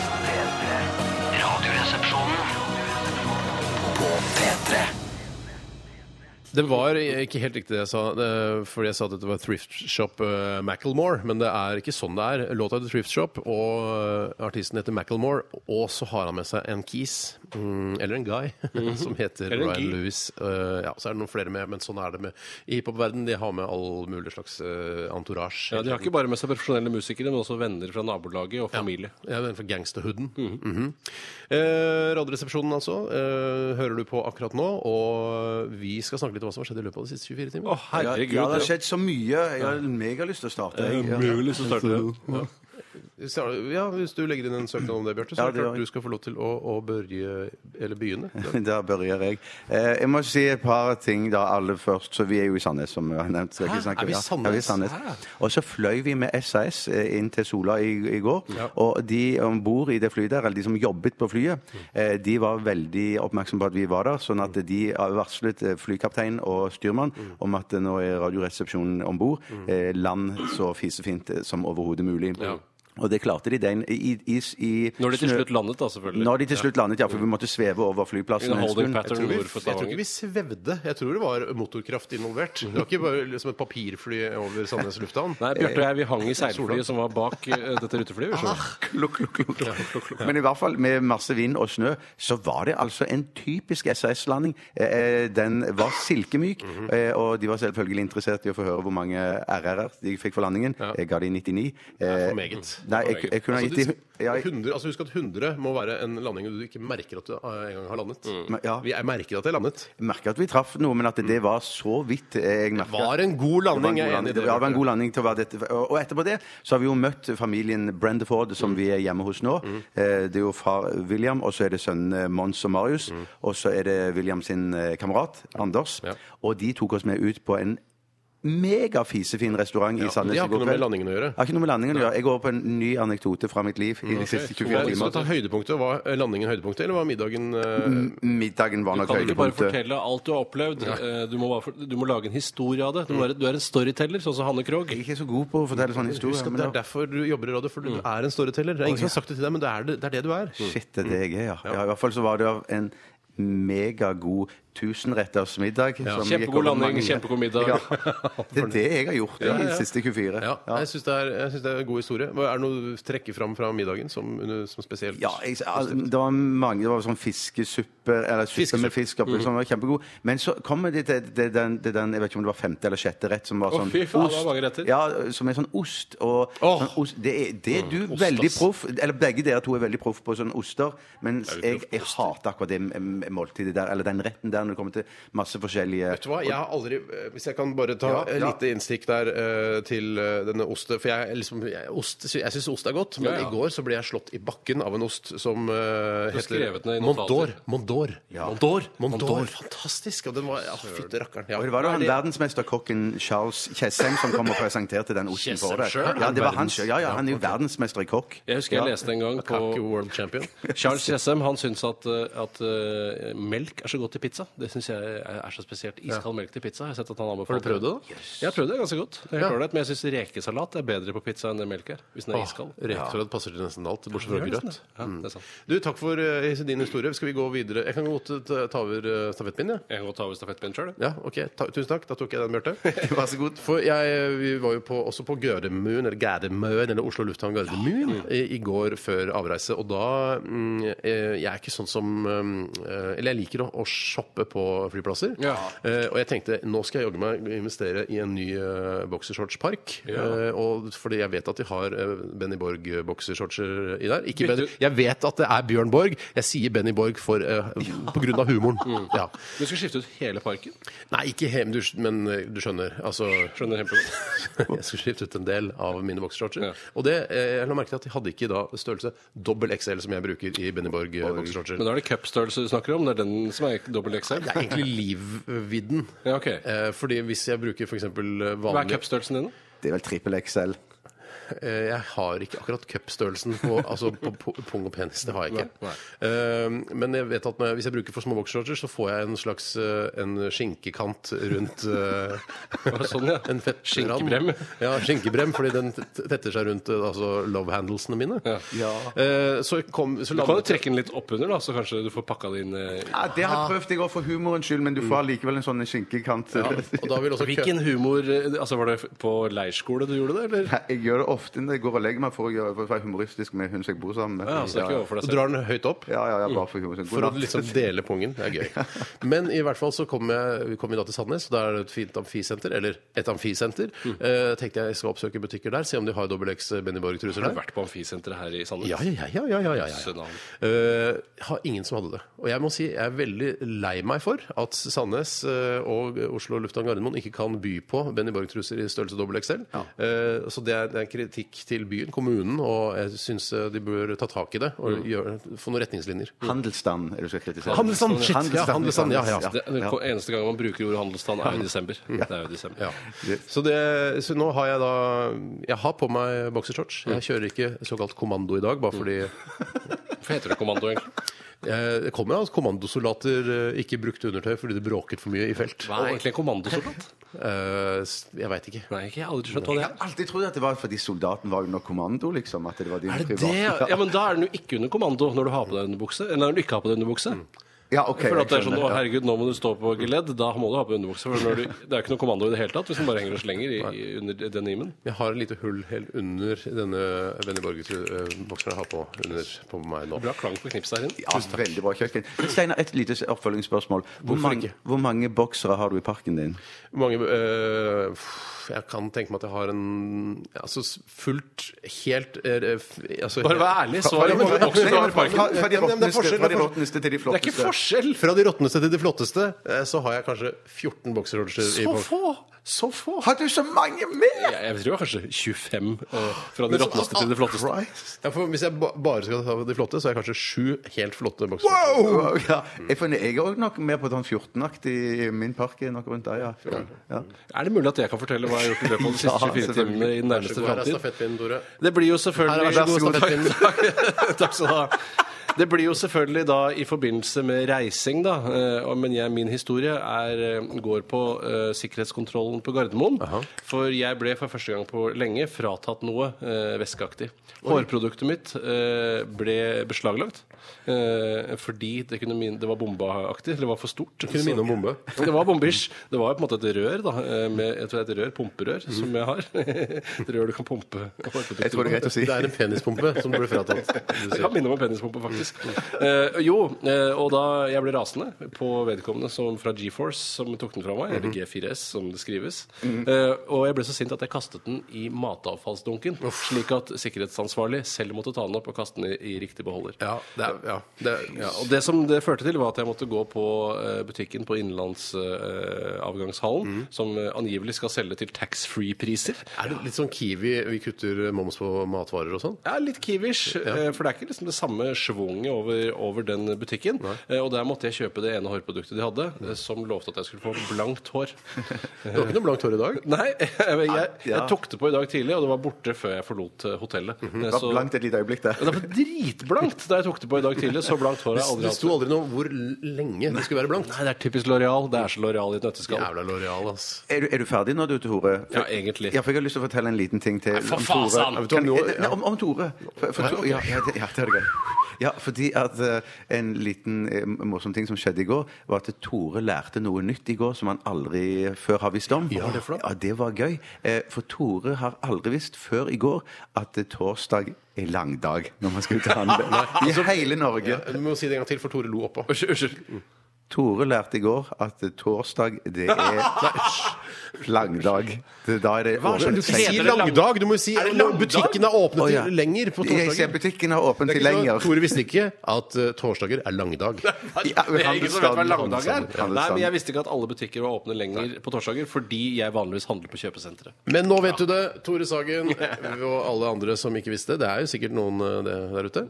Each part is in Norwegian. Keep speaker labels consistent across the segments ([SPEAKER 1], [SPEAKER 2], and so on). [SPEAKER 1] P3. Radioresepsjonen på P3.
[SPEAKER 2] Det var ikke helt riktig det jeg sa, eh, fordi jeg sa at dette var Thrift Shop eh, Macklemore, men det er ikke sånn det er. Låta heter Thrift Shop, og eh, artisten heter Macklemore, og så har han med seg en keys, mm, eller en guy, som heter
[SPEAKER 3] Mhm. Eller en
[SPEAKER 2] Ryan
[SPEAKER 3] guy.
[SPEAKER 2] Lewis. Eh, Ja, så er det noen flere med, men sånn er det med i hiphop-verden. De har med all mulig slags eh, entourage.
[SPEAKER 3] Ja, De har ikke bare med seg profesjonelle musikere, men også venner fra nabolaget og familie.
[SPEAKER 2] Ja, innenfor gangsterhooden. Mhm. eh, Radioresepsjonen, altså, eh, hører du på akkurat nå. Og vi skal snakke litt om hva som har skjedd i løpet av de siste 24 timer.
[SPEAKER 3] Å,
[SPEAKER 4] Ja,
[SPEAKER 3] herregud.
[SPEAKER 4] ja, det har
[SPEAKER 3] det-
[SPEAKER 4] skjedd så mye. Jeg har megalyst til å starte.
[SPEAKER 3] det
[SPEAKER 4] jeg.
[SPEAKER 3] er umulig å starte det.
[SPEAKER 2] Så- Ja, Hvis du legger inn en søknad om det, Bjarte, så
[SPEAKER 4] Ja,
[SPEAKER 2] er det klart
[SPEAKER 4] det gjør jeg.
[SPEAKER 2] du skal få lov til å, å børje, eller begynne.
[SPEAKER 4] Ja. Der børjer jeg. Eh, jeg må si et par ting da alle først. Så vi er jo i Sandnes, som jeg har nevnt. så jeg
[SPEAKER 2] Hæ?
[SPEAKER 4] ikke snakker-
[SPEAKER 2] Er vi i
[SPEAKER 4] ja.
[SPEAKER 2] Sandnes?
[SPEAKER 4] Ja, vi er i Sandnes. Og så fløy vi med SAS eh, inn til Sola i, i går. Og de om bord i det flyet der, eller de som jobbet på flyet, eh, de var veldig oppmerksomme på at vi var der. Sånn at de varslet eh, flykaptein og styrmann om at eh, nå er Radioresepsjonen om bord. Eh, land så fisefint eh, som overhodet mulig. Og det klarte de den i, i, i
[SPEAKER 3] Når de til
[SPEAKER 4] snø-
[SPEAKER 3] slutt landet, da, selvfølgelig.
[SPEAKER 4] Når de til slutt landet, ja, for vi måtte sveve over flyplassen
[SPEAKER 3] In a
[SPEAKER 4] en
[SPEAKER 3] holding
[SPEAKER 2] Jeg
[SPEAKER 4] stund.
[SPEAKER 3] pattern
[SPEAKER 2] tror, vi,
[SPEAKER 3] nord for
[SPEAKER 2] jeg tror ikke vi
[SPEAKER 3] Stavanger.
[SPEAKER 2] svevde. Jeg tror det var motorkraft involvert. Det var ikke bare liksom et papirfly over Sandnes lufthavn.
[SPEAKER 3] Nei, Bjarte og jeg vi hang i seilflyet som var bak eh, dette ruteflyet. skjønner du.
[SPEAKER 4] Klukk, klukk, klukk, klukk. Men i hvert fall med masse vind og snø, så var det altså en typisk SAS-landing. Eh, den var silkemyk,
[SPEAKER 2] Mhm.
[SPEAKER 4] eh, og de var selvfølgelig interessert i å få høre hvor mange RR-er de fikk for landingen. Jeg ga de 99. Eh,
[SPEAKER 2] For meget. Altså,
[SPEAKER 4] nei, jeg, jeg kunne ha gitt de ja, jeg-
[SPEAKER 2] 100, altså Husk at 100 må være en landing du ikke merker at du eh, engang har landet.
[SPEAKER 3] Mm.
[SPEAKER 4] Men- ja.
[SPEAKER 2] Vi- Jeg merker at jeg landet.
[SPEAKER 4] jeg merker at vi traff noe, men at det var så vidt. eh, Jeg merker
[SPEAKER 2] Mm. var en god
[SPEAKER 4] Det var en
[SPEAKER 2] landing,
[SPEAKER 4] god
[SPEAKER 2] jeg er enig i
[SPEAKER 4] landing.
[SPEAKER 2] det.
[SPEAKER 4] Ja, det var en
[SPEAKER 2] Bjarte.
[SPEAKER 4] god landing til å være dette. Og og etterpå det så har vi jo møtt familien Brendeford, som vi er hjemme hos nå.
[SPEAKER 2] Mm.
[SPEAKER 4] Eh, Det er jo far William, og så er det sønnene Mons og Marius. Og så er det William sin eh, kamerat Anders.
[SPEAKER 2] Mm. Ja.
[SPEAKER 4] Og de tok oss med ut på en megafisefin restaurant i
[SPEAKER 2] de
[SPEAKER 4] Sandnes
[SPEAKER 2] har
[SPEAKER 4] i
[SPEAKER 2] ikke
[SPEAKER 4] går
[SPEAKER 2] noe med
[SPEAKER 4] kveld.
[SPEAKER 2] landingen å gjøre.
[SPEAKER 4] Har ikke noe med landingen å gjøre. Jeg går over på en ny anekdote fra mitt liv i de siste
[SPEAKER 2] Hva-
[SPEAKER 4] 24
[SPEAKER 2] Skal du ta
[SPEAKER 4] timer. Mm.
[SPEAKER 2] høydepunktet? Var eh, landingen høydepunktet, eller var middagen eh,
[SPEAKER 4] Middagen var nok
[SPEAKER 3] Kan du ikke bare
[SPEAKER 4] høydepunktet.
[SPEAKER 3] fortelle alt du har opplevd? Eh, Du må, bare for- du må lage en historie av det. Du, må være, du er en storyteller, sånn som Hanne Krogh.
[SPEAKER 4] Jeg er ikke så god på å fortelle sånne historier.
[SPEAKER 2] Husk at
[SPEAKER 4] men
[SPEAKER 2] det
[SPEAKER 4] da-
[SPEAKER 2] er derfor du jobber i radio, for du er en storyteller. Det er ingen som har sagt det til deg, men det er det, det, er det du er.
[SPEAKER 4] Shit, det er det jeg er, ja. ja. I hvert fall så var det en megagod tusenretters middag. som gikk
[SPEAKER 3] Kjempegod
[SPEAKER 4] over
[SPEAKER 3] landing,
[SPEAKER 4] mange-
[SPEAKER 3] kjempegod middag.
[SPEAKER 4] Ja. Det er det jeg har gjort i de siste 24.
[SPEAKER 2] Ja, Jeg syns det, er- jeg synes det er en god historie. Hva- Er det noe du trekker fram fra middagen som, som spesielt?
[SPEAKER 4] Ja, jeg, al- det var mange, det var sånn fiskesupper, eller suppe med fisk oppi,
[SPEAKER 3] Mm.
[SPEAKER 4] som var kjempegod. Men så kommer det til til den, til den, jeg vet ikke om det var femte eller sjette rett, som var
[SPEAKER 3] Å,
[SPEAKER 4] sånn
[SPEAKER 3] fy faen, det var mange retter.
[SPEAKER 4] Ja, som er sånn ost, og
[SPEAKER 2] Åh.
[SPEAKER 4] sånn ost, det, er,
[SPEAKER 3] Mm,
[SPEAKER 4] det er du veldig
[SPEAKER 2] ass.
[SPEAKER 4] proff, eller begge dere to er veldig proff på sånne oster, mens jeg, jeg hater akkurat det m- måltidet der, eller den retten der, når det kommer til masse forskjellige...
[SPEAKER 2] Vet du hva, jeg har aldri eh, Hvis jeg kan bare ta
[SPEAKER 4] Ja,
[SPEAKER 2] et
[SPEAKER 4] ja.
[SPEAKER 2] lite innstikk der eh, til eh, denne oste For jeg, er liksom, jeg, ost, sy- jeg syns ost er godt, men
[SPEAKER 3] Ja, ja.
[SPEAKER 2] i går så ble jeg slått i bakken av en ost som eh,
[SPEAKER 3] skrevet
[SPEAKER 2] heter
[SPEAKER 3] ned i
[SPEAKER 2] Mondor.
[SPEAKER 3] notater.
[SPEAKER 2] Mondor. Mondor. Mondor. Fantastisk. Og den var ja, Fytti rakkeren. Ja.
[SPEAKER 4] Og det var da han verdensmesterkokken Charles Kjessem som kom og presenterte den osten
[SPEAKER 2] Kjessem
[SPEAKER 4] for deg.
[SPEAKER 2] selv?
[SPEAKER 4] Ja, det var han
[SPEAKER 2] Verdens-
[SPEAKER 4] selv. Ja, ja, han er jo verdensmester i kokk.
[SPEAKER 3] Jeg husker jeg
[SPEAKER 4] Ja.
[SPEAKER 3] leste en gang
[SPEAKER 2] Kake
[SPEAKER 3] på
[SPEAKER 2] world champion.
[SPEAKER 3] Charles Jessem han syns at, eh, at eh, melk er så godt til pizza. Det syns jeg er er så spesielt. Iskald melk til pizza. Jeg har sett at han anbefaler
[SPEAKER 2] Har du prøvd det, da?
[SPEAKER 3] Jeg har prøvd det ganske godt. Det er helt ålreit, Men jeg syns rekesalat er bedre på pizza enn det melk er. Hvis den er iskald.
[SPEAKER 2] Rekesalat passer til nesten alt, bortsett fra grøt.
[SPEAKER 3] Ja, det er sant.
[SPEAKER 2] Du, Takk for eh, din historie. Skal vi gå videre? Jeg kan godt eh, ta over eh, stafettpinnen, jeg.
[SPEAKER 3] Jeg kan godt ta over stafettpinnen sjøl.
[SPEAKER 2] Ja, ok. Ta, tusen takk. Da tok jeg den, Bjarte.
[SPEAKER 4] Vær så god.
[SPEAKER 2] For jeg, eh, vi var jo på, også på Gødemuen, eller Gædemøen, eller Oslo Lufthavn Gødemuen i, i går før avreise. Og da mm, eh, Jeg er ikke sånn som eh, Eller jeg liker å, å shoppe på flyplasser.
[SPEAKER 3] Ja.
[SPEAKER 2] Eh, og jeg tenkte nå skal jeg jaggu meg investere i en ny eh, boksershortspark. Eh, og fordi jeg vet at de har eh, Benny Borg boksershortser i der. Ikke Benny, jeg vet at det er Bjørn Borg. Jeg sier Benny Borg for, eh, på grunn av humoren.
[SPEAKER 4] Mm.
[SPEAKER 2] Ja.
[SPEAKER 3] Du skal skifte ut hele parken.
[SPEAKER 2] Nei, ikke hem, du, skj- men eh, du skjønner. Altså,
[SPEAKER 3] Skjønner kjempegodt.
[SPEAKER 2] jeg skulle skifte ut en del av mine boksershortser.
[SPEAKER 3] Ja.
[SPEAKER 2] Og det, eh, jeg la merke til at de hadde ikke da størrelse dobbel XL som jeg bruker i Benny Borg eh, boksershortser.
[SPEAKER 3] Men da er det cupstørrelse du snakker om? Det er den som er dobbel XL?
[SPEAKER 2] Det er egentlig livvidden.
[SPEAKER 3] Ja, ok.
[SPEAKER 2] Eh, Fordi hvis jeg bruker f.eks.
[SPEAKER 3] Hva er
[SPEAKER 2] vanlig
[SPEAKER 3] cupstørrelsen din, da?
[SPEAKER 4] Det er vel trippel XL.
[SPEAKER 2] Eh, Jeg har ikke akkurat cupstørrelsen på, altså på på pung og penis. Det har jeg ikke. Eh, Men jeg vet at når jeg, hvis jeg bruker for små boxershorter, så får jeg en slags eh, en skinkekant rundt eh,
[SPEAKER 3] sånn, ja.
[SPEAKER 2] En fett
[SPEAKER 3] Skinkebrem.
[SPEAKER 2] Ja, skinkebrem, fordi den t- tetter seg rundt eh, altså love handlesene mine. Eh, Så kom så
[SPEAKER 3] Du kan jo trekke den litt oppunder, da, så kanskje du får pakka det inn. eh,
[SPEAKER 4] Ja, det har jeg prøvd jeg òg for humorens skyld, men du får allikevel en sånn skinkekant.
[SPEAKER 2] Og da vil også altså, kø-
[SPEAKER 3] Altså, Hvilken humor eh, Altså, Var det f- på leirskole du gjorde det, eller?
[SPEAKER 4] Nei, Jeg gjør det ofte når jeg går og legger meg for å, gjøre, for å være humoristisk med hun som jeg bor sammen med.
[SPEAKER 3] Ja, så det er ikke overfor
[SPEAKER 2] Så
[SPEAKER 3] deg selv.
[SPEAKER 2] drar den høyt opp.
[SPEAKER 4] ja, ja, ja, bare for humor.
[SPEAKER 2] For å liksom dele pungen. Det er gøy. Men i hvert fall så kom, jeg, vi kom vi da til Sandnes, og der er det et fint amfisenter. Eller et amfisenter.
[SPEAKER 3] Mm.
[SPEAKER 2] Eh, tenkte jeg skal oppsøke butikker der, se om de har dobbel X eh, Benny Borg-truser
[SPEAKER 3] Har du
[SPEAKER 2] der.
[SPEAKER 3] vært på amfisenteret her i Sandnes?
[SPEAKER 2] Ja, ja, ja. ja, ja, ja, ja, ja.
[SPEAKER 3] Søndag.
[SPEAKER 2] Eh, har ingen som hadde det. Og jeg må si jeg er veldig lei meg for at Sandnes eh, og Oslo lufthavn Gardermoen ikke kan by på Benny Borg-truser i størrelse dobbel XL. Eh, så det er, det er kritikk til byen, kommunen, og jeg syns eh, de bør ta tak i det og
[SPEAKER 3] Mm.
[SPEAKER 2] gjøre, få noen retningslinjer.
[SPEAKER 4] Handelsstand er det du skal kritisere.
[SPEAKER 2] Handelsstand, shit!
[SPEAKER 4] Handelsstand,
[SPEAKER 2] Ja, handelsstand, ja, ja.
[SPEAKER 3] Det, det eneste gang man bruker ordet handelsstand, er jo i desember. Det er jo i desember.
[SPEAKER 2] Ja. Så, det, så nå har jeg da Jeg har på meg boksershorts. Jeg kjører ikke såkalt kommando i dag, bare fordi
[SPEAKER 3] Hvorfor heter det kommando, egentlig?
[SPEAKER 2] eh, Det kommer altså kommandosoldater, eh, ikke brukte undertøy fordi det bråket for mye i felt.
[SPEAKER 3] Hva er egentlig en kommandosoldat?
[SPEAKER 2] Eh, s- jeg veit ikke.
[SPEAKER 3] Nei, ikke, jeg har aldri skjønt hva det
[SPEAKER 4] Jeg har
[SPEAKER 3] er.
[SPEAKER 4] alltid trodd at det var fordi soldaten var under kommando, liksom. At det var din
[SPEAKER 3] Er det det?
[SPEAKER 4] private
[SPEAKER 3] Ja, men da er den jo ikke under kommando når du har på deg underbukse. Eller når du ikke har på deg underbukse.
[SPEAKER 4] Ja, ok.
[SPEAKER 3] For at det er sånn,
[SPEAKER 4] skjønner.
[SPEAKER 3] å herregud, nå må du stå på geledd, da må du ha på underbukse. For når du, det er jo ikke noe kommando i det hele tatt hvis den bare henger og slenger i, i, under denimen.
[SPEAKER 2] Jeg har et lite hull helt under denne Benny Borge-bokseren jeg har på, under, på meg nå.
[SPEAKER 3] Bra klang på knipset her inne.
[SPEAKER 4] Ja, veldig bra kjøkken. Steinar, et lite oppfølgingsspørsmål. Hvor, mange,
[SPEAKER 2] ikke?
[SPEAKER 4] hvor mange boksere har du i parken din?
[SPEAKER 2] Hvor mange eh, pff, Jeg kan tenke meg at jeg har en Altså s- fullt, helt eh, f- altså,
[SPEAKER 3] Bare vær ærlig, svar
[SPEAKER 2] Ja, men-
[SPEAKER 3] på boksere du har i
[SPEAKER 4] Fra,
[SPEAKER 3] parken.
[SPEAKER 4] fra, fra de
[SPEAKER 2] Ja, men det er
[SPEAKER 4] råtneste
[SPEAKER 2] forskjell,
[SPEAKER 4] fra
[SPEAKER 2] det
[SPEAKER 4] de
[SPEAKER 2] er forskjell.
[SPEAKER 4] råtneste til de
[SPEAKER 3] Det er ikke
[SPEAKER 4] flotteste.
[SPEAKER 3] forskjell!
[SPEAKER 2] Fra de råtneste til de flotteste eh, så har jeg kanskje 14 boksershortser i
[SPEAKER 3] Så
[SPEAKER 2] på-
[SPEAKER 3] få! Så få!
[SPEAKER 4] Har du så mange med?!
[SPEAKER 3] Jeg, jeg tror kanskje 25 eh, fra de
[SPEAKER 2] Men så-
[SPEAKER 3] råtneste til de flotteste.
[SPEAKER 2] Ja, for hvis jeg ba- bare skal ta de flotte, så er jeg kanskje sju helt flotte boksere.
[SPEAKER 4] Wow! Ja, jeg, finner, jeg er òg nok mer på sånn 14-aktig. Min park er nok rundt der, ja. ja.
[SPEAKER 3] Er det mulig at jeg kan fortelle hva jeg har gjort i løpet av de siste
[SPEAKER 4] Ja,
[SPEAKER 3] 24
[SPEAKER 4] selvfølgelig.
[SPEAKER 3] timene i den
[SPEAKER 2] Vær så
[SPEAKER 3] nærmeste
[SPEAKER 2] god, her er
[SPEAKER 3] framtid?
[SPEAKER 2] stafettpinnen, Tore.
[SPEAKER 3] Det blir jo
[SPEAKER 2] Her er
[SPEAKER 3] selvfølgelig
[SPEAKER 2] vær så god,
[SPEAKER 3] Takk, takk, takk skal du ha. Det blir jo selvfølgelig da i forbindelse med reising, da. eh, og- Men jeg, min historie er, eh, går på eh, sikkerhetskontrollen på Gardermoen. For jeg ble for første gang på lenge fratatt noe eh, væskeaktig. Hårproduktet mitt eh, ble beslaglagt eh, fordi det, kunne min, det var bombeaktig. Det var for stort.
[SPEAKER 2] Kunne minne om bombe.
[SPEAKER 3] Det var bombisj. Det var jo på en måte et rør, da. eh, Med, jeg tror det er et rør, pumperør, som jeg har. Et rør du kan pumpe hårprodukter
[SPEAKER 4] Jeg tror det er greit å si.
[SPEAKER 2] Det er en penispumpe som ble fratatt. du
[SPEAKER 3] Det
[SPEAKER 2] sier.
[SPEAKER 3] kan minne om en penispumpe, faktisk. Eh, jo, eh, og da jeg ble rasende på vedkommende som, fra GeForce som tok den fra meg,
[SPEAKER 2] Mhm.
[SPEAKER 3] eller G4S som det skrives, eh, og jeg ble så sint at jeg kastet den i matavfallsdunken, slik at sikkerhetsansvarlig selv måtte ta den opp og kaste den i, i riktig beholder.
[SPEAKER 2] Ja, det er, ja, det er, ja.
[SPEAKER 3] Ja, og Det som det førte til, var at jeg måtte gå på eh, butikken på
[SPEAKER 2] Mhm.
[SPEAKER 3] innenlandsavgangshallen, som eh, angivelig skal selge til taxfree-priser.
[SPEAKER 2] Er det litt sånn Kiwi vi kutter moms på matvarer og sånn?
[SPEAKER 3] Ja, litt kiwish, eh, for det er ikke liksom det samme schwunget over, over den butikken. Eh, Og der måtte jeg kjøpe det ene hårproduktet de hadde, eh, som lovte at jeg skulle få blankt hår.
[SPEAKER 2] Du har ikke noe blankt hår i dag?
[SPEAKER 3] Nei, jeg, jeg,
[SPEAKER 4] Ja.
[SPEAKER 3] jeg tok det på i dag tidlig, og det var borte før jeg forlot eh, hotellet. Eh,
[SPEAKER 4] Mhm. Det var
[SPEAKER 3] så-
[SPEAKER 4] blankt et lite øyeblikk der.
[SPEAKER 3] Ja, det var dritblankt da jeg tok det på i dag tidlig. Så blankt hår har jeg aldri
[SPEAKER 2] Det
[SPEAKER 3] hatt.
[SPEAKER 2] sto aldri noe om hvor lenge det skulle være blankt.
[SPEAKER 3] Nei, det er typisk Loreal. Det er så Loreal i et nøtteskall.
[SPEAKER 2] Jævla Loreal, ass.
[SPEAKER 4] Er du, er du ferdig nå, du, Tore? For,
[SPEAKER 3] Ja, egentlig.
[SPEAKER 4] Ja, for jeg har lyst til å fortelle en liten ting til
[SPEAKER 3] for
[SPEAKER 4] om
[SPEAKER 3] faen,
[SPEAKER 4] Tore.
[SPEAKER 3] sant.
[SPEAKER 4] Kan-
[SPEAKER 2] Vet du hva, nå-
[SPEAKER 4] eh, nei, om, om Tore. For, for, Tore- ja, ja, det, ja, det er det greit. Ja, fordi at eh, en liten eh, morsom ting som skjedde i går, var at Tore lærte noe nytt i går som han aldri før har visst om. Ja, det, ja, det var gøy. Eh, For Tore har aldri visst før i går at eh, torsdag er langdag når man skal ut og handle. I hele Norge.
[SPEAKER 2] Du må si det en gang til, for Tore lo oppå.
[SPEAKER 3] Unnskyld, unnskyld.
[SPEAKER 4] Tore lærte i går at eh, torsdag, det er langdag. Det- Da er det
[SPEAKER 2] Hva er det?
[SPEAKER 4] åpent
[SPEAKER 2] Du kan
[SPEAKER 4] sent.
[SPEAKER 2] ikke si langdag, du må jo si
[SPEAKER 3] det langdag?
[SPEAKER 2] butikken er åpnet
[SPEAKER 4] Å, ja.
[SPEAKER 2] til lenger på
[SPEAKER 4] Jeg ser
[SPEAKER 2] torsdagen.
[SPEAKER 4] butikken har åpent
[SPEAKER 2] Det er
[SPEAKER 4] til
[SPEAKER 2] ikke så-
[SPEAKER 4] lenger.
[SPEAKER 2] Tore visste ikke at eh, torsdager er langdag.
[SPEAKER 4] Ja,
[SPEAKER 3] Det er ingen som vet hva
[SPEAKER 4] handelsstand,
[SPEAKER 3] langdag er.
[SPEAKER 4] handelsstand.
[SPEAKER 3] Nei, men Jeg visste ikke at alle butikker var åpne lenger på torsdager fordi jeg vanligvis handler på kjøpesentre.
[SPEAKER 2] Men nå vet du det, Tore Sagen og alle andre som ikke visste. Det er jo sikkert noen eh, det der ute.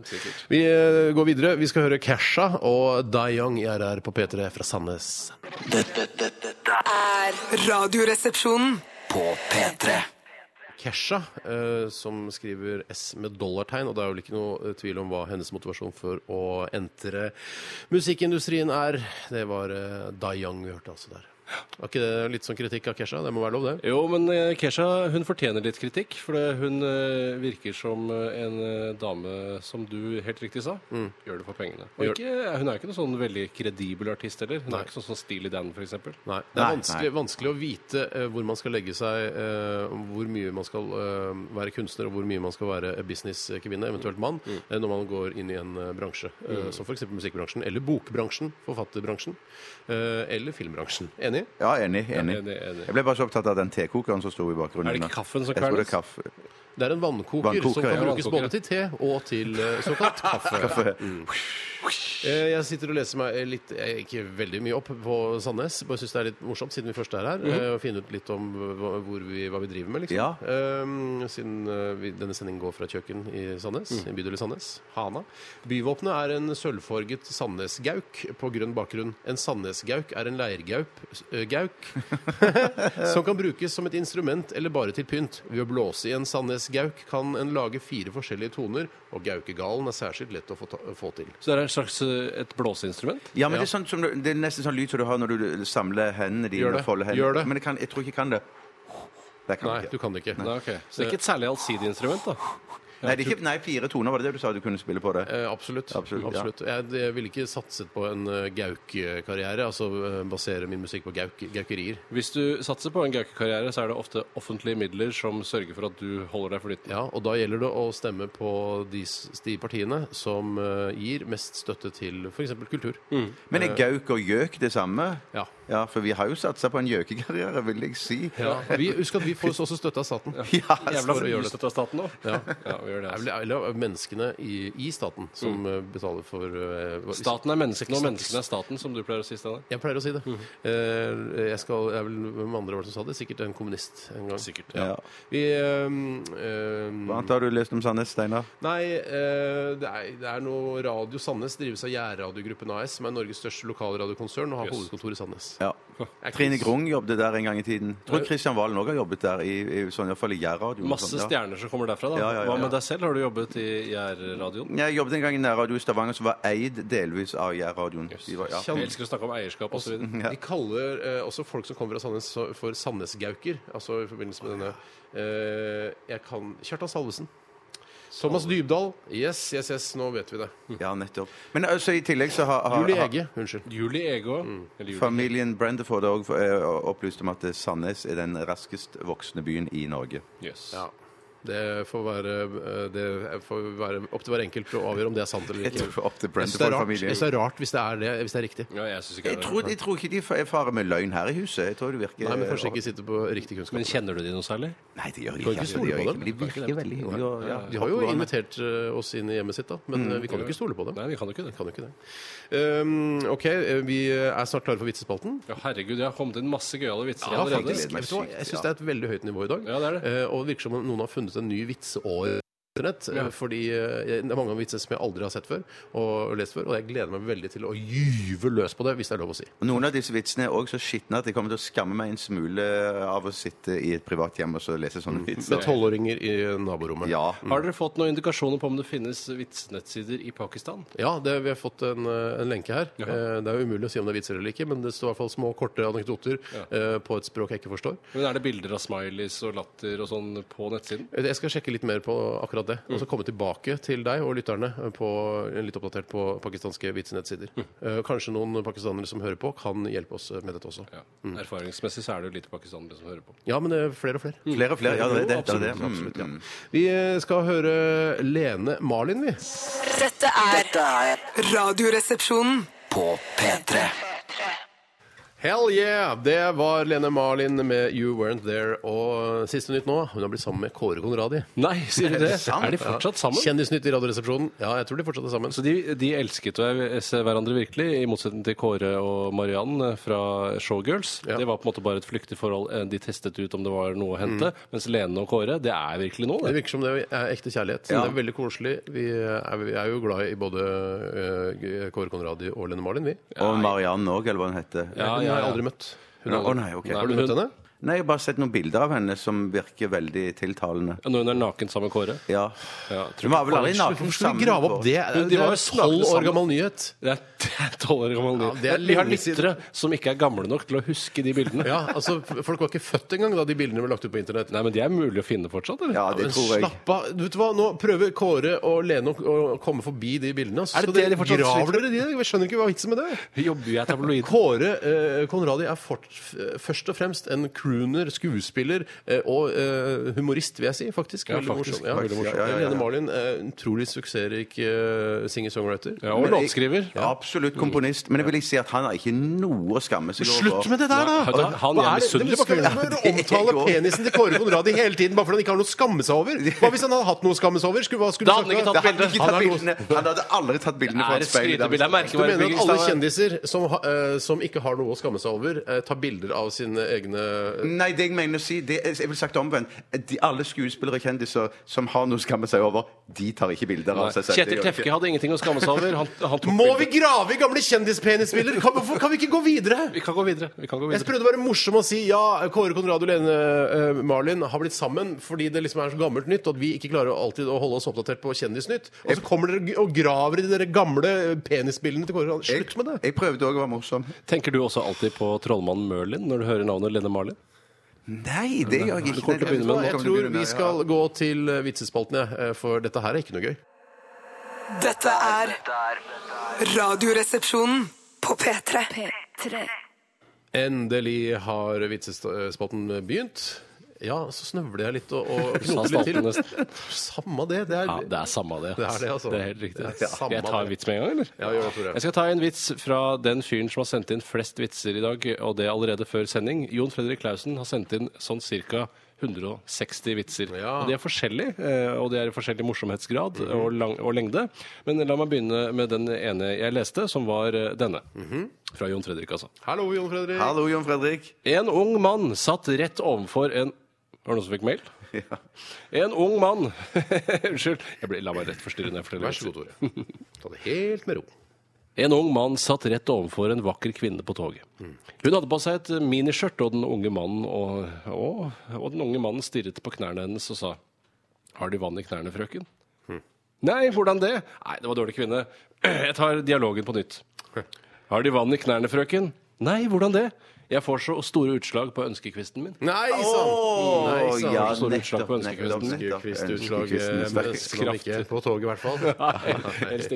[SPEAKER 2] Vi eh, går videre. Vi skal høre Casha og Dayong i RR på P3 fra Sandnes.
[SPEAKER 1] Dette, dette, dette er
[SPEAKER 5] er Radioresepsjonen.
[SPEAKER 1] på P3.
[SPEAKER 2] Kesha, eh, som skriver S med dollartegn. Og det er vel ikke noe eh, tvil om hva hennes motivasjon for å entre musikkindustrien er. Det var eh, Dayang vi hørte altså der. Var ikke det litt sånn kritikk av Kesha? Det må være lov, det?
[SPEAKER 3] Jo, men eh, Kesha hun fortjener litt kritikk, for det- hun eh, virker som eh, en eh, dame som du helt riktig sa, gjør det for pengene. Mm. Og
[SPEAKER 2] Gjør-
[SPEAKER 3] ikke, hun er jo ikke noen sånn veldig kredibel artist heller. Hun er ikke sånn som Steely Dan, for eksempel.
[SPEAKER 2] Nei. Det er
[SPEAKER 4] Nei,
[SPEAKER 2] vanskelig, vanskelig å vite eh, hvor man skal legge seg, eh, hvor mye man skal eh, være kunstner, og hvor mye man skal være businesskvinne, eventuelt mann,
[SPEAKER 4] Mm.
[SPEAKER 2] eh, når man går inn i en eh, bransje, eh, som f.eks. musikkbransjen, eller bokbransjen, forfatterbransjen, eh, eller filmbransjen. Enig?
[SPEAKER 4] Ja, enig. enig.
[SPEAKER 3] enig, enig.
[SPEAKER 4] Jeg ble bare så opptatt av den tekokeren som sto i bakgrunnen.
[SPEAKER 3] Er det ikke kaffen som
[SPEAKER 4] Jeg tror det
[SPEAKER 3] kvernes?
[SPEAKER 4] er kaffe.
[SPEAKER 2] Det er en vannkoker,
[SPEAKER 4] Vannkoker,
[SPEAKER 2] som kan
[SPEAKER 4] ja.
[SPEAKER 2] brukes
[SPEAKER 3] Vannkoker,
[SPEAKER 2] både til te og til eh, såkalt kaffe. Mm. Eh, Jeg sitter og leser meg litt, eh, ikke veldig mye opp på Sandnes. Bare syns det er litt morsomt, siden vi først er her, eh, å finne ut litt om hva, hvor vi, hva vi driver med, liksom.
[SPEAKER 4] Ja.
[SPEAKER 2] Eh, siden eh, vi, denne sendingen går fra et kjøkken i Sandnes, i bydel i Sandnes, Hana. Byvåpenet er en sølvfarget sandnesgauk på grønn bakgrunn. En sandnesgauk er en leirgaup eh, gauk, som kan brukes som et instrument eller bare til pynt. Ved å blåse i en sandnesgauk kan en lage fire forskjellige toner, og gaukegalen er særskilt lett å få, ta, få til.
[SPEAKER 3] Så det er en slags eh, et blåseinstrument?
[SPEAKER 4] Ja, men det, er sånn som, du- det er nesten sånn lyd som du har når du samler hendene dine.
[SPEAKER 2] Gjør det.
[SPEAKER 4] og folder hendene.
[SPEAKER 2] Gjør det.
[SPEAKER 4] Men jeg, kan, jeg tror ikke jeg kan det. Det kan
[SPEAKER 2] Nei,
[SPEAKER 4] jeg
[SPEAKER 2] du
[SPEAKER 4] ikke.
[SPEAKER 2] kan det ikke.
[SPEAKER 3] Nei, ok. Så det er ikke et særlig allsidig instrument, da?
[SPEAKER 4] Nei, det er ikke. Nei, fire toner, var det det du sa du kunne spille på det?
[SPEAKER 2] Eh, absolutt. absolutt,
[SPEAKER 4] Absolutt, ja.
[SPEAKER 2] Jeg, jeg ville ikke satset på en eh, gauk-karriere, altså eh, basere min musikk på gauk, gaukerier.
[SPEAKER 3] Hvis du satser på en gaukekarriere, så er det ofte offentlige midler som sørger for at du holder deg flytende.
[SPEAKER 2] Ja, og da gjelder det å stemme på de, s- de partiene som eh, gir mest støtte til f.eks. kultur.
[SPEAKER 4] Mm. Men
[SPEAKER 2] eh.
[SPEAKER 4] er gauk og gjøk det samme?
[SPEAKER 2] Ja.
[SPEAKER 4] Ja, for vi har jo satsa på en gjøkekarriere, vil jeg si.
[SPEAKER 2] Ja. Vi, husk at vi får også støtte av staten.
[SPEAKER 4] Ja,
[SPEAKER 3] Jævla
[SPEAKER 2] for å gjøre det.
[SPEAKER 3] ustøtt av staten nå. Ja. vi gjør det. Altså.
[SPEAKER 2] Eller, eller av menneskene i, i staten
[SPEAKER 4] Mm.
[SPEAKER 2] som eh, betaler for eh, hva-
[SPEAKER 3] Staten er menneskene, og menneskene er staten, som du pleier å si, Steinar.
[SPEAKER 2] Jeg pleier å si det.
[SPEAKER 4] Mm.
[SPEAKER 2] Eh, jeg skal, jeg er vel, Hvem andre var det som sa det? Sikkert en kommunist en gang. Sikkert, ja.
[SPEAKER 4] Ja.
[SPEAKER 2] Vi, eh, eh,
[SPEAKER 4] Hva annet har du lest om Sandnes, Steinar?
[SPEAKER 2] Nei, eh, det er, det er noe Radio Sandnes drives av Gjærradiogruppen AS, som er Norges største lokalradiokonsern og har hovedkontor i Sandnes.
[SPEAKER 4] Ja.
[SPEAKER 2] Er
[SPEAKER 4] Trine
[SPEAKER 2] ikke-
[SPEAKER 4] Grung jobbet der en gang i tiden. Jeg tror Kristian Valen òg har jobbet der, i, i, sånn, iallfall i Jærradioen. og
[SPEAKER 3] Masse
[SPEAKER 4] sånn, ja.
[SPEAKER 3] stjerner som kommer derfra, da.
[SPEAKER 4] Ja, ja, ja,
[SPEAKER 3] Hva
[SPEAKER 4] ja.
[SPEAKER 3] med deg selv? Har du jobbet i IR-radioen?
[SPEAKER 4] Jeg jobbet en gang i nærradio i Stavanger som var eid delvis av Jærradioen. De var- Ja.
[SPEAKER 3] Jeg elsker å snakke om eierskap og så videre.
[SPEAKER 4] Ja.
[SPEAKER 2] De kaller eh, også folk som kommer fra Sandnes så- for Sandnesgauker, altså i forbindelse med denne eh, Jeg kan Kjartan Salvesen. Thomas Dybdahl. Yes, yes, yes, nå vet vi det.
[SPEAKER 4] ja, nettopp. Men altså, i tillegg så har, har,
[SPEAKER 2] Julie
[SPEAKER 4] har
[SPEAKER 2] Ege. Unnskyld.
[SPEAKER 3] Julie Ege òg. Eller Julie.
[SPEAKER 4] familien Brendeford òg opplyst om at eh, Sandnes er den raskest voksende byen i Norge.
[SPEAKER 3] Yes.
[SPEAKER 2] Ja. Det får, være, eh, det får være opp til hver enkelt å avgjøre om det er sant eller
[SPEAKER 4] Jeg
[SPEAKER 2] ikke.
[SPEAKER 4] tror opp til
[SPEAKER 2] Jeg synes det er rart, jeg
[SPEAKER 4] Brendeford-familien.
[SPEAKER 2] synes det er rart hvis, det er det, hvis det er riktig.
[SPEAKER 3] Ja, jeg synes ikke
[SPEAKER 4] Jeg
[SPEAKER 3] det.
[SPEAKER 4] tror, jeg tror ikke de er fare med løgn her i huset. Jeg tror det virker
[SPEAKER 2] Nei, men kanskje ikke sitter på riktig kunnskap.
[SPEAKER 3] Men kjenner du de noe særlig?
[SPEAKER 4] Nei, det gjør
[SPEAKER 2] Kan
[SPEAKER 4] de ikke.
[SPEAKER 2] ikke stole
[SPEAKER 4] altså, de gjør
[SPEAKER 2] på
[SPEAKER 4] ikke
[SPEAKER 2] dem.
[SPEAKER 4] men De virker veldig hyggelige. og- Ja.
[SPEAKER 2] De har jo invitert eh, oss inn i hjemmet sitt, da, men eh, vi kan jo ikke stole på dem.
[SPEAKER 3] Nei, vi Mm. kan jo ikke det.
[SPEAKER 2] Kan jo ikke det. Um, OK, eh, vi er snart klare for vitsespalten.
[SPEAKER 3] Ja, herregud, jeg har kommet inn masse gøyale vitser
[SPEAKER 2] Ja,
[SPEAKER 3] allerede.
[SPEAKER 2] faktisk. Vet du hva? Jeg syns det er et veldig høyt nivå i dag.
[SPEAKER 3] Ja, det er det.
[SPEAKER 2] Eh, og det virker som om noen har funnet en ny vitseår. Internett, eh, Fordi eh, Det er mange vitser som jeg aldri har sett før og lest før, og jeg gleder meg veldig til å gyve løs på det, hvis det er lov å si.
[SPEAKER 4] Og Noen av disse vitsene er også så skitne at jeg kommer til å skamme meg en smule av å sitte i et privat hjem og så lese sånne
[SPEAKER 2] Med
[SPEAKER 4] vitser.
[SPEAKER 2] tolvåringer i naborommet.
[SPEAKER 4] Ja.
[SPEAKER 3] Har dere fått noen indikasjoner på om det finnes vitsenettsider i Pakistan?
[SPEAKER 2] Ja, det, vi har fått en, eh, en lenke her.
[SPEAKER 3] Jaha.
[SPEAKER 2] Eh, Det er jo umulig å si om det er vitser eller ikke, men det står i hvert fall små, korte anekdoter eh, på et språk jeg ikke forstår.
[SPEAKER 3] Men Er det bilder av smileys og latter og sånn på nettsiden?
[SPEAKER 2] Eh, Jeg skal sjekke litt mer på akkurat det, og så
[SPEAKER 3] Mm.
[SPEAKER 2] komme tilbake til deg og lytterne eh, på, litt oppdatert på pakistanske vitsenettsider.
[SPEAKER 3] Mm.
[SPEAKER 2] Eh, Kanskje noen pakistanere som hører på, kan hjelpe oss eh, med dette også.
[SPEAKER 3] Ja.
[SPEAKER 4] Mm.
[SPEAKER 3] Erfaringsmessig så er det jo lite pakistanere som hører på.
[SPEAKER 2] Ja, men det er flere og flere.
[SPEAKER 4] Flere og flere. Ja, det er det. det, er det.
[SPEAKER 2] Absolutt, absolutt, ja.
[SPEAKER 4] Mm.
[SPEAKER 2] Vi eh, skal høre Lene Marlin, vi.
[SPEAKER 6] Dette er
[SPEAKER 1] Dette er
[SPEAKER 5] Radioresepsjonen.
[SPEAKER 1] på P3.
[SPEAKER 2] Hell yeah! Det var Lene Marlin med You Weren't There. Og eh, siste nytt nå, hun har blitt sammen med Kåre Conradi.
[SPEAKER 3] Nei, sier du det?
[SPEAKER 4] sant?
[SPEAKER 3] Er de fortsatt sammen?
[SPEAKER 2] Kjendisnytt i Radioresepsjonen. Ja, jeg tror de fortsatt er sammen.
[SPEAKER 3] Så de, de elsket å se hverandre virkelig, i motsetning til Kåre og Mariann fra Showgirls.
[SPEAKER 2] Ja.
[SPEAKER 3] Det var på en måte bare et flyktig forhold. eh, De testet ut om det var noe å hente. Mens Lene og Kåre, det er virkelig nå,
[SPEAKER 2] Mm. Det
[SPEAKER 3] det.
[SPEAKER 2] virker som det er ekte kjærlighet. Det er veldig koselig. Vi er, vi er jo glad i både eh, Kåre Conradi og Lene Marlin, vi.
[SPEAKER 4] Og Mariann òg, eller hva hun heter.
[SPEAKER 3] Ja,
[SPEAKER 2] Hun
[SPEAKER 3] ja,
[SPEAKER 2] har jeg
[SPEAKER 3] ja.
[SPEAKER 2] aldri møtt.
[SPEAKER 4] Hun- Å nei, ok.
[SPEAKER 3] Nei,
[SPEAKER 2] Har du
[SPEAKER 3] men
[SPEAKER 2] møtt
[SPEAKER 3] hun-
[SPEAKER 2] henne?
[SPEAKER 4] Nei, jeg har bare sett noen bilder av henne som virker veldig tiltalende.
[SPEAKER 3] Når hun er naken sammen med Kåre.
[SPEAKER 4] Ja.
[SPEAKER 3] Ja,
[SPEAKER 4] Hun var vel aldri naken
[SPEAKER 2] Hvorfor skulle vi grave opp det?
[SPEAKER 3] Men de
[SPEAKER 2] Det
[SPEAKER 3] var
[SPEAKER 2] var
[SPEAKER 3] jo
[SPEAKER 2] jo tolv
[SPEAKER 3] sammen.
[SPEAKER 2] år gammel nyhet.
[SPEAKER 3] Det er tolv år gammel
[SPEAKER 2] Ja,
[SPEAKER 3] nyhet.
[SPEAKER 2] det er
[SPEAKER 3] Vi har
[SPEAKER 2] lenge siden.
[SPEAKER 3] lyttere som ikke er gamle nok til å huske de bildene.
[SPEAKER 2] Ja, altså, Folk var ikke født engang da de bildene ble lagt ut på internett.
[SPEAKER 3] Nei, men de er mulig å finne fortsatt, eller?
[SPEAKER 4] Ja, det
[SPEAKER 2] Men
[SPEAKER 4] tror jeg.
[SPEAKER 2] slapp av. Du vet hva, Nå prøver Kåre og Lene å å komme forbi de bildene. så
[SPEAKER 3] Er det det de
[SPEAKER 2] dere
[SPEAKER 3] fortsatt
[SPEAKER 2] graver
[SPEAKER 3] sliter
[SPEAKER 2] dere i det? Jeg skjønner ikke hva vitsen med det er.
[SPEAKER 3] Jobber jeg tabloid?
[SPEAKER 2] Kåre eh, Konradi er fort, f- først og fremst en crooner, skuespiller eh, og eh, humorist, vil jeg si. faktisk.
[SPEAKER 3] Ja,
[SPEAKER 2] Veldig
[SPEAKER 3] faktisk,
[SPEAKER 2] morsom. Ja.
[SPEAKER 3] faktisk,
[SPEAKER 4] ja, ja, ja, ja.
[SPEAKER 2] Lene Marlin, eh, utrolig suksessrik eh, singer-songwriter.
[SPEAKER 3] Ja, og låtskriver.
[SPEAKER 4] Ja, absolutt komponist. Men jeg vil ikke si at han har ikke noe å skamme seg over.
[SPEAKER 2] Slutt med det der,
[SPEAKER 3] Nei,
[SPEAKER 2] da!
[SPEAKER 3] han- han er misunnelig på
[SPEAKER 2] Kåre.
[SPEAKER 3] Kåre.
[SPEAKER 2] Omtale
[SPEAKER 4] går.
[SPEAKER 2] penisen til Kåre Konradi hele tiden bare fordi han ikke har noe å skamme seg over. Hva hvis han hadde hatt noe å skamme seg over? Skulle, hva skulle
[SPEAKER 3] Da
[SPEAKER 2] sagt
[SPEAKER 3] hadde han ikke
[SPEAKER 4] Det
[SPEAKER 2] da?
[SPEAKER 4] hadde ikke
[SPEAKER 2] Han
[SPEAKER 4] tatt
[SPEAKER 2] er noe-
[SPEAKER 4] bildene. Han hadde aldri tatt bildene
[SPEAKER 3] Det er
[SPEAKER 4] fra et
[SPEAKER 3] et
[SPEAKER 4] speil.
[SPEAKER 3] skrytebilde. Jeg merker
[SPEAKER 2] Du mener at alle
[SPEAKER 3] Byggingstad-
[SPEAKER 2] kjendiser som, ha- eh, som ikke har noe å skamme seg over, eh, tar bilder av sine egne
[SPEAKER 4] Nei, det jeg mener å si, det, jeg vil sagt omvendt. De, alle skuespillere og kjendiser som har noe å skamme seg over, de tar ikke bilder av seg selv. Det
[SPEAKER 3] Kjetil
[SPEAKER 4] gjør de ikke.
[SPEAKER 3] Tefke hadde ingenting å skamme seg over. Han, han tok
[SPEAKER 2] Må vi
[SPEAKER 3] bilder.
[SPEAKER 2] grave i gamle kjendispenisbilder? Kan, hvorfor kan vi ikke gå videre?
[SPEAKER 3] Vi kan gå videre. Vi kan
[SPEAKER 2] Jeg
[SPEAKER 3] gå videre.
[SPEAKER 2] prøvde å være morsom og si ja, Kåre Konrad og Lene eh, Marlin har blitt sammen fordi det liksom er så gammelt nytt, og at vi ikke klarer å alltid å holde oss oppdatert på Kjendisnytt. Og så kommer dere og graver i de der gamle penisbildene til Kåre Konrad. Slutt med det!
[SPEAKER 4] Jeg prøvde òg å være morsom.
[SPEAKER 3] Tenker du også alltid på trollmannen Merlin når du hører navnet Lene Marlin?
[SPEAKER 4] Nei, det gjør jeg ikke.
[SPEAKER 3] kommer til å
[SPEAKER 4] Nei, det-
[SPEAKER 3] begynne med-
[SPEAKER 4] Jeg
[SPEAKER 2] Jeg
[SPEAKER 4] kommer til å
[SPEAKER 2] tror
[SPEAKER 4] begynne
[SPEAKER 2] vi
[SPEAKER 4] med-
[SPEAKER 2] skal gå til eh, vitsespalten, jeg, eh, for dette her er ikke noe gøy.
[SPEAKER 5] Dette er Radioresepsjonen på P3.
[SPEAKER 6] P3.
[SPEAKER 2] Endelig har vitsespalten eh, begynt. Ja, så snøvler jeg litt og, og
[SPEAKER 3] Sa
[SPEAKER 2] knoter litt
[SPEAKER 3] staten
[SPEAKER 2] til.
[SPEAKER 3] nesten.
[SPEAKER 2] Samme det. Det er,
[SPEAKER 3] Ja, det er samme det.
[SPEAKER 2] Det er det, altså.
[SPEAKER 3] Det er helt riktig.
[SPEAKER 2] Det er samme
[SPEAKER 3] jeg tar
[SPEAKER 2] det.
[SPEAKER 3] en vits med en gang, eller?
[SPEAKER 2] Ja, gjør det, Tore.
[SPEAKER 3] Jeg skal ta en vits fra den fyren som har sendt inn flest vitser i dag, og det allerede før sending. Jon Fredrik Klausen har sendt inn sånn cirka 160 vitser.
[SPEAKER 2] Ja.
[SPEAKER 3] Og de er forskjellige, eh, og de er i forskjellig morsomhetsgrad og, lang, og lengde. Men la meg begynne med den ene jeg leste, som var eh, denne. Fra Jon Fredrik, altså.
[SPEAKER 2] Hallo, Jon Fredrik.
[SPEAKER 4] Hallo, Jon Fredrik.
[SPEAKER 3] En ung mann satt rett overfor en Var det noen som fikk mail? En ung mann Unnskyld. Jeg blir, la meg rett forstyrre når jeg forteller.
[SPEAKER 2] Vær så god, Tore. Ta det helt med ro.
[SPEAKER 3] En ung mann satt rett overfor en vakker kvinne på toget. Hun hadde på seg et miniskjørt, og den unge mannen, og, og, og den unge mannen stirret på knærne hennes og sa Har du vann i knærne, frøken?
[SPEAKER 2] Hm.
[SPEAKER 3] Nei, hvordan det? Nei, det var dårlig kvinne. Jeg tar dialogen på nytt. Har de vann i knærne, frøken? Nei, hvordan det? Jeg får så store utslag på ønskekvisten min.
[SPEAKER 2] Nei sann!
[SPEAKER 4] Å,
[SPEAKER 2] sant.
[SPEAKER 4] ja,
[SPEAKER 3] Står det utslag på
[SPEAKER 4] nettopp,
[SPEAKER 3] ønskekvisten?
[SPEAKER 4] nettopp, nettopp.
[SPEAKER 2] Kvistutslag
[SPEAKER 4] Ønskekvisten, sterk-
[SPEAKER 2] ikke på toget, i hvert fall.
[SPEAKER 3] helst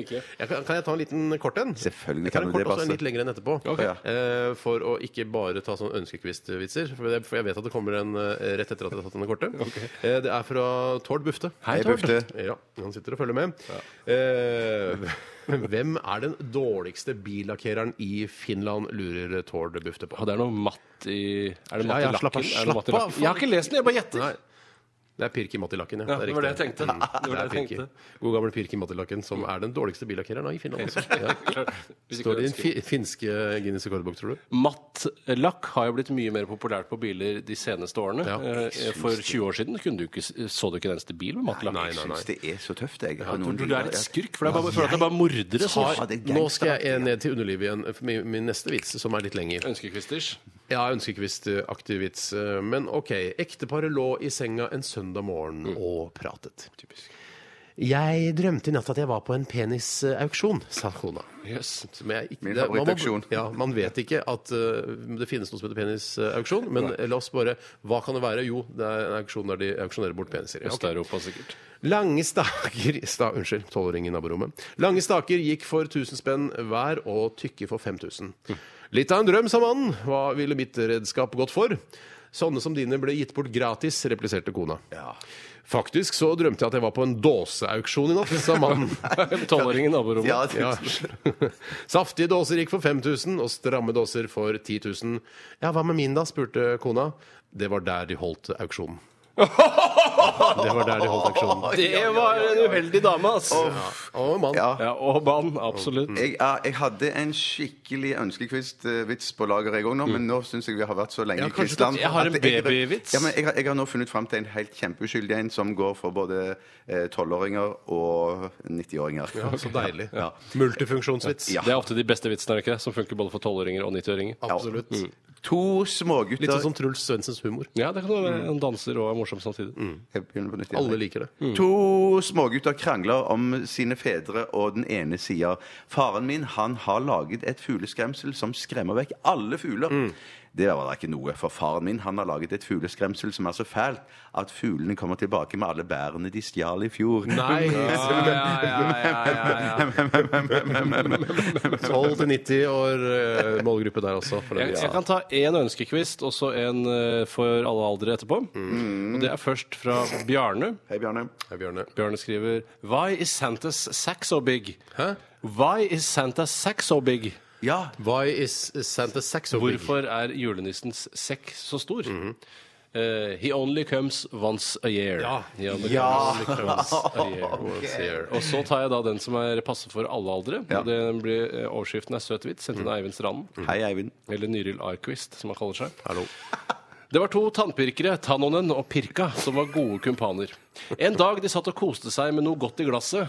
[SPEAKER 3] ikke.
[SPEAKER 2] Jeg kan, kan jeg ta en liten kort en?
[SPEAKER 4] Selvfølgelig
[SPEAKER 2] Jeg tar
[SPEAKER 4] kan
[SPEAKER 2] en
[SPEAKER 4] du
[SPEAKER 2] kort
[SPEAKER 4] det,
[SPEAKER 2] og så en
[SPEAKER 4] Basse.
[SPEAKER 2] litt lengre enn etterpå.
[SPEAKER 4] Ok.
[SPEAKER 2] Eh, for å ikke bare ta sånne ønskekvistvitser. For, det- for jeg vet at det kommer en eh, rett etter at jeg har tatt denne korte. Eh, det er fra Tord Bufte.
[SPEAKER 4] Hei,
[SPEAKER 3] Tord.
[SPEAKER 4] Bufte.
[SPEAKER 2] Ja, han sitter og følger med. Eh, hvem er den dårligste billakkereren i Finland, lurer Tord Bufte på.
[SPEAKER 3] Og det er noe matt i Er det matt
[SPEAKER 2] Ja, ja,
[SPEAKER 3] i
[SPEAKER 2] slapp av,
[SPEAKER 3] lakken? Er det
[SPEAKER 2] slapp av,
[SPEAKER 3] matt i lakken?
[SPEAKER 2] faen.
[SPEAKER 3] Jeg har ikke lest den, jeg bare gjetter.
[SPEAKER 2] Nei. Det er Pirki Mattilakken, ja.
[SPEAKER 3] Ja, det var det jeg
[SPEAKER 2] riktig.
[SPEAKER 3] tenkte.
[SPEAKER 2] Mm,
[SPEAKER 3] Det var
[SPEAKER 2] det er
[SPEAKER 3] det jeg
[SPEAKER 2] Pirki.
[SPEAKER 3] tenkte.
[SPEAKER 2] God gamle Pirki Mattilakken, som er den dårligste billakkereren i Finland. altså. Ja. Står
[SPEAKER 3] Hvis ikke
[SPEAKER 2] i
[SPEAKER 3] det
[SPEAKER 2] den
[SPEAKER 3] er
[SPEAKER 2] fi finske Guinness rekordbok, tror du?
[SPEAKER 3] Matt lakk har jo blitt mye mer populært på biler de seneste årene.
[SPEAKER 2] Ja.
[SPEAKER 3] Eh, For 20 år siden kunne du ikke, så du ikke en eneste bil med matt lakk.
[SPEAKER 2] Nei, nei,
[SPEAKER 4] Jeg
[SPEAKER 2] nei.
[SPEAKER 4] syns det er så tøft, jeg. Ja,
[SPEAKER 3] Tror du du er litt skurk? For det er bare, jeg føler at det er bare mordere som
[SPEAKER 4] Ja,
[SPEAKER 3] har
[SPEAKER 4] det er
[SPEAKER 2] Nå skal
[SPEAKER 4] gangsteraktig,
[SPEAKER 2] jeg ned til underlivet igjen. for Min, min neste vits, som er litt lenger.
[SPEAKER 3] ønskekvisters.
[SPEAKER 2] Ja, ønskekvistaktig vits. eh, Men OK. Ekteparet lå i senga en søndag morgen
[SPEAKER 3] Mm.
[SPEAKER 2] og pratet. Jeg drømte i natt at jeg var på en penisauksjon, sa kona.
[SPEAKER 3] Jøs.
[SPEAKER 2] Som jeg ikke,
[SPEAKER 4] Min
[SPEAKER 2] det- man må-
[SPEAKER 4] favorittauksjon.
[SPEAKER 2] Ja, man vet ikke at eh, det finnes noe som heter penisauksjon, men la oss bare Hva kan det være? Jo, det er en auksjon der de auksjonerer bort peniser. Ja, ok.
[SPEAKER 3] Øst-Europa, sikkert.
[SPEAKER 2] Lange staker sta, Unnskyld, tolvåring i naborommet. Lange staker gikk for 1000 spenn hver, og tykke for 5000. Litt av en drøm, sa mannen. Hva ville mitt redskap gått for? Sånne som dine ble gitt bort gratis, repliserte kona. Faktisk så drømte jeg at jeg var på en dåseauksjon i natt, sa mannen.
[SPEAKER 3] Tolvåringen i naborommet.
[SPEAKER 4] Ja, det,
[SPEAKER 2] Ja. Saftige dåser gikk for 5000, og stramme dåser for 10 000. Ja, hva med min, da? spurte kona. Det var der de holdt auksjonen. Det var der de holdt auksjonen.
[SPEAKER 3] Det var en uheldig dame, ass.
[SPEAKER 2] Og mann.
[SPEAKER 4] Ja.
[SPEAKER 3] Ja, og mann, absolutt.
[SPEAKER 4] Jeg, ja, jeg hadde en skikkelig ønskekvist-vits på lager, jeg òg nå, men nå syns jeg vi har vært så lenge
[SPEAKER 2] Mm. Ja,
[SPEAKER 4] i
[SPEAKER 2] kanskje
[SPEAKER 4] kvistland.
[SPEAKER 3] du- jeg har
[SPEAKER 4] at
[SPEAKER 3] en babyvits.
[SPEAKER 4] Ja, men jeg, har- jeg har nå funnet fram til en helt kjempeuskyldig en som går for både eh, tolvåringer og 90-åringer.
[SPEAKER 2] Ja, så deilig. Multifunksjonsvits.
[SPEAKER 4] Ja.
[SPEAKER 2] Ah.
[SPEAKER 3] Det er ofte de beste vitsene, er det ikke? det? Som funker både for tolvåringer og 90-åringer.
[SPEAKER 2] Absolutt.
[SPEAKER 4] To smågutter
[SPEAKER 2] Litt sånn som Truls Svendsens humor.
[SPEAKER 3] Ja, det kan jo være. Han danser og er morsom samtidig.
[SPEAKER 4] Jeg begynner på nytt igjen.
[SPEAKER 2] Alle liker det.
[SPEAKER 4] Mm. To smågutter krangler om sine fedre, og den ene sier Faren min han har laget et fugleskremsel som skremmer vekk alle fugler. Det var da ikke noe, for faren min han har laget et fugleskremsel som er så fælt at fuglene kommer tilbake med alle bærene de stjal i fjor.
[SPEAKER 2] Nei!
[SPEAKER 4] Men-
[SPEAKER 2] 12-90 år eh, målgruppe der også. For
[SPEAKER 3] Jeg,
[SPEAKER 2] det.
[SPEAKER 3] jeg kan ta én ønskekvist og så en eh, for alle aldre etterpå.
[SPEAKER 2] Mm.
[SPEAKER 3] Og det er først fra Bjarne.
[SPEAKER 4] Hei, Bjarne.
[SPEAKER 2] Hei, Bjørne.
[SPEAKER 3] Bjarne skriver Why is Santa's sack so big? Why is Santa's sack so big?
[SPEAKER 4] Ja,
[SPEAKER 2] Why is Santa Sax so big? Mm-hmm.
[SPEAKER 3] Hvorfor er julenissens sekk så stor? Eh, he only comes once a year.
[SPEAKER 2] Ja.
[SPEAKER 3] He only
[SPEAKER 4] Ja.
[SPEAKER 3] comes once a year.
[SPEAKER 2] Once a year.
[SPEAKER 3] Og så tar jeg da den som er passe for alle aldre.
[SPEAKER 4] Ja.
[SPEAKER 3] Og den blir, eh, overskriften er søt hvitt, sendt inn av Eivind Stranden.
[SPEAKER 2] Mm.
[SPEAKER 4] hei, Eivind.
[SPEAKER 3] Eller Nyril Arquist, som han kaller seg. Det var to tannpirkere, Tannonen og Pirka, som var gode kumpaner. En dag de satt og koste seg med noe godt i glasset.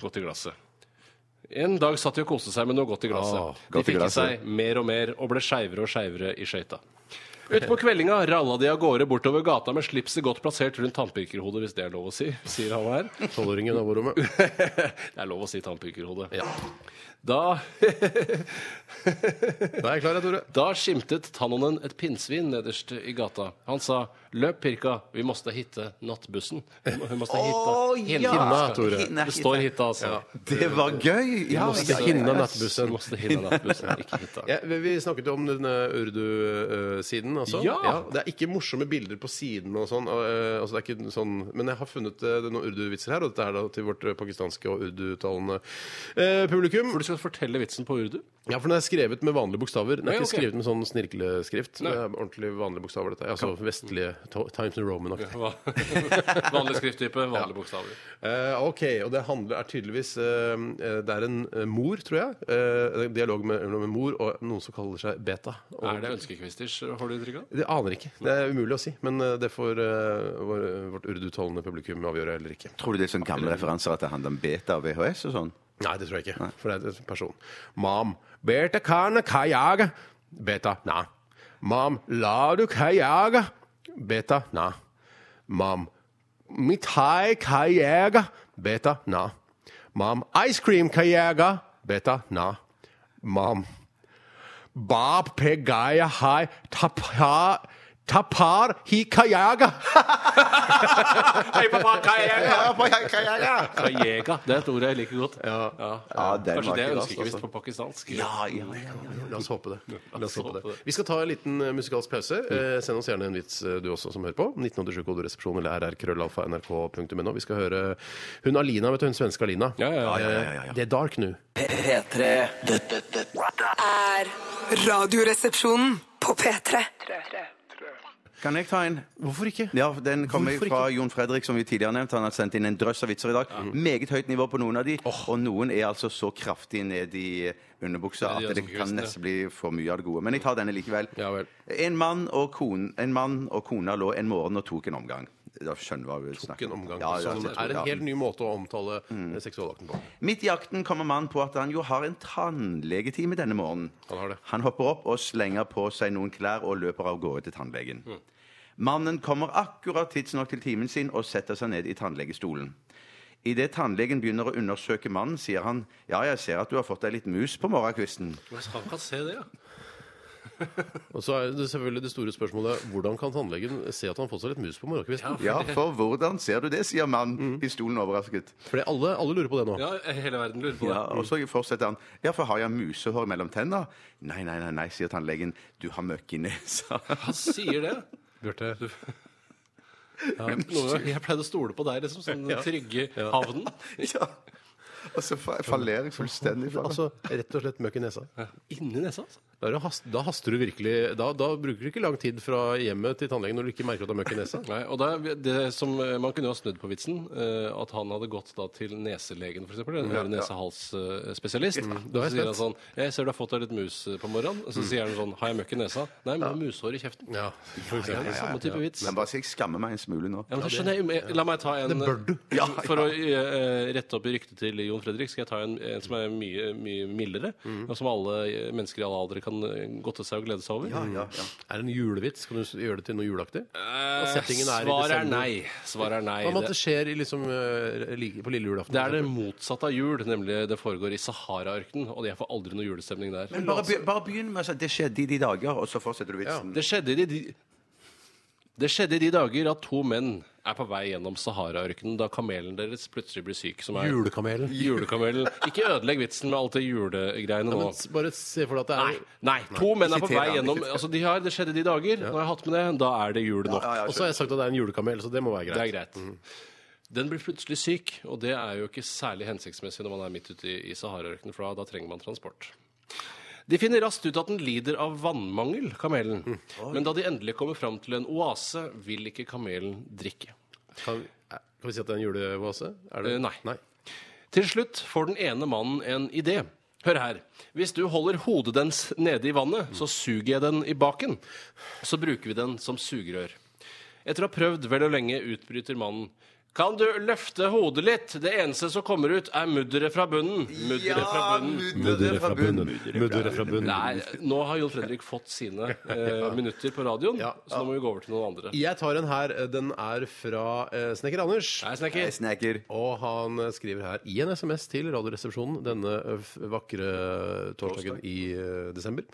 [SPEAKER 3] Godt i glasset. En dag satt de og koste seg med noe godt i glasset.
[SPEAKER 2] Ah,
[SPEAKER 3] de
[SPEAKER 4] godt i
[SPEAKER 3] fikk i
[SPEAKER 4] glasset.
[SPEAKER 3] seg mer og mer, og ble skeivere og skeivere i skøyta. Utpå kveldinga ralla de av gårde bortover gata med slipset godt plassert rundt tannpirkerhodet, hvis det er lov å si, sier han her.
[SPEAKER 2] Tolvåringen av rommet.
[SPEAKER 3] Det er lov å si tannpirkerhode. Da
[SPEAKER 2] Da er jeg klar, jeg, Tore.
[SPEAKER 3] Da skimtet Tannonen et pinnsvin nederst i gata. Han sa 'Løp, Pirka, vi måste hitte nattbussen'. Vi måste hitta hinna,
[SPEAKER 2] Hinna, Tore.
[SPEAKER 4] Hinna,
[SPEAKER 3] Det står hitta, altså.
[SPEAKER 4] Det var gøy! Ja, ja, ja.
[SPEAKER 2] Hinna
[SPEAKER 3] Vi
[SPEAKER 2] nattbussen.
[SPEAKER 3] måste hinna nattbussen, ikke hitta.
[SPEAKER 2] Ja, vi- vi snakket jo om den eh, urdu-siden, altså.
[SPEAKER 3] Ja!
[SPEAKER 2] Det er ikke morsomme bilder på siden og sånn. og, eh, altså, det er ikke sånn men jeg har funnet eh, noen urdu-vitser her, og dette er da til vårt eh, pakistanske og urdu-talende eh, publikum.
[SPEAKER 3] For du skal fortelle vitsen på urdu?
[SPEAKER 2] Ja, for den er skrevet med vanlige bokstaver. Den er
[SPEAKER 3] Ja,
[SPEAKER 2] ikke
[SPEAKER 3] ok.
[SPEAKER 2] skrevet med sånn snirkleskrift.
[SPEAKER 3] Nei.
[SPEAKER 2] Det er ordentlig vanlige bokstaver, dette. Altså vestlige to- Times New Roman-aktig.
[SPEAKER 3] Vanlig skrifttype, vanlige bokstaver.
[SPEAKER 2] Eh, ok, og det handler er tydeligvis eh, eh, Det er en eh, mor, tror jeg. eh, dialog med, med mor og noen som kaller seg beta. Og,
[SPEAKER 3] Er det ønskekvisters, har du inntrykk av?
[SPEAKER 2] Det aner jeg ikke. Det er umulig å si. Men eh, det får eh, vår, vårt urdu-talende publikum avgjøre eller ikke.
[SPEAKER 4] Tror du det er sånn gamle referanser at det handler om beta og VHS og sånn?
[SPEAKER 2] Nei, det tror jeg ikke. For det er en person. Mam, beta kan kajaga. Beta, na. Mam, la du kajaga. Beta, na. Mam, mithai kajaga. Beta, na. Mam, ice cream kajaga. Beta, na. Mam, bab pegaya hai tapar, tapar hi kajaga.
[SPEAKER 3] Kajega. Det er et ord jeg liker godt.
[SPEAKER 4] Ja, den
[SPEAKER 3] Kanskje
[SPEAKER 4] var
[SPEAKER 3] det er
[SPEAKER 4] ikke verst,
[SPEAKER 3] ønskekvist
[SPEAKER 4] altså.
[SPEAKER 3] på pakistansk?
[SPEAKER 4] Ja, ja, ja.
[SPEAKER 2] La oss håpe det. La oss håpe
[SPEAKER 3] håpe
[SPEAKER 2] det.
[SPEAKER 3] det.
[SPEAKER 2] Vi skal ta en liten eh, musikalsk pause. Eh, send oss gjerne en vits, eh, du også, som hører på. 1987koderesepsjon eller rrkrøllalfa.nrk.no. Vi skal høre hun Alina, vet du, hun svenske Alina.
[SPEAKER 3] Ja, ja, ja,
[SPEAKER 4] ja, ja, ja.
[SPEAKER 2] Eh, Det er dark nå.
[SPEAKER 1] P3. Dette, dette
[SPEAKER 5] Er radioresepsjonen på P3.
[SPEAKER 4] Kan jeg ta en?
[SPEAKER 2] Hvorfor ikke?
[SPEAKER 4] Ja, Den kommer
[SPEAKER 2] Hvorfor
[SPEAKER 4] fra Jon Fredrik, som vi tidligere har nevnt. Han har sendt inn en drøss av vitser i dag. Meget høyt nivå på noen av de. Og noen er altså så kraftig ned i underbuksa
[SPEAKER 3] Ja, de er
[SPEAKER 4] at det
[SPEAKER 3] som
[SPEAKER 4] kan
[SPEAKER 3] kristne.
[SPEAKER 4] nesten bli for mye av det gode. Men jeg tar denne likevel.
[SPEAKER 2] Ja vel.
[SPEAKER 4] En mann og, kon, en mann og kona lå en morgen og tok en omgang. Da skjønner du hva vi
[SPEAKER 2] Ikke
[SPEAKER 4] snakker
[SPEAKER 2] en omgang.
[SPEAKER 4] Ja, ja,
[SPEAKER 2] som
[SPEAKER 4] jeg tror-
[SPEAKER 2] er en
[SPEAKER 4] ja. Mm.
[SPEAKER 2] helt ny måte å omtale eh, seksualakten på.
[SPEAKER 4] Midt i akten kommer mannen på at han jo har en tannlegetime denne morgenen.
[SPEAKER 2] Han har det.
[SPEAKER 4] hopper opp og slenger på seg noen klær og løper av gårde til tannlegen. Mannen kommer akkurat tidsnok til timen sin og setter seg ned i tannlegestolen. Idet tannlegen begynner å undersøke mannen, sier han ja, jeg ser at du har fått deg litt mus på morgenkvisten.
[SPEAKER 3] Han kan se det, ja.
[SPEAKER 2] Og så er det selvfølgelig det store spørsmålet hvordan kan tannlegen se at han har fått seg litt mus på morgenkvisten?
[SPEAKER 4] Ja, for hvordan ser du det, sier mannen i stolen overrasket.
[SPEAKER 2] Fordi alle, alle lurer på det nå.
[SPEAKER 3] Ja, hele verden lurer på det.
[SPEAKER 4] Ja, og så fortsetter han. Ja, for har jeg musehår mellom tenna? Nei, nei, nei, nei, sier tannlegen. Du har møkk i nesa.
[SPEAKER 3] Han sier det. Bjarte. noe, jeg pleide å stole på deg liksom, som den trygge havnen.
[SPEAKER 4] Ja. Og så fa- fallerer jeg fullstendig fra det.
[SPEAKER 2] Altså rett og slett møkk i nesa.
[SPEAKER 3] Inni nesa, altså.
[SPEAKER 2] Da, er det hast, da haster du virkelig Da, da bruker du ikke lang tid fra hjemmet til tannlegen når du ikke merker at det er møkk i nesa.
[SPEAKER 3] Nei, og da, det som, eh, man kunne jo ha snudd på vitsen, eh, at han hadde gått da, til neselegen, f.eks. En øre-nese-hals-spesialist.
[SPEAKER 2] Da er
[SPEAKER 3] Så
[SPEAKER 2] jeg
[SPEAKER 3] sier han sånn 'Jeg ser du har fått deg litt mus eh, på morgenen.' Og så sier han sånn 'Har jeg møkk i nesa?' 'Nei, men du har mushår i kjeften'.
[SPEAKER 2] Ja, for
[SPEAKER 3] Det er
[SPEAKER 2] eksempel.
[SPEAKER 3] jo samme type vits.
[SPEAKER 4] Men bare si jeg skammer meg en smule nå.
[SPEAKER 3] Ja, men det skjønner jeg. La meg ta en
[SPEAKER 2] Det bør du.
[SPEAKER 3] For å eh, rette opp i ryktet til Jon Jon Fredrik, skal jeg ta en, en som er mye, mye mildere, og som alle eh, mennesker i alle aldre kan eh, godte seg og glede seg over?
[SPEAKER 4] Ja, ja, ja.
[SPEAKER 2] Er det en julevits? Kan du s- gjøre det til noe juleaktig?
[SPEAKER 3] Eh,
[SPEAKER 2] settingen er i
[SPEAKER 3] Svaret er
[SPEAKER 2] desember.
[SPEAKER 3] nei. Svaret er nei.
[SPEAKER 2] Hva med at
[SPEAKER 3] Det-
[SPEAKER 2] det skjer i liksom, eh, like- på lille julaften?
[SPEAKER 3] Det er det motsatte av jul, nemlig det foregår i Sahara-ørkenen. Og jeg får aldri noe julestemning der.
[SPEAKER 4] Men bare, be- bare begynn med å si det skjedde i de dager, og så fortsetter du vitsen.
[SPEAKER 3] Det skjedde i de det skjedde i de dager at to menn er på vei gjennom Sahara-ørkenen da kamelen deres plutselig blir syk. Som er
[SPEAKER 2] Julekamelen.
[SPEAKER 3] Julekamelen. Ikke ødelegg vitsen med alt det julegreiene nå.
[SPEAKER 2] Men s- bare se for deg at det er
[SPEAKER 3] Nei, nei, to menn er på
[SPEAKER 4] Siter
[SPEAKER 3] vei
[SPEAKER 4] han,
[SPEAKER 3] gjennom
[SPEAKER 4] ikke
[SPEAKER 3] altså de har, Det skjedde i de dager. Nå har jeg hatt med det. Da er det jul nok.
[SPEAKER 4] ja,
[SPEAKER 2] Og så har jeg sagt at det er en julekamel, så det må være greit.
[SPEAKER 3] Det er greit. Den blir plutselig syk, og det er jo ikke særlig hensiktsmessig når man er midt ute i, i Sahara-ørkenen, for da, da trenger man transport. De finner raskt ut at den lider av vannmangel, kamelen. Men da de endelig kommer fram til en oase, vil ikke kamelen drikke.
[SPEAKER 2] Kan, eh, kan vi si at det er en julevase? Er det?
[SPEAKER 3] Eh, nei. Til slutt får den ene mannen en idé. Hør her. Hvis du holder hodet dens nede i vannet, så suger jeg den i baken. Så bruker vi den som sugerør. Etter å ha prøvd vel og lenge utbryter mannen. Kan du løfte hodet litt? Det eneste som kommer ut, er mudderet fra bunnen. Mudderet fra bunnen.
[SPEAKER 2] Mudderet fra bunnen. Mudderet fra bunnen.
[SPEAKER 3] Nei, nå har Jon Fredrik fått sine eh, minutter på radioen,
[SPEAKER 2] Ja.
[SPEAKER 3] så nå må vi gå over til noen andre.
[SPEAKER 2] Jeg tar en her. Den er fra eh, Snekker Anders.
[SPEAKER 3] Nei, snekker.
[SPEAKER 4] Jeg snekker.
[SPEAKER 2] Og han eh, skriver her i en SMS til Radioresepsjonen denne eh, f- vakre torsdagen i eh, desember.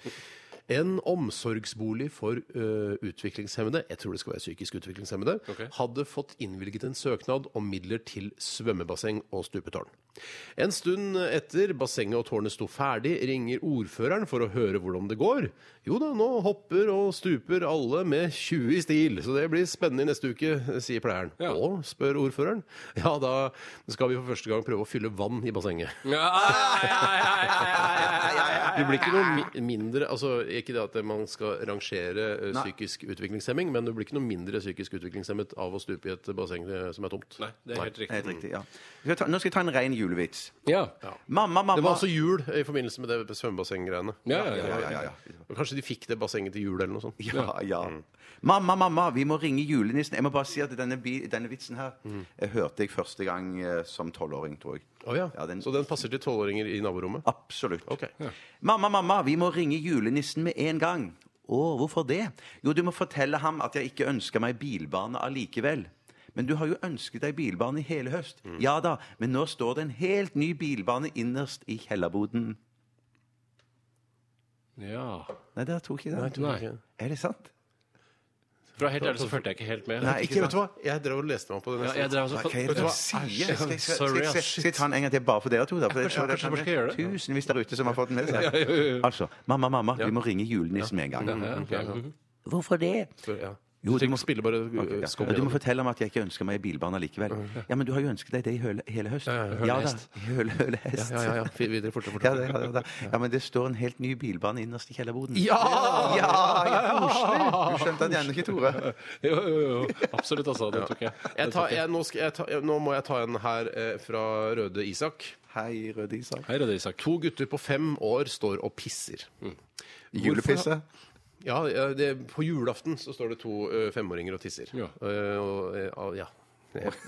[SPEAKER 2] En omsorgsbolig for eh, utviklingshemmede, jeg tror det skal være psykisk utviklingshemmede,
[SPEAKER 3] Ok.
[SPEAKER 2] hadde fått innvilget en søknad om midler til svømmebasseng og stupetårn. En stund etter bassenget og tårnet sto ferdig, ringer ordføreren for å høre hvordan det går. Jo da, nå hopper og stuper alle med 20 i stil, så det blir spennende i neste uke, sier pleieren.
[SPEAKER 3] Ja.
[SPEAKER 2] Å, spør ordføreren. Ja, da skal vi for første gang prøve å fylle vann i bassenget.
[SPEAKER 3] Ja, ja, ja, ja, ja, ja, ja.
[SPEAKER 2] Det blir ikke noe mi mindre altså Ikke det at man skal rangere eh,
[SPEAKER 4] Nei.
[SPEAKER 2] psykisk utviklingshemming, men du blir ikke noe mindre psykisk utviklingshemmet av å stupe i et basseng eh, som er tomt.
[SPEAKER 3] Nei, det er helt riktig.
[SPEAKER 4] Helt riktig, ja. Skal jeg ta, nå skal jeg ta en ren julevits.
[SPEAKER 3] Ja.
[SPEAKER 4] Mamma, mamma
[SPEAKER 2] Det var altså jul i forbindelse med det svømmebassenggreiene.
[SPEAKER 3] Ja, ja, ja.
[SPEAKER 4] ja, ja, ja.
[SPEAKER 2] Kanskje de fikk det bassenget til jul eller noe sånt.
[SPEAKER 4] Ja, ja. Mamma, mamma, vi må ringe julenissen. Jeg må bare si at denne, bi- denne vitsen her eh, hørte jeg første gang eh, som tolvåring, tror jeg.
[SPEAKER 2] Å ja.
[SPEAKER 4] Ja, den- Ah,
[SPEAKER 2] Så den passer til tolvåringer i naborommet?
[SPEAKER 4] Absolutt.
[SPEAKER 2] Ok.
[SPEAKER 4] Mamma, mamma, vi må ringe julenissen med en gang. Å, hvorfor det? Jo, du må fortelle ham at jeg ikke ønsker meg bilbane allikevel. Men du har jo ønsket deg bilbane i hele høst. Ja da, men nå står det en helt ny bilbane innerst i kjellerboden.
[SPEAKER 3] ja.
[SPEAKER 4] Nei, dere tok ikke den.
[SPEAKER 3] Nei.
[SPEAKER 4] Er det sant?
[SPEAKER 3] For å være helt ærlig så fulgte jeg ikke helt med.
[SPEAKER 4] Nei,
[SPEAKER 2] Ikke, vet
[SPEAKER 4] sant?
[SPEAKER 2] du hva? Jeg drev og leste meg opp på det
[SPEAKER 3] Ja,
[SPEAKER 2] nesten.
[SPEAKER 3] jeg drev altså også
[SPEAKER 4] Hva er det
[SPEAKER 2] du
[SPEAKER 4] dere
[SPEAKER 2] hva?
[SPEAKER 4] sier?
[SPEAKER 2] Æsj,
[SPEAKER 4] Skal jeg- skal
[SPEAKER 3] sorry,
[SPEAKER 4] jeg- skal jeg-
[SPEAKER 3] ass,
[SPEAKER 4] skal jeg ta den en gang til bare for dere to? da? For jeg tror
[SPEAKER 3] kanskje
[SPEAKER 4] det
[SPEAKER 3] bare skal jeg gjøre
[SPEAKER 4] er
[SPEAKER 3] det.
[SPEAKER 4] tusenvis der ute som har fått den med seg. Altså, mamma, mamma, vi må ringe julenissen med en
[SPEAKER 2] Mm,
[SPEAKER 4] gang. Hvorfor det?
[SPEAKER 2] Ja.
[SPEAKER 4] Mhm. Jo,
[SPEAKER 2] Du trenger ikke spille, bare
[SPEAKER 4] Ok,
[SPEAKER 2] uh,
[SPEAKER 4] ja.
[SPEAKER 2] skum
[SPEAKER 4] Ja, Du må
[SPEAKER 2] gjennom.
[SPEAKER 4] fortelle meg at jeg ikke ønsker meg bilbane likevel. Ja, men du har jo ønsket deg det i høle, hele høst.
[SPEAKER 2] Ja, ja,
[SPEAKER 4] ja,
[SPEAKER 3] hølehest.
[SPEAKER 4] da. Høle, hølehest.
[SPEAKER 2] Ja, ja, ja. Fy- Videre, fortere,
[SPEAKER 4] Ja,
[SPEAKER 2] fortere.
[SPEAKER 4] det, ja, det, ja. ja, men det står en helt ny bilbane innerst i kjellerboden.
[SPEAKER 2] Ja!
[SPEAKER 4] Ja, ja, koselig! Du skjønte den ennå ikke, Tore.
[SPEAKER 3] Jo, jo, jo. Absolutt, altså. Det tok jeg. Det
[SPEAKER 2] Jeg tar,
[SPEAKER 3] tok jeg.
[SPEAKER 2] jeg, nå, skal jeg ta, jeg, nå må jeg ta en her eh, fra Røde Isak.
[SPEAKER 4] Hei, Røde Isak.
[SPEAKER 3] Hei, Røde Isak.
[SPEAKER 2] To gutter på fem år står og pisser.
[SPEAKER 4] Julepisse.
[SPEAKER 2] Ja, eh, det, På julaften så står det to eh, femåringer og tisser.
[SPEAKER 3] Ja.
[SPEAKER 2] Eh, og, eh, ah, ja.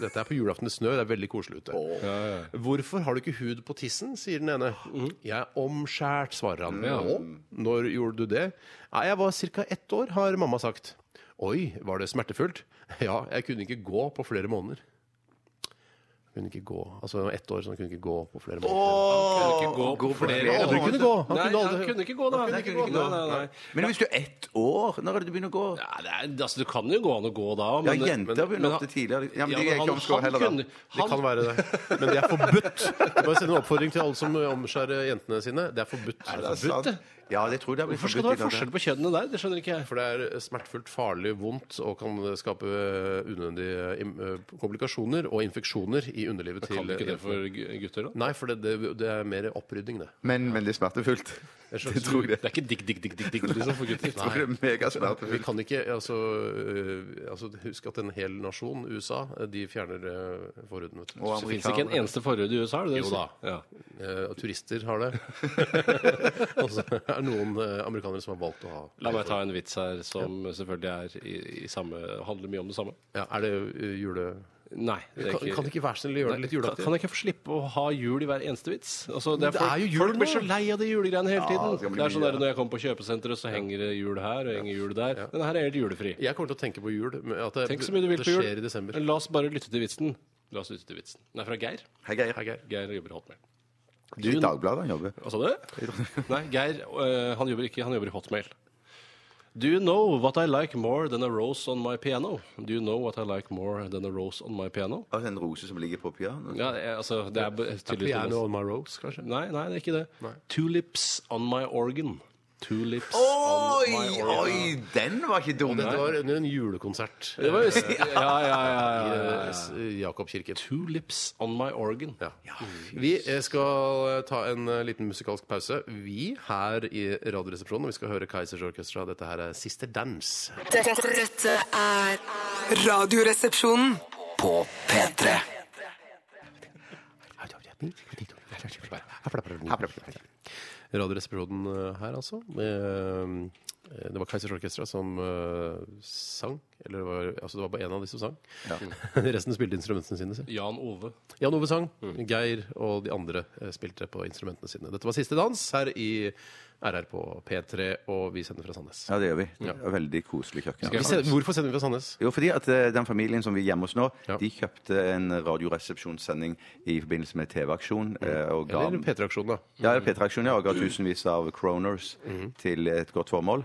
[SPEAKER 2] Dette er på julaften det snør, det er veldig koselig ute. Hvorfor har du ikke hud på tissen, sier den ene. Jeg er omskjært, svarer han. Og, når gjorde du det? Nei, jeg var ca. ett år, har mamma sagt. Oi, var det smertefullt? Ja, jeg kunne ikke gå på flere måneder. Kunne ikke gå. Altså ett år, så han kunne ikke gå på flere måneder.
[SPEAKER 3] Gå på flere
[SPEAKER 2] Å, du kunne gå! Han
[SPEAKER 3] Nei,
[SPEAKER 2] kunne aldri-
[SPEAKER 3] han kunne ikke gå, da.
[SPEAKER 4] Nei,
[SPEAKER 3] Han
[SPEAKER 4] kunne ikke gå.
[SPEAKER 3] Nei, nei, nei.
[SPEAKER 4] Men hvis du er ett år, når er det du begynner å gå?
[SPEAKER 3] Ja, det, er, altså, det kan jo gå an å gå da,
[SPEAKER 4] Ja,
[SPEAKER 3] men
[SPEAKER 4] jenter
[SPEAKER 3] men-
[SPEAKER 4] begynner ofte tidligere.
[SPEAKER 3] Ja,
[SPEAKER 4] Ja, men de er
[SPEAKER 3] men
[SPEAKER 4] ikke
[SPEAKER 3] han-
[SPEAKER 4] omskåret
[SPEAKER 3] han
[SPEAKER 4] heller, da.
[SPEAKER 3] kunne-
[SPEAKER 2] Det kan
[SPEAKER 3] han-
[SPEAKER 2] være det. Men det er forbudt. Jeg Bare send en oppfordring til alle som omskjærer jentene sine. Det er forbudt.
[SPEAKER 4] Sant? Ja, det tror jeg det har blitt
[SPEAKER 3] Hvorfor skal det
[SPEAKER 4] forbudt
[SPEAKER 3] være
[SPEAKER 4] i Norge.
[SPEAKER 3] forskjell på kjønnene der? Det skjønner ikke jeg.
[SPEAKER 2] For det er smertefullt, farlig, vondt og kan skape unødige im- eh, komplikasjoner og infeksjoner i underlivet til
[SPEAKER 3] Kan du ikke det for gu- gutter, da?
[SPEAKER 2] Nei, for det, det, det er mer opprydning, det.
[SPEAKER 4] Men, men det er smertefullt.
[SPEAKER 2] Det, er
[SPEAKER 4] Det tror jeg.
[SPEAKER 3] Det er ikke digg, digg, digg, digg, digg liksom, for gutter.
[SPEAKER 4] Jeg tror det er
[SPEAKER 2] Vi
[SPEAKER 4] megasmertefullt.
[SPEAKER 2] kan ikke altså, eh, altså Husk at en hel nasjon, USA, eh, de fjerner eh, forhuden. vet du.
[SPEAKER 4] Og
[SPEAKER 3] Det fins ikke en eneste forhud i USA? er det det du
[SPEAKER 2] Jo da.
[SPEAKER 3] sier? Ja.
[SPEAKER 2] Eh, og turister har det. og så er det noen eh, amerikanere som har valgt å ha
[SPEAKER 3] La meg ta en vits her som selvfølgelig er i, i samme, handler mye om det samme.
[SPEAKER 2] Ja, er det eh, jule...
[SPEAKER 3] Nei. Det er
[SPEAKER 2] Kan, kan det ikke være snill å gjøre det litt
[SPEAKER 3] Kan,
[SPEAKER 2] juleaktig?
[SPEAKER 3] kan jeg ikke få slippe å ha jul i hver eneste vits? Altså, det
[SPEAKER 2] Men det
[SPEAKER 3] er folk,
[SPEAKER 2] er jo jul
[SPEAKER 3] folk blir
[SPEAKER 2] nå.
[SPEAKER 3] så lei av de julegreiene hele tiden.
[SPEAKER 4] det skal
[SPEAKER 3] det,
[SPEAKER 4] bli
[SPEAKER 3] er sånn
[SPEAKER 4] mye,
[SPEAKER 3] der, Når jeg kommer på kjøpesenteret, så henger det jul her og henger jul der. Men her er helt julefri.
[SPEAKER 2] Jeg kommer til å tenke på jul. men At det,
[SPEAKER 3] Tenk så mye du vil
[SPEAKER 2] det
[SPEAKER 3] på jul.
[SPEAKER 2] skjer i desember.
[SPEAKER 3] Men La oss bare lytte til vitsen. La oss lytte til vitsen. Den er fra Geir.
[SPEAKER 4] Hei, Geir.
[SPEAKER 2] Hei, Geir.
[SPEAKER 3] Geir jobber i Hotmail.
[SPEAKER 4] Du i Dagbladet han jobber.
[SPEAKER 3] Hva sa du? Nei, Geir øh, han jobber ikke. Han jobber i Hotmail. Do you know what I like more than a rose on my piano? Do you know what I like more than a rose on my piano?
[SPEAKER 4] Og en rose som ligger på pianoet.
[SPEAKER 3] Ja, jeg- altså, det er b- tydeligvis
[SPEAKER 2] Piano on my rose, kanskje?
[SPEAKER 3] Nei, nei, det er ikke det. Tulips on my organ. Tulips on
[SPEAKER 4] Oi,
[SPEAKER 3] my organ.
[SPEAKER 4] oi, den var ikke dum!
[SPEAKER 2] Dette var under en julekonsert
[SPEAKER 3] Det var just, ja, Eh, ja, ja,
[SPEAKER 2] i
[SPEAKER 3] ja, ja.
[SPEAKER 2] eh, Jakobkirken.
[SPEAKER 3] Tulips on my organ.
[SPEAKER 2] Ja. Vi eh, skal ta en eh, liten musikalsk pause. Vi her i Radioresepsjonen, og vi skal høre Keisers Orkestra. Dette her er Sister Dance.
[SPEAKER 5] Dette, dette er Radioresepsjonen.
[SPEAKER 1] På P3.
[SPEAKER 2] Radioresepsjonen eh, her, altså. Eh, Det var Keisers Orkestra som eh, sang. Eller det var, altså det var bare én av de som sang. Resten spilte instrumentene sine. selv.
[SPEAKER 3] Jan Ove.
[SPEAKER 2] Jan Ove sang, Geir og de andre eh, spilte på instrumentene sine. Dette var siste dans her i RR på P3, og vi sender fra Sandnes.
[SPEAKER 4] Ja, det gjør vi. Det var Veldig koselig kjøkken.
[SPEAKER 2] Vi sender, hvorfor sender vi fra Sandnes?
[SPEAKER 4] Jo, fordi at eh, den familien som vi er hjemme hos nå,
[SPEAKER 2] Ja.
[SPEAKER 4] de kjøpte en radioresepsjonssending i forbindelse med TV-aksjon.
[SPEAKER 3] Mm.
[SPEAKER 4] eh, og ga-
[SPEAKER 2] Eller P3-aksjonen, da.
[SPEAKER 4] Ja, eller P3-aksjon, ja. Og ga tusenvis av kroners
[SPEAKER 3] Mm.
[SPEAKER 4] til et godt formål.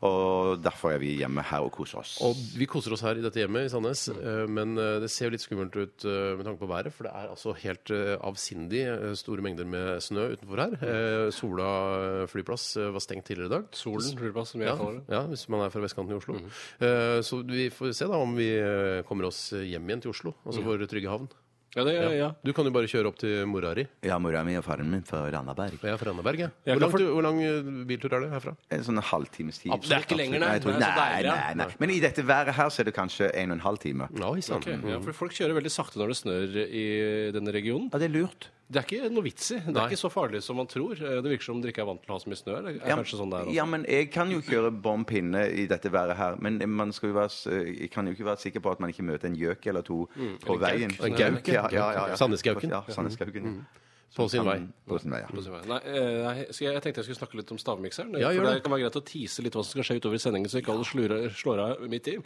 [SPEAKER 4] Og derfor er vi hjemme her og koser oss.
[SPEAKER 2] Og vi koser oss her i dette hjemmet i Sandnes, eh, men eh, det ser jo litt skummelt ut eh, med tanke på været, for det er altså helt eh, avsindig eh, store mengder med snø utenfor her. Eh, Sola eh, flyplass eh, var stengt tidligere i dag.
[SPEAKER 3] Solen, flyplass, som jeg
[SPEAKER 2] Ja,
[SPEAKER 3] kaller det. Mhm.
[SPEAKER 2] ja, hvis man er fra vestkanten i Oslo. Eh, Så vi får se da om vi eh, kommer oss hjem igjen til Oslo, altså vår trygge havn.
[SPEAKER 3] Ja, det, ja, ja.
[SPEAKER 2] Du kan jo bare kjøre opp til mora di.
[SPEAKER 4] Ja, mora mi og faren min fra Randaberg.
[SPEAKER 2] Og jeg er fra Randaberg, jeg.
[SPEAKER 3] Jeg
[SPEAKER 2] Hvor,
[SPEAKER 3] kan
[SPEAKER 2] langt,
[SPEAKER 3] for-
[SPEAKER 2] hvor lang eh, biltur er det herfra?
[SPEAKER 4] En sånn halvtimes tid.
[SPEAKER 3] Absolutt, det er ikke lenger, nei.
[SPEAKER 4] Nei, jeg tror-
[SPEAKER 3] Det er så
[SPEAKER 4] nei,
[SPEAKER 3] deilig, ja.
[SPEAKER 4] nei, nei. Men i dette været her så er det kanskje en og en halv time.
[SPEAKER 2] Oi sann.
[SPEAKER 3] Ok, ja, Mm. for Folk kjører veldig sakte når det snør i denne regionen.
[SPEAKER 4] Ja, det er lurt.
[SPEAKER 3] Det er ikke noe vits i. Det er
[SPEAKER 2] Nei.
[SPEAKER 3] ikke så farlig som man tror. Eh, Det virker som dere ikke er vant til å ha så mye snø. Det er kanskje sånn det er også.
[SPEAKER 4] ja, men jeg kan jo kjøre bom pinne i dette været her. Men man skal jo være, s- jeg kan jo ikke være sikker på at man ikke møter en gjøk eller to på
[SPEAKER 3] Eller Mm. en Mm.
[SPEAKER 4] veien.
[SPEAKER 3] gauk.
[SPEAKER 4] ja, ja, ja, ja.
[SPEAKER 2] Sandnesgauken.
[SPEAKER 4] Ja, Sandnesgauken.
[SPEAKER 2] På sin vei.
[SPEAKER 4] På sin vei, ja.
[SPEAKER 3] Nei, eh, nei, skal jeg, jeg tenkte jeg skulle snakke litt om stavmikseren.
[SPEAKER 2] Ja,
[SPEAKER 3] for
[SPEAKER 2] gjør
[SPEAKER 3] det.
[SPEAKER 2] det.
[SPEAKER 3] kan være greit å tease litt hva som skal skje utover i sendingen, så ikke alle slurer, slår av midt i.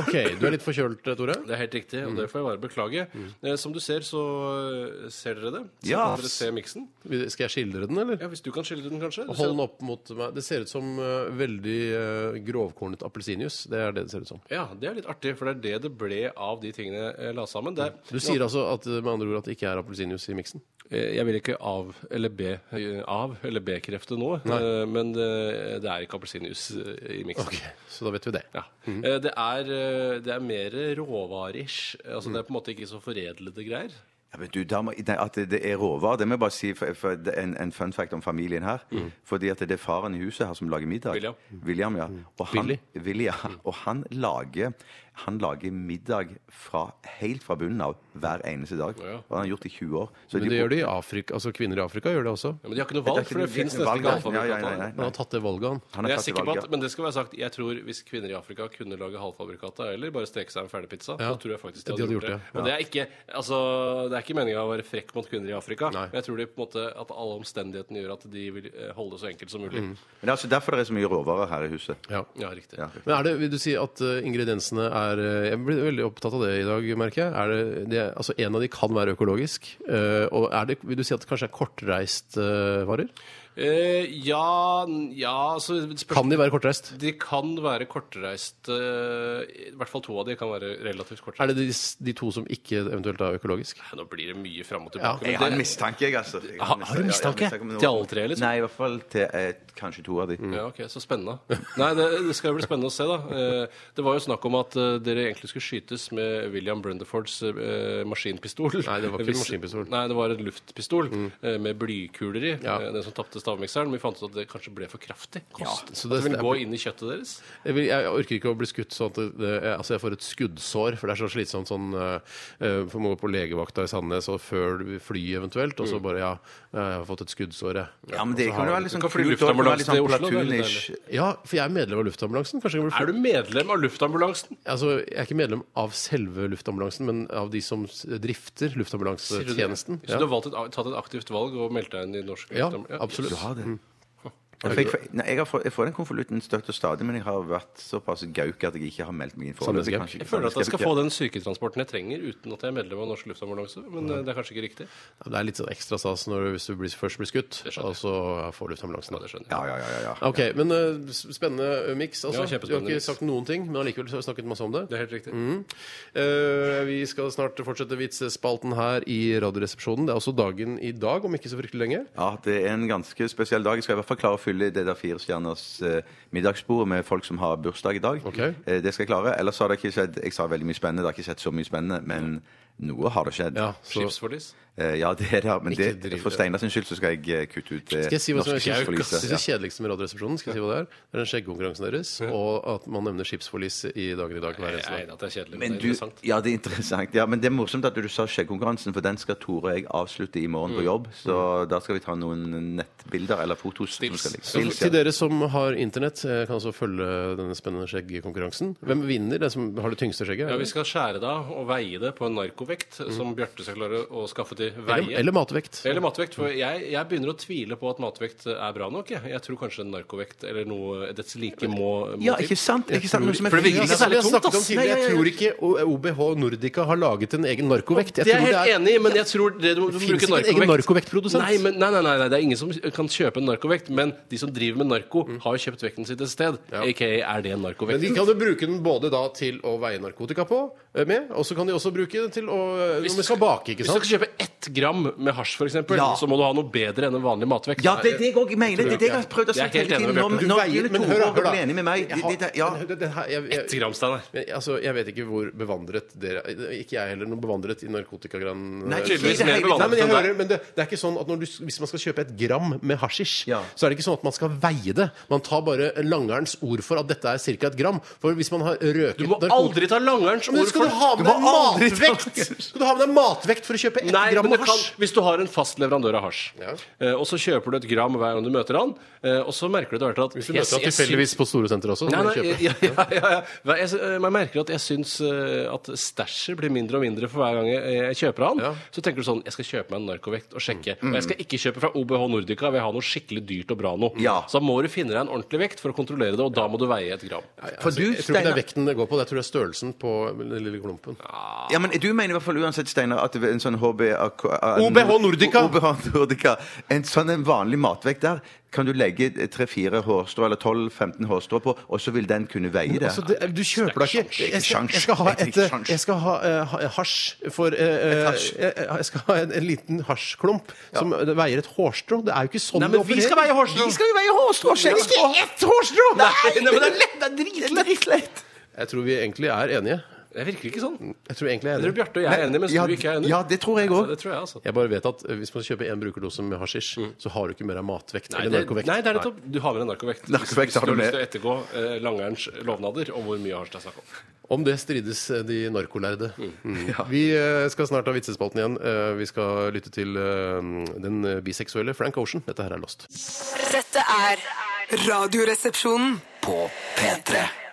[SPEAKER 2] OK, du er litt forkjølt, eh, Tore?
[SPEAKER 3] Det er helt riktig, og det får jeg bare beklage. Eh, Som du ser, så eh, ser dere det. Så
[SPEAKER 4] Ja.
[SPEAKER 3] kan dere se miksen.
[SPEAKER 2] Skal jeg skildre den, eller?
[SPEAKER 3] Ja, Hvis du kan skille den, kanskje? Du
[SPEAKER 2] Hold
[SPEAKER 3] ser-
[SPEAKER 2] den opp mot meg. Det ser ut som eh, veldig eh, grovkornet appelsinjuice. Det er det det ser ut som.
[SPEAKER 3] Ja, det er litt artig, for det er det det ble av de tingene jeg la sammen. Det er,
[SPEAKER 2] Du sier altså at, eh, med andre ord at det ikke er appelsinjuice i miksen?
[SPEAKER 3] Eh, Jeg vil ikke av eller be eh, av eller bekrefte noe, eh, men det, det er ikke appelsinjuice eh, i miksen.
[SPEAKER 2] Ok, Så da vet vi det.
[SPEAKER 3] Ja. Eh, Det er, eh, det er mer råvarish. Altså, Det er på en måte ikke så foredlede greier.
[SPEAKER 4] Ja, men du, da må, nei, at det er råvarer, det må jeg bare si for, for det er en, en fun fact om familien her. Fordi at det er faren i huset her som lager middag.
[SPEAKER 3] Mm.
[SPEAKER 4] Mm.
[SPEAKER 3] William. Mm.
[SPEAKER 4] William, ja. Og han,
[SPEAKER 2] Billy.
[SPEAKER 4] Willy, ja. Og han lager, han lager middag fra, helt fra bunnen av hver eneste dag.
[SPEAKER 3] ja.
[SPEAKER 4] Og han har gjort det i 20 år. Så
[SPEAKER 2] Men det gjør de i Afrika. Altså kvinner i Afrika gjør det også.
[SPEAKER 3] Ja, men de har ikke noe valg, for det fins nesten
[SPEAKER 4] valg,
[SPEAKER 3] ikke
[SPEAKER 4] nei.
[SPEAKER 3] alfabetet.
[SPEAKER 4] Ja, ja, ja, ja.
[SPEAKER 2] Han har tatt det valget, han.
[SPEAKER 4] Han har
[SPEAKER 3] Jeg er
[SPEAKER 4] tatt det
[SPEAKER 3] sikker på
[SPEAKER 4] valget.
[SPEAKER 3] at, men det skal være sagt, jeg tror hvis kvinner i Afrika kunne lage halvfabrikata eller bare steke seg en ferdigpizza,
[SPEAKER 2] Ja.
[SPEAKER 3] så tror jeg faktisk
[SPEAKER 2] De
[SPEAKER 3] de hadde,
[SPEAKER 2] hadde
[SPEAKER 3] gjort det.
[SPEAKER 2] gjort
[SPEAKER 3] Og det er ikke, altså, det er ikke meninga å være frekk mot kvinner i Afrika,
[SPEAKER 2] Nei.
[SPEAKER 3] men jeg tror de på en måte at alle omstendighetene gjør at de vil eh, holde det så enkelt som mulig.
[SPEAKER 4] Men det er altså derfor det er så mye råvarer her i huset.
[SPEAKER 2] Ja.
[SPEAKER 3] Ja, riktig.
[SPEAKER 4] Ja.
[SPEAKER 2] Men er det, Vil du si at eh, ingrediensene er eh, Jeg blir veldig opptatt av det i dag, merker jeg. Er det, det, er- altså En av de kan være økologisk. eh, og er det, Vil du si at det kanskje er kortreist eh, varer?
[SPEAKER 3] Eh, ja, n- ja altså, spørs-
[SPEAKER 2] Kan de være kortreist?
[SPEAKER 3] De kan være kortreiste eh, I hvert fall to av de kan være relativt kortreiste.
[SPEAKER 2] Er det de, de to som ikke eventuelt er økologisk?
[SPEAKER 3] Nå blir det mye fram og
[SPEAKER 2] Ja,
[SPEAKER 3] tilbake. men
[SPEAKER 4] Jeg har
[SPEAKER 3] det-
[SPEAKER 4] en mistanke, jeg, altså. Jeg
[SPEAKER 3] Har- har du
[SPEAKER 4] en mistanke?
[SPEAKER 3] mistanke?
[SPEAKER 4] Ja, jeg har en mistanke om noe.
[SPEAKER 3] Til alle tre, liksom? Mm.
[SPEAKER 4] Nei, i hvert fall til eh, kanskje to av de.
[SPEAKER 3] Ja, ok, Så spennende. Nei, det, det skal jo bli spennende å se, da. Eh, Det var jo snakk om at eh, dere egentlig skulle skytes med William Brunderfords eh, maskinpistol.
[SPEAKER 2] Nei, det var ikke en maskinpistol. Mm.
[SPEAKER 3] Nei, det var en luftpistol eh, med blykuler i.
[SPEAKER 2] Ja.
[SPEAKER 3] Eh, Den som tapte stavmikseren, men vi fant ut at det kanskje ble for kraftig kost.
[SPEAKER 2] så
[SPEAKER 3] så
[SPEAKER 2] det
[SPEAKER 3] det, vil
[SPEAKER 2] stemmer.
[SPEAKER 3] gå inn i kjøttet deres.
[SPEAKER 2] Jeg, vil, jeg orker ikke å bli skutt sånn at det, det, jeg- altså jeg får et skuddsår, for det er så slitsomt sånn eh, eh, For man går på legevakta i Sandnes og før du- fly eventuelt,
[SPEAKER 3] Mm.
[SPEAKER 2] og så bare ja, jeg har fått et skuddsår, jeg.
[SPEAKER 4] Ja, men det kan jo være litt sånn
[SPEAKER 3] kan fly
[SPEAKER 4] kult også, det kan være
[SPEAKER 3] luftambulanse
[SPEAKER 4] litt
[SPEAKER 3] til
[SPEAKER 4] sånn
[SPEAKER 3] Oslo, det er litt
[SPEAKER 4] platoon-ish.
[SPEAKER 2] Ja, for jeg er medlem av luftambulansen. Kanskje jeg kan bli
[SPEAKER 3] Er du medlem av luftambulansen?
[SPEAKER 2] Altså, jeg er ikke medlem av selve luftambulansen, men av de som s- drifter luftambulansetjenesten.
[SPEAKER 3] Så
[SPEAKER 2] Ja.
[SPEAKER 3] du har valgt et, tatt et aktivt valg og meldt deg inn i norsk
[SPEAKER 2] ja,
[SPEAKER 3] luftambulanse?
[SPEAKER 2] absolutt.
[SPEAKER 4] Du har det.
[SPEAKER 3] Mm.
[SPEAKER 4] Jeg, fikk, nei, jeg, har fått, jeg får den konvolutten støtt og stadig, men jeg har vært såpass gauk at jeg ikke har meldt meg inn. for
[SPEAKER 2] Sannhetsgauk.
[SPEAKER 4] Kanskje-
[SPEAKER 3] Jeg føler at jeg skal
[SPEAKER 4] Ja.
[SPEAKER 3] få den syketransporten jeg trenger uten at jeg er medlem av norsk luftambulanse, men eh, det er kanskje ikke riktig.
[SPEAKER 2] Ja, men Det er litt sånn ekstra stas når, hvis du blir, først blir skutt,
[SPEAKER 3] skjønner jeg.
[SPEAKER 2] og så ja, får luftambulansen.
[SPEAKER 3] Ja, det skjønner jeg.
[SPEAKER 4] Ja, ja, ja, ja, ja.
[SPEAKER 2] Ok, men eh, s- spennende miks. Altså.
[SPEAKER 3] Ja, kjempespennende
[SPEAKER 2] du har ikke
[SPEAKER 3] mix.
[SPEAKER 2] sagt noen ting, men allikevel så har vi snakket masse om det.
[SPEAKER 3] Det er helt riktig.
[SPEAKER 2] Eh, vi skal snart fortsette vitsespalten her i Radioresepsjonen. Det er også dagen i dag, om ikke så fryktelig lenge.
[SPEAKER 4] Ja, det er en ganske spesiell dag. Jeg skal i hvert fall klare å fylle det der firestjerners eh, middagsbord med folk som har bursdag i dag.
[SPEAKER 2] Ok.
[SPEAKER 4] Eh, det skal jeg klare. Ellers har det ikke skjedd Jeg sa veldig mye spennende, det har ikke skjedd så mye spennende, men noe har det skjedd.
[SPEAKER 2] Ja, så-
[SPEAKER 3] Skipsforlis.
[SPEAKER 4] Eh, ja det er det. Men
[SPEAKER 2] Ikke
[SPEAKER 4] det,
[SPEAKER 2] driv-
[SPEAKER 4] for Steinar sin skyld så skal jeg eh, kutte ut det
[SPEAKER 2] Skal jeg si hva som er
[SPEAKER 4] norske skipsforliset.
[SPEAKER 2] det kjedeligste med Radioresepsjonen? Skal jeg si hva Det er Det er den skjeggkonkurransen deres, og at man nevner skipsforlis i dagen i dag. hver
[SPEAKER 3] Nei,
[SPEAKER 2] eneste dag.
[SPEAKER 3] at det er kjedelig.
[SPEAKER 4] Men
[SPEAKER 3] det er
[SPEAKER 4] du,
[SPEAKER 3] interessant.
[SPEAKER 4] ja, det er interessant. Ja, men det er morsomt at du sa skjeggkonkurransen, for den skal Tore og jeg avslutte i
[SPEAKER 2] Mm.
[SPEAKER 4] morgen på jobb. Så da skal vi ta noen nettbilder eller fotos. som
[SPEAKER 3] Stills.
[SPEAKER 4] skal ligge-
[SPEAKER 2] Så
[SPEAKER 4] Stills,
[SPEAKER 2] til
[SPEAKER 4] ja.
[SPEAKER 2] dere som har internett, eh, kan også følge denne spennende skjeggkonkurransen. Hvem vinner? Den som har det tyngste skjegget?
[SPEAKER 3] Ja,
[SPEAKER 2] eller?
[SPEAKER 3] Vi skal skjære det av og veie det på en narkovekt, som Bjarte skal klare å skaffe til
[SPEAKER 2] eller,
[SPEAKER 3] veie.
[SPEAKER 2] eller matvekt.
[SPEAKER 3] Eller matvekt, for jeg, jeg begynner å tvile på at matvekt er bra nok. Jeg, jeg tror kanskje en narkovekt eller noe dets like må, må
[SPEAKER 4] Ja, ikke sant? Ikke sant? Noe som er
[SPEAKER 3] For det virker
[SPEAKER 4] fint.
[SPEAKER 3] ikke særlig
[SPEAKER 2] Jeg
[SPEAKER 1] sånn
[SPEAKER 2] snakket
[SPEAKER 3] tungt,
[SPEAKER 2] om
[SPEAKER 3] ass.
[SPEAKER 2] tidligere,
[SPEAKER 3] Nei, ja, ja,
[SPEAKER 2] Jeg
[SPEAKER 3] ja.
[SPEAKER 2] tror ikke O- OBH Nordica har laget en egen narkovekt.
[SPEAKER 3] Det er jeg
[SPEAKER 2] tror
[SPEAKER 3] helt enig i, men jeg tror det du, du
[SPEAKER 2] finnes
[SPEAKER 3] bruker
[SPEAKER 2] ikke en egen narkovektprodusent.
[SPEAKER 3] Nei, men, nei, nei, nei, nei, det er ingen som kan kjøpe en narkovekt, men de som driver med narko, har jo kjøpt vekten sitt et sted. AKA er det en
[SPEAKER 2] Mm. Men de
[SPEAKER 3] narkovekt.
[SPEAKER 2] kan jo bruke den både da til å veie narkotika på, eh, med, og så kan de også bruke den til å eh, Når man skal bake, ikke
[SPEAKER 3] Hvis du
[SPEAKER 2] sant?
[SPEAKER 3] skal kjøpe ett gram med hasj, f.eks., eksempel
[SPEAKER 4] Ja.
[SPEAKER 3] så må du ha noe bedre enn en vanlig matvekt.
[SPEAKER 4] Ja, det er det jeg òg mener. Det er det jeg har prøvd å
[SPEAKER 3] Jeg er
[SPEAKER 4] si hele
[SPEAKER 3] helt enig
[SPEAKER 4] tiden.
[SPEAKER 3] med
[SPEAKER 4] Nå,
[SPEAKER 3] Bjarte.
[SPEAKER 4] nå
[SPEAKER 2] veier-
[SPEAKER 4] begynner
[SPEAKER 2] men
[SPEAKER 4] Tore å
[SPEAKER 2] hør da.
[SPEAKER 4] bli enig med meg.
[SPEAKER 2] Jeg har-
[SPEAKER 4] Det- det- Ja.
[SPEAKER 2] men det- det her- jeg- jeg-
[SPEAKER 3] Ett gram, Steinar.
[SPEAKER 2] Men, altså, jeg vet ikke hvor bevandret dere er. Ikke jeg heller noe bevandret i narkotikagrann.
[SPEAKER 4] Nei,
[SPEAKER 3] Tydeligvis
[SPEAKER 4] Nei,
[SPEAKER 3] mer
[SPEAKER 4] men jeg
[SPEAKER 2] Nei, men jeg
[SPEAKER 3] bevandret enn
[SPEAKER 2] hører, men det, det er ikke sånn at når du, Hvis man skal kjøpe et gram med hasjisj,
[SPEAKER 4] Ja.
[SPEAKER 2] så er det ikke sånn at man skal veie det. Man tar bare langerens ord for at dette er ca. et gram. For hvis man har røket
[SPEAKER 3] Du må
[SPEAKER 2] narkotika-
[SPEAKER 3] aldri ta langerens
[SPEAKER 2] Men
[SPEAKER 3] ord
[SPEAKER 2] skal
[SPEAKER 3] for
[SPEAKER 2] du ha med
[SPEAKER 4] Du
[SPEAKER 2] deg
[SPEAKER 4] må aldri ta-
[SPEAKER 2] matvekt? Skal du ha med deg matvekt for å kjøpe ett
[SPEAKER 3] Nei,
[SPEAKER 2] gram
[SPEAKER 3] men det
[SPEAKER 2] med
[SPEAKER 3] kan,
[SPEAKER 2] hasj?
[SPEAKER 3] hvis du har en fast leverandør av hasj,
[SPEAKER 2] Ja.
[SPEAKER 3] eh, og så kjøper du et gram hver gang du møter han, eh, og så merker du etter hvert at
[SPEAKER 2] Hvis du møter ham
[SPEAKER 3] jeg- jeg
[SPEAKER 2] tilfeldigvis på Storosenteret også, så
[SPEAKER 3] Nei,
[SPEAKER 2] må du
[SPEAKER 3] nei,
[SPEAKER 2] kjøpe.
[SPEAKER 3] ja, ja, ja, ja. Hva- Jeg, sy- man merker at jeg syns eh, at stæsjer blir mindre og mindre for hver gang jeg, jeg kjøper han.
[SPEAKER 2] Ja.
[SPEAKER 3] Så tenker du sånn Jeg skal kjøpe meg en narkovekt og sjekke. Og jeg skal ikke kjøpe fra OBH Nordica, jeg vil ha noe skikkelig dyrt og bra noe.
[SPEAKER 4] Ja.
[SPEAKER 3] Så da må du finne deg en ordentlig vekt for å kontrollere det, og da må du veie et gram.
[SPEAKER 4] For
[SPEAKER 2] Altså,
[SPEAKER 4] du,
[SPEAKER 2] jeg tror ikke det
[SPEAKER 4] Steinar-
[SPEAKER 2] er vekten det går på, jeg tror det er størrelsen på den lille klumpen.
[SPEAKER 4] Ja, men du mener i hvert fall uansett, Steinar, at en sånn HB...
[SPEAKER 2] OBH Nordica.
[SPEAKER 4] OBH Nordica. En sånn en vanlig matvekt der kan du legge 3-4 hårstrå eller 12-15 hårstrå på, og så vil den kunne veie det.
[SPEAKER 2] Altså, det, du kjøper deg ikke
[SPEAKER 4] Ikke
[SPEAKER 2] jeg skal,
[SPEAKER 4] sjans.
[SPEAKER 2] jeg skal ha et eh,
[SPEAKER 4] Ikke sjans.
[SPEAKER 2] Jeg skal ha eh, ha- hasj for eh, eh,
[SPEAKER 4] hasj.
[SPEAKER 2] jeg, jeg skal ha en, en liten hasjklump som eh, veier et hårstrå. Det er jo ikke sånn
[SPEAKER 3] Nei, men
[SPEAKER 2] det
[SPEAKER 3] vi skal
[SPEAKER 2] opererer.
[SPEAKER 3] veie hårstrå!
[SPEAKER 4] Vi skal jo veie hårstrå! sjekk.
[SPEAKER 3] Ikke ett hårstrå! Nei, nei, men det er lett! Det er
[SPEAKER 4] Det er
[SPEAKER 3] dritlett!
[SPEAKER 4] dritlett.
[SPEAKER 2] Jeg tror vi egentlig er enige.
[SPEAKER 3] Det virker ikke sånn.
[SPEAKER 2] Jeg tror egentlig jeg er
[SPEAKER 3] Jeg tror
[SPEAKER 2] enige.
[SPEAKER 3] Bjarte og jeg er enige, mens
[SPEAKER 4] Ja,
[SPEAKER 3] du ikke er enig.
[SPEAKER 4] ja, det tror jeg òg.
[SPEAKER 3] det tror jeg, altså.
[SPEAKER 2] Jeg bare vet at eh, hvis man kjøper én brukerdose med hasjisj, så har du ikke mer av matvekt
[SPEAKER 3] Mm. Nei,
[SPEAKER 2] eller
[SPEAKER 3] det,
[SPEAKER 2] narkovekt.
[SPEAKER 3] nei, det er nettopp. Du har med deg narkovekt.
[SPEAKER 4] Narkovekt
[SPEAKER 3] hvis
[SPEAKER 4] har
[SPEAKER 3] du har
[SPEAKER 4] du
[SPEAKER 3] lyst til å
[SPEAKER 4] med.
[SPEAKER 3] ettergå eh, langerens lovnader om hvor mye hasj det er snakk om.
[SPEAKER 2] Om det strides eh, de narkolærde. Mm. Vi eh, skal snart ha vitsespalten igjen. Eh, Vi skal lytte til eh, den eh, biseksuelle Frank Ocean. Dette her er Lost.
[SPEAKER 5] Dette er Radioresepsjonen.
[SPEAKER 1] På P3.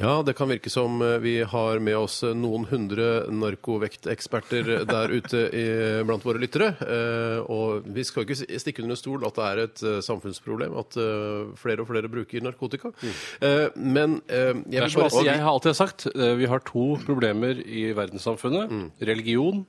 [SPEAKER 2] Ja, det kan virke som eh, vi har med oss eh, noen hundre narkovekteksperter der ute i, blant våre lyttere. Eh, Og vi skal ikke s- stikke under en stol at det er et eh, samfunnsproblem at eh, flere og flere bruker narkotika. Eh, Men eh, jeg
[SPEAKER 3] Det er
[SPEAKER 2] vil
[SPEAKER 3] som
[SPEAKER 2] bare si
[SPEAKER 3] jeg har alltid sagt, eh, vi har to problemer i verdenssamfunnet.
[SPEAKER 4] Mm.
[SPEAKER 3] Religion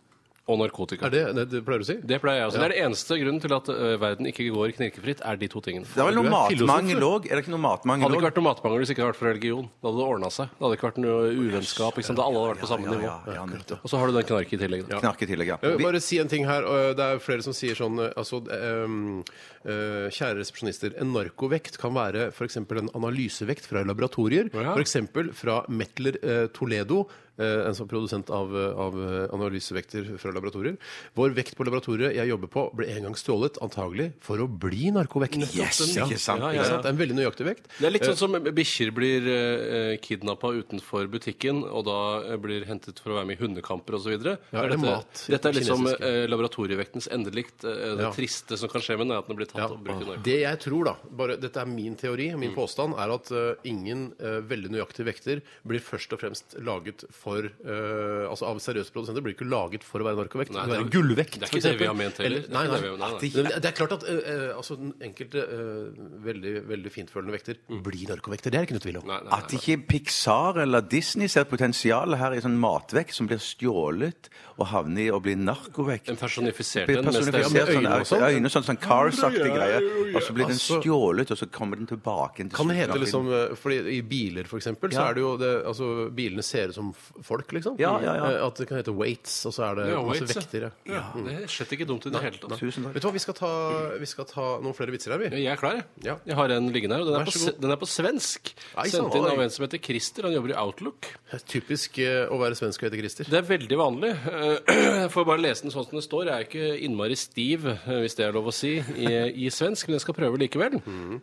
[SPEAKER 3] og narkotika.
[SPEAKER 2] Er det det du pleier å si?
[SPEAKER 3] Det pleier jeg også. Det er det eneste grunnen til at eh, verden ikke går knirkefritt, er de to tingene.
[SPEAKER 4] Det er vel
[SPEAKER 2] Du
[SPEAKER 4] noe
[SPEAKER 2] er filosof,
[SPEAKER 4] matmangel òg? Er det ikke noe matmangel
[SPEAKER 3] hadde ikke
[SPEAKER 4] òg?
[SPEAKER 3] vært noe matmangel hvis det ikke hadde vært for religion. Da hadde det ordna seg. Det hadde ikke vært noe uvennskap. ikke sant? Da alle hadde vært på samme
[SPEAKER 4] Ja, ja,
[SPEAKER 3] nivå.
[SPEAKER 4] ja, nettopp.
[SPEAKER 3] Og så har du den knark i tillegg. da.
[SPEAKER 4] Knark i tillegg, ja.
[SPEAKER 2] Jeg vil
[SPEAKER 4] Vi-
[SPEAKER 2] bare si en ting her. og Det er flere som sier sånn eh, altså, ehm, eh, Kjære resepsjonister. En narkovekt kan være f.eks. en analysevekt fra laboratorier.
[SPEAKER 3] Ja.
[SPEAKER 2] For F.eks. fra Metler eh, Toledo. eh, en sånn produsent av, eh, av analysevekter fra laboratorier. Vår vekt på laboratoriet jeg jobber på, ble en gang stjålet, antagelig for å bli narkovekt.
[SPEAKER 4] Yes,
[SPEAKER 2] ja.
[SPEAKER 4] ikke sant?
[SPEAKER 3] Ja,
[SPEAKER 2] Ikke
[SPEAKER 3] ja, ja.
[SPEAKER 2] sant? Det er en veldig nøyaktig vekt.
[SPEAKER 3] Det er litt
[SPEAKER 2] Eh.
[SPEAKER 3] sånn som bikkjer blir uh, kidnappa utenfor butikken, og da eh, blir hentet for å være med i hundekamper osv.
[SPEAKER 2] Ja, eller mat.
[SPEAKER 3] dette er liksom
[SPEAKER 2] Kinesiske.
[SPEAKER 3] eh, laboratorievektens endelikt. Eh, det
[SPEAKER 2] Ja.
[SPEAKER 3] triste som kan skje med den, er at den blir tatt
[SPEAKER 2] Ja.
[SPEAKER 3] og brukt i Norge.
[SPEAKER 2] Det jeg tror, da, bare dette er min teori, min
[SPEAKER 3] Mm.
[SPEAKER 2] påstand, er at eh, ingen eh, veldig nøyaktige vekter blir først og fremst laget for eh, Altså av seriøse produsenter blir ikke laget for å være narkovekt. det
[SPEAKER 3] Nei,
[SPEAKER 2] kan være
[SPEAKER 3] det er-
[SPEAKER 2] gullvekt.
[SPEAKER 3] det er
[SPEAKER 2] for
[SPEAKER 3] ikke det vi
[SPEAKER 2] eksempel.
[SPEAKER 3] har ment heller.
[SPEAKER 2] Eller- Nei,
[SPEAKER 3] Det er ikke det vi har
[SPEAKER 2] nei.
[SPEAKER 3] ment,
[SPEAKER 2] At de- Det er klart at eh, eh, altså, den enkelte eh, veldig, veldig fintfølende vekter blir narkovekter. Det er det ikke noe tvil om.
[SPEAKER 3] Nei, nei,
[SPEAKER 4] At
[SPEAKER 3] nei.
[SPEAKER 4] ikke Pixar eller Disney ser potensialet her i sånn matvekt som blir stjålet og havner i å bli narkovekt.
[SPEAKER 3] Den personifiserte
[SPEAKER 4] Blir
[SPEAKER 3] en mens det
[SPEAKER 2] med
[SPEAKER 4] personifisert
[SPEAKER 2] øyne
[SPEAKER 4] sånn,
[SPEAKER 2] og sånt.
[SPEAKER 4] øyne, øyne sånn, sånn Cars-aktig
[SPEAKER 3] Ja,
[SPEAKER 4] greie.
[SPEAKER 3] jo, ja.
[SPEAKER 4] Og så blir den
[SPEAKER 2] Altså-
[SPEAKER 4] stjålet, og så kommer den tilbake. igjen til
[SPEAKER 2] Kan det
[SPEAKER 4] slutten
[SPEAKER 2] hete
[SPEAKER 4] av
[SPEAKER 2] liksom
[SPEAKER 4] filmen.
[SPEAKER 2] eh, fordi I biler, for eksempel, så
[SPEAKER 4] Ja.
[SPEAKER 2] er det jo det, altså, Bilene ser ut som f- folk, liksom.
[SPEAKER 4] Ja, ja, ja.
[SPEAKER 2] Eh, At det kan hete weights, og så er det
[SPEAKER 3] Ja,
[SPEAKER 2] masse
[SPEAKER 3] weights, ja.
[SPEAKER 2] vekter. ja.
[SPEAKER 3] Ja, det er slett ikke dumt i det hele tatt.
[SPEAKER 4] Tusen takk.
[SPEAKER 2] Vet du hva, vi skal ta, vi skal ta noen flere vitser her,
[SPEAKER 3] Ja,
[SPEAKER 2] vi.
[SPEAKER 3] Jeg er klar, jeg.
[SPEAKER 2] Ja.
[SPEAKER 3] Jeg har en liggende her. og Den
[SPEAKER 2] Vær
[SPEAKER 3] er, på,
[SPEAKER 2] så god.
[SPEAKER 3] se- den er på svensk.
[SPEAKER 2] Ei, sann,
[SPEAKER 3] Sendt inn av
[SPEAKER 2] oi.
[SPEAKER 3] en som heter Christer. Han jobber i Outlook.
[SPEAKER 2] Typisk eh, å være svensk og hete Christer.
[SPEAKER 3] Det er veldig vanlig. Eh, Jeg får bare lese den sånn som det står. Jeg er ikke innmari stiv, eh, hvis det er lov å si, i, i svensk, men jeg skal prøve likevel.
[SPEAKER 4] Mhm.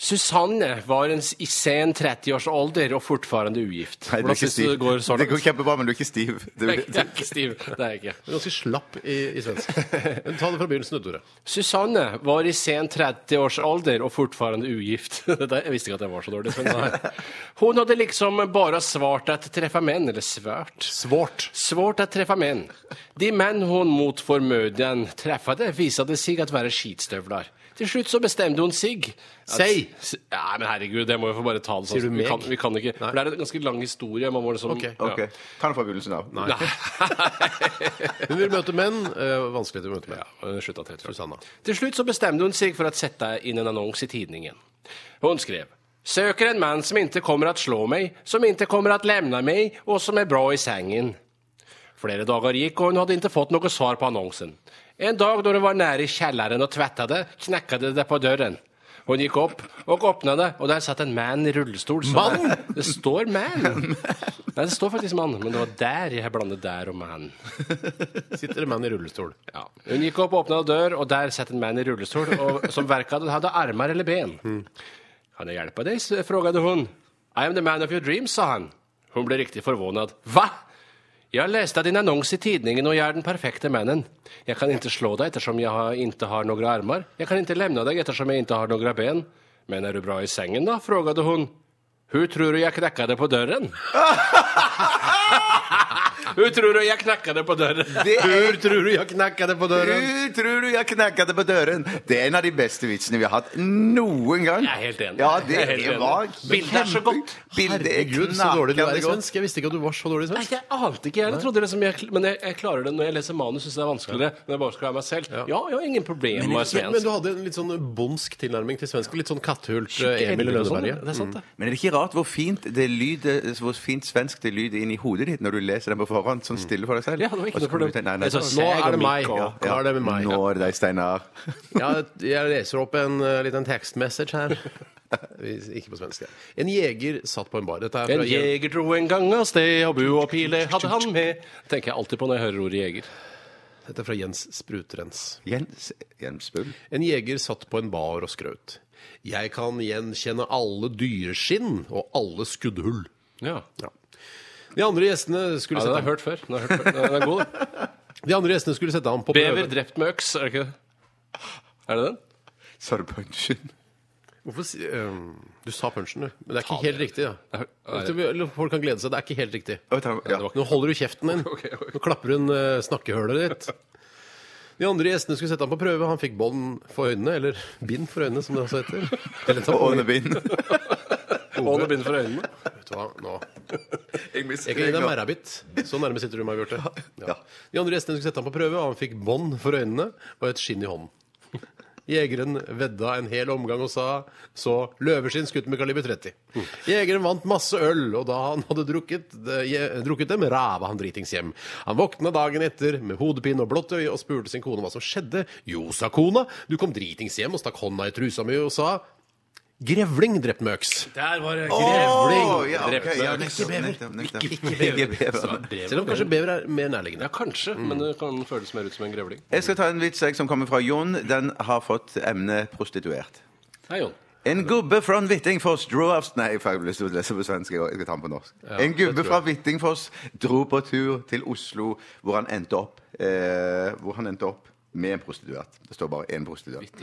[SPEAKER 3] Susanne var en, s- i sen 30-årsalder og fortfarande ugift.
[SPEAKER 4] Nei, du er
[SPEAKER 3] Hvordan
[SPEAKER 4] ikke
[SPEAKER 3] synes du det går så
[SPEAKER 4] stiv. Det
[SPEAKER 3] langt?
[SPEAKER 4] går kjempebra, men du er ikke stiv. Du,
[SPEAKER 3] Jeg er ikke stiv. Det er jeg ikke.
[SPEAKER 2] Du er Ganske slapp i, i svensk. Men ta det fra begynnelsen, du, Tore.
[SPEAKER 3] Susanne var i sen 30-årsalder og fortfarande ugift. Dette, jeg visste ikke at jeg var så dårlig. Men nei. Hun hadde liksom bare svart at treffa menn, eller svært.
[SPEAKER 2] Svårt.
[SPEAKER 3] Svårt att träffa män. De män hon mot förmödan träffade visade sig att vara skitstövlar. Till slut så bestämde hon sig att...
[SPEAKER 2] Säg!
[SPEAKER 3] S- Ja, men herregud, det må jag få bara ta det sånn.
[SPEAKER 2] Sier du
[SPEAKER 3] Vi kan,
[SPEAKER 2] meg?
[SPEAKER 3] vi kan ikke... For det er en ganske lang historie. Man må liksom...
[SPEAKER 2] Ok,
[SPEAKER 4] Ok, Ta den fra begynnelsen av.
[SPEAKER 3] Ja.
[SPEAKER 2] Hun vil møte menn. eh, vanskelig til å møte menn.
[SPEAKER 3] Nei. Slutt av 30 år.
[SPEAKER 2] Susanna.
[SPEAKER 3] Till slut så bestämde hon sig för att sätta in en annons i tidningen. Hon skrev Söker en man som inte kommer att slå mig, som inte kommer att lämna mig och som är bra i sängen. Flere dagar gick och hon hade inte fått något svar på annonsen. En dag då det var nära i källaren och tvättade knackade det på dörren. Hon gick upp och öppnade och där satt en man i rullstol. som-
[SPEAKER 2] Man?
[SPEAKER 3] Det står man. Nej, det står faktiskt man, men det var där jag blandade där och man.
[SPEAKER 2] Sitter det menn i rullestol?
[SPEAKER 3] Ja. Hun gikk opp, åpna dør, og der satt en mann i rullestol og, som verken hadde, hadde armer eller ben.
[SPEAKER 4] Mm.
[SPEAKER 3] Kan jeg hjelpe deg? spurte hun. I am the man of your dreams, sa han. Hun ble riktig forvånet. Hva? Jeg leste din annons i tidningen, og jeg er den perfekte mannen. Jeg kan ikke slå deg ettersom jeg har, ikke har noen armer. Jeg kan ikke lemne deg ettersom jeg ikke har noen ben. Men er du bra i sengen, da? spurte hun. Hun tror jeg knakket det på døren. Hun tror jeg knakket det på døren.
[SPEAKER 4] Det er,
[SPEAKER 2] Hvor tror du jeg knekka det på døren?
[SPEAKER 4] du, tror du jeg knakka det på døren? Det er en av de beste vitsene vi har hatt noen gang.
[SPEAKER 3] Jeg er helt enig.
[SPEAKER 4] Ja,
[SPEAKER 3] Jeg
[SPEAKER 4] det
[SPEAKER 3] er helt enig.
[SPEAKER 4] var
[SPEAKER 3] Bildet er så godt.
[SPEAKER 4] Bildet er
[SPEAKER 2] Herregud, så dårlig du er
[SPEAKER 4] knakende
[SPEAKER 2] i
[SPEAKER 3] liksom.
[SPEAKER 4] godt.
[SPEAKER 2] svensk. Jeg visste ikke at du var så dårlig i
[SPEAKER 3] Nei,
[SPEAKER 2] svensk.
[SPEAKER 3] Jeg ante ikke, jeg heller. trodde det som jeg, men jeg, jeg klarer det når jeg leser manus. Synes det er vanskeligere når jeg bare skal være meg selv. Ja, jeg har ingen problemer med å være
[SPEAKER 2] Men, men
[SPEAKER 3] svensk.
[SPEAKER 2] du hadde en litt sånn bondsk tilnærming til svensk. Litt sånn katthult eh,
[SPEAKER 3] Skikkelig
[SPEAKER 2] Emil i
[SPEAKER 3] sånn,
[SPEAKER 2] Lønneberget.
[SPEAKER 3] Det er sant, det.
[SPEAKER 4] Men er det ikke rart hvor fint, det lyder, hvor fint svensk det lyder inn i hodet ditt når du leser den på forhånd, sånn stille for deg selv?
[SPEAKER 3] Ja, det var ikke
[SPEAKER 4] Og så
[SPEAKER 3] noe
[SPEAKER 4] kommer du
[SPEAKER 3] problem.
[SPEAKER 4] til- Nei, sånn nei,
[SPEAKER 3] Det er så
[SPEAKER 2] Nå er det meg.
[SPEAKER 3] Ja,
[SPEAKER 2] Nå er det med meg.
[SPEAKER 4] Nå er det deg, Steinar.
[SPEAKER 2] Ja, jeg leser opp en eh, liten tekstmessage her. Ikke på svensk. ja. En jeger satt på en bar. Dette er
[SPEAKER 3] En
[SPEAKER 2] fra Hjelm-
[SPEAKER 3] jeger dro en gang av sted, og bu og pile hadde han med. tenker jeg alltid på når jeg hører ordet jeger.
[SPEAKER 2] Dette er fra Jens Sprutrens.
[SPEAKER 4] Jens, Jens Bull.
[SPEAKER 2] En jeger satt på en bar og skraut. Jeg kan gjenkjenne alle dyreskinn og alle skuddhull.
[SPEAKER 3] Ja.
[SPEAKER 2] De andre gjestene skulle
[SPEAKER 3] ja, den har
[SPEAKER 2] sette,
[SPEAKER 3] jeg hørt før. Den har jeg hørt før. Den er god, da.
[SPEAKER 2] de andre gjestene skulle sette ham på prøve.
[SPEAKER 3] Bever drept med øks, er det ikke det? Er det den?
[SPEAKER 4] Sa du punchen?
[SPEAKER 2] Hvorfor, si- øhm, du sa punchen, du. Men det er ikke helt riktig.
[SPEAKER 3] Nei,
[SPEAKER 2] Da.
[SPEAKER 3] nei.
[SPEAKER 2] Vet du, eller Folk kan glede seg. Det er ikke helt riktig.
[SPEAKER 4] Å, ta- Ja.
[SPEAKER 2] Nå holder du kjeften din. Nå klapper hun eh, snakkehølet ditt. De andre gjestene skulle sette ham på prøve. Han fikk bånd for øynene, eller bind for øynene, som det også heter. Eller
[SPEAKER 4] Og
[SPEAKER 2] tampong.
[SPEAKER 4] ånebind.
[SPEAKER 3] Hånden begynner for øynene.
[SPEAKER 2] Vet du hva, nå.
[SPEAKER 4] Jeg
[SPEAKER 2] Jeg kan gi deg merra bitt. Så nærme sitter du meg, Bjarte. Ja. De andre gjestene skulle sette ham på prøve, og han fikk bånd for øynene og et skinn i hånden. Jegeren vedda en hel omgang og sa så løveskinn skutt med kaliber 30. Jegeren vant masse øl, og da han hadde drukket, eh, je- drukket dem, rava han dritings hjem. Han våkna dagen etter med hodepine og blått øye og spurte sin kone hva som skjedde. Jo, sa kona, du kom dritings hjem og stakk hånda i trusa mi og sa Grevling drept med øks.
[SPEAKER 3] Der var det
[SPEAKER 4] Åh,
[SPEAKER 3] grevling!
[SPEAKER 4] ja, ok,
[SPEAKER 3] drept
[SPEAKER 4] ja,
[SPEAKER 3] med øks.
[SPEAKER 4] nettopp, nettopp, nettopp. Ikke bever.
[SPEAKER 2] Selv om kanskje bever er mer nærliggende.
[SPEAKER 3] Ja, kanskje, men det kan føles mer ut som en grevling.
[SPEAKER 4] Jeg skal ta en vits jeg, som kommer fra Jon. Den har fått emnet prostituert.
[SPEAKER 3] Hei, Jon.
[SPEAKER 4] En gubbe fra Hvittingfoss dro av Nei, for jeg vil stå og lese på svensk. Jeg jeg skal ta den på norsk. en gubbe fra Hvittingfoss dro på tur til Oslo, hvor han endte opp, eh, hvor han endte opp med en prostituert. Det står bare én prostituert.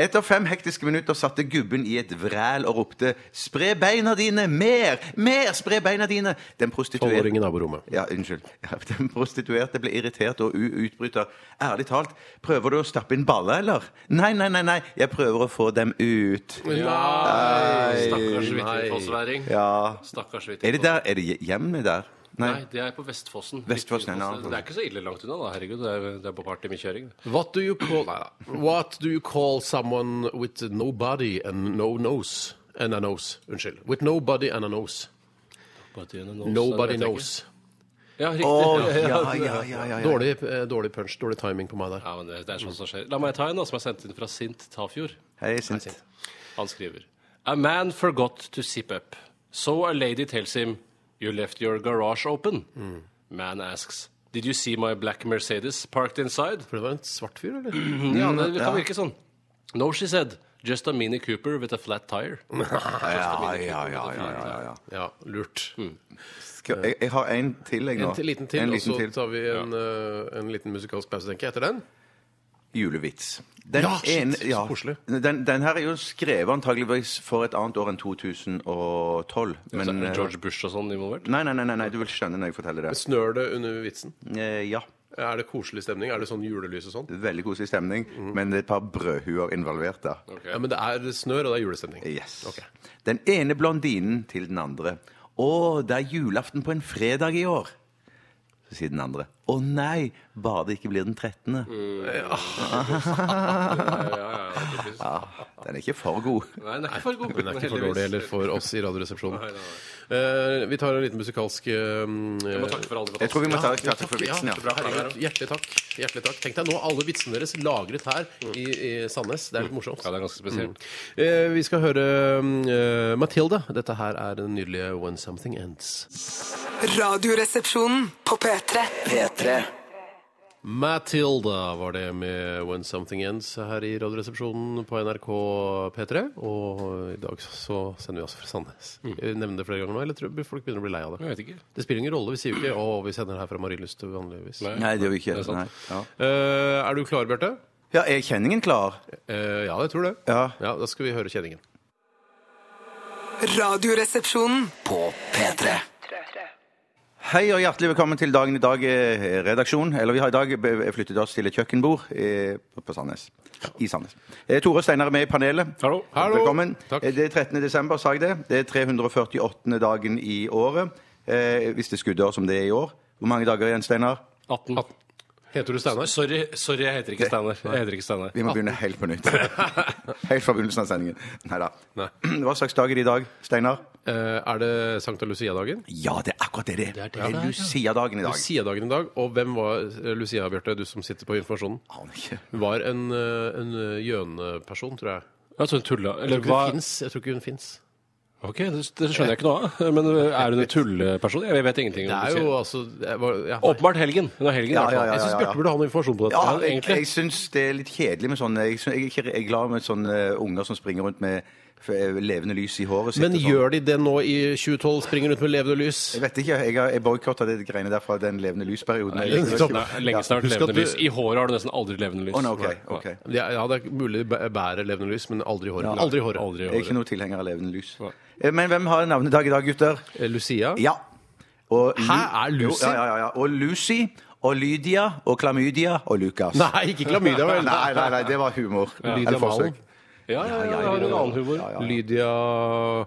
[SPEAKER 4] Etter fem hektiske minutter satte gubben i et vræl og ropte 'Spre beina dine! Mer! Mer! Spre beina dine!' Den prostituerte
[SPEAKER 2] Tolvåring i naborommet.
[SPEAKER 4] ja, unnskyld. Ja, den prostituerte ble irritert og u- utbryter. Ærlig talt, prøver du å stappe inn baller, eller? Nei, nei, nei, nei, jeg prøver å få dem ut.
[SPEAKER 3] Nei! Stakkars Hvittingfossværing.
[SPEAKER 4] Ja.
[SPEAKER 3] Stakkars
[SPEAKER 4] Er det der? Er det hje- hjemmet der? Nei.
[SPEAKER 3] Nei, det er på Vestfossen.
[SPEAKER 4] Vestfossen, ja,
[SPEAKER 3] Hvittingfoss. Det er ikke så ille langt unna, da. Herregud, det er, det er bare et par timer kjøring.
[SPEAKER 2] What do you call What do you call someone with no body and no nose? And a nose. Unnskyld. With no body and a nose. Nobody knows.
[SPEAKER 3] Ja, riktig.
[SPEAKER 4] Å,
[SPEAKER 3] Ja, ja.
[SPEAKER 4] ja, ja, ja, ja, ja.
[SPEAKER 2] Dårlig, eh, dårlig punch. Dårlig timing på meg der.
[SPEAKER 3] Ja, men det, det er sånt som skjer. La meg ta en da, som er sendt inn fra Sint Tafjord.
[SPEAKER 4] Hei, sint.
[SPEAKER 3] Han skriver A man forgot to zip up. So a lady tells him You left your garage open. Man asks Did you see my black Mercedes parked inside?
[SPEAKER 2] For det var en svart fyr, eller?
[SPEAKER 4] Mm,
[SPEAKER 3] Ja, det kan virke sånn. No, she said. Just a Mini Cooper with a flat tire. Altså,
[SPEAKER 4] Ja, ja, ja, ja, ja, ja.
[SPEAKER 2] Ja, lurt.
[SPEAKER 3] Mm.
[SPEAKER 4] Skal, jeg, jeg har en til, jeg nå.
[SPEAKER 2] En til, liten til,
[SPEAKER 4] En
[SPEAKER 2] og så
[SPEAKER 4] liten til.
[SPEAKER 2] tar vi en, eh, en liten musikalsk pause, tenker jeg, etter den.
[SPEAKER 4] Julevits. Den
[SPEAKER 2] Ja, shit, så koselig.
[SPEAKER 4] Den, den her er jo skrevet antageligvis for et annet år enn 2012.
[SPEAKER 3] Så
[SPEAKER 4] Men
[SPEAKER 3] er
[SPEAKER 4] eh,
[SPEAKER 3] George Bush og sånn involvert?
[SPEAKER 4] Nei, nei, nei, nei, nei, du vil skjønne når jeg forteller det.
[SPEAKER 2] Snør det under vitsen?
[SPEAKER 4] Eh, Ja.
[SPEAKER 2] Er det koselig stemning? Er det sånn julelys og sånn?
[SPEAKER 4] Veldig koselig stemning,
[SPEAKER 2] Mm.
[SPEAKER 4] men det er et par brødhuer involvert der.
[SPEAKER 2] Ja, men det er snør, og det er julestemning.
[SPEAKER 4] Yes.
[SPEAKER 2] Ok.
[SPEAKER 4] Den ene blondinen til den andre. Å, det er julaften på en fredag i år. Så sier den andre. Å nei, bare det ikke blir den 13. Den er ikke for god.
[SPEAKER 3] Nei, den er ikke for god.
[SPEAKER 2] Den er ikke for dårlig heller for oss i Radioresepsjonen.
[SPEAKER 3] Nei, nei,
[SPEAKER 2] Eh, vi tar en liten musikalsk eh,
[SPEAKER 3] Takk for alle
[SPEAKER 4] Jeg tror vi må ta
[SPEAKER 2] Ja,
[SPEAKER 4] takke for vitsen,
[SPEAKER 2] ja.
[SPEAKER 4] ja.
[SPEAKER 2] Herregud, Hjertelig takk. Hjertelig takk. Tenk deg nå alle vitsene deres lagret her i, i Sandnes. Det er litt morsomt.
[SPEAKER 3] Ja, det er ganske spesielt.
[SPEAKER 2] Eh, vi skal høre eh, Matilda. Dette her er den nydelige When Something Ends.
[SPEAKER 5] Radioresepsjonen på P3.
[SPEAKER 1] P3.
[SPEAKER 2] Matilda var det med When Something Ends her i Radioresepsjonen på NRK P3. Og i dag så sender vi oss fra Sandnes. Jeg nevner det flere ganger nå, eller tror jeg folk begynner å bli lei av
[SPEAKER 3] Mm. Jeg
[SPEAKER 2] det?
[SPEAKER 3] vet ikke.
[SPEAKER 2] Det spiller ingen rolle. Vi sier jo ikke 'Å, vi sender det her fra Marienlyst' vanligvis.
[SPEAKER 4] Nei, det gjør vi ikke.
[SPEAKER 3] Det er sant.
[SPEAKER 4] Nei. Ja.
[SPEAKER 2] Eh, er du klar, Bjarte?
[SPEAKER 4] ja, er kjenningen klar?
[SPEAKER 2] Eh, ja, jeg tror det.
[SPEAKER 4] Ja.
[SPEAKER 2] Da skal vi høre kjenningen.
[SPEAKER 5] Radioresepsjonen.
[SPEAKER 1] På P3.
[SPEAKER 4] Hei og hjertelig velkommen til dagen i dag, eh, redaksjon. Eller vi har i dag be- flyttet oss til et kjøkkenbord eh, på Sandnes. I Sandnes. Eh, Tore og Steinar er med i panelet.
[SPEAKER 3] Hallo.
[SPEAKER 2] Hallo.
[SPEAKER 4] Velkommen.
[SPEAKER 2] Takk.
[SPEAKER 4] Eh, Det er 13. desember, sa jeg det. Det er 348. dagen i året. Eh, hvis det er skuddår som det er i år. Hvor mange dager igjen, Steinar?
[SPEAKER 3] 18.
[SPEAKER 2] Heter du Steinar?
[SPEAKER 3] Sorry, sorry, jeg heter ikke Steinar. Jeg heter ikke Steinar.
[SPEAKER 4] Vi må begynne helt på nytt. helt fra begynnelsen av sendingen. Neida.
[SPEAKER 2] Nei.
[SPEAKER 4] Hva slags dag er det i dag, Steinar?
[SPEAKER 2] Eh, er det Sankta Lucia-dagen?
[SPEAKER 4] Ja, det er akkurat det det er. Det er Lucia-dagen i dag.
[SPEAKER 2] Lucia-dagen i dag. Og hvem var eh, Lucia, Bjarte, du som sitter på informasjonen?
[SPEAKER 4] Aner ikke.
[SPEAKER 2] Var en, eh, en eh, gjøneperson, tror jeg.
[SPEAKER 3] Jeg tror hun tulla.
[SPEAKER 2] Jeg
[SPEAKER 3] Eller
[SPEAKER 2] tror ikke
[SPEAKER 3] hva?
[SPEAKER 2] hun finnes. Jeg tror ikke hun fins.
[SPEAKER 3] Ok, det, det skjønner jeg ikke noe av. Men øh, er hun en tulleperson? Jeg vet ingenting
[SPEAKER 2] Det
[SPEAKER 3] om
[SPEAKER 2] er
[SPEAKER 3] det.
[SPEAKER 2] jo altså jeg var, ja.
[SPEAKER 3] Åpenbart helgen. Hun er helgen, i
[SPEAKER 4] Ja,
[SPEAKER 3] hvert
[SPEAKER 4] ja,
[SPEAKER 3] fall.
[SPEAKER 4] ja,
[SPEAKER 2] Jeg syns
[SPEAKER 4] ja, ja.
[SPEAKER 2] Bjarte burde ha noe informasjon på dette.
[SPEAKER 4] Ja, jeg,
[SPEAKER 3] egentlig.
[SPEAKER 4] jeg syns det er litt kjedelig med sånne Jeg, syns- jeg, er ikke- jeg er glad med sånne unger som springer rundt med f- eh, levende lys i håret sitt.
[SPEAKER 2] Men
[SPEAKER 4] og sånn.
[SPEAKER 2] gjør de det nå i 2012? Springer rundt med levende lys?
[SPEAKER 4] Jeg vet ikke, jeg, har- jeg boikotta det greiene der fra den levende lysperioden. Jeg likte det
[SPEAKER 2] nettopp.
[SPEAKER 4] ikke.
[SPEAKER 3] Nei, Lenge snart
[SPEAKER 2] Husk at
[SPEAKER 3] levende
[SPEAKER 2] du-
[SPEAKER 3] lys. I håret har du nesten aldri levende lys.
[SPEAKER 4] Å, nei, ok,
[SPEAKER 3] Nei.
[SPEAKER 4] ok.
[SPEAKER 2] Ja, ja, det er mulig de bæ- bærer levende lys, men aldri i håret. Aldri i håret.
[SPEAKER 3] Aldri i
[SPEAKER 4] Jeg er ikke
[SPEAKER 3] håret.
[SPEAKER 4] noen tilhenger av levende lys. Eh, Men hvem har navnedag i dag, gutter?
[SPEAKER 2] Eh, Lucia?
[SPEAKER 4] Ja. Og Lu-
[SPEAKER 2] Hæ, er Lucy?
[SPEAKER 4] Jo, ja, ja, ja. Og Lucy og Lydia og Klamydia og Lukas.
[SPEAKER 2] Nei, ikke klamydia, vel?
[SPEAKER 4] nei, nei, nei, det var humor. Eller forsøk.
[SPEAKER 2] Malen.
[SPEAKER 3] Ja, ja, ja, ja, en annen humor.
[SPEAKER 2] Lydia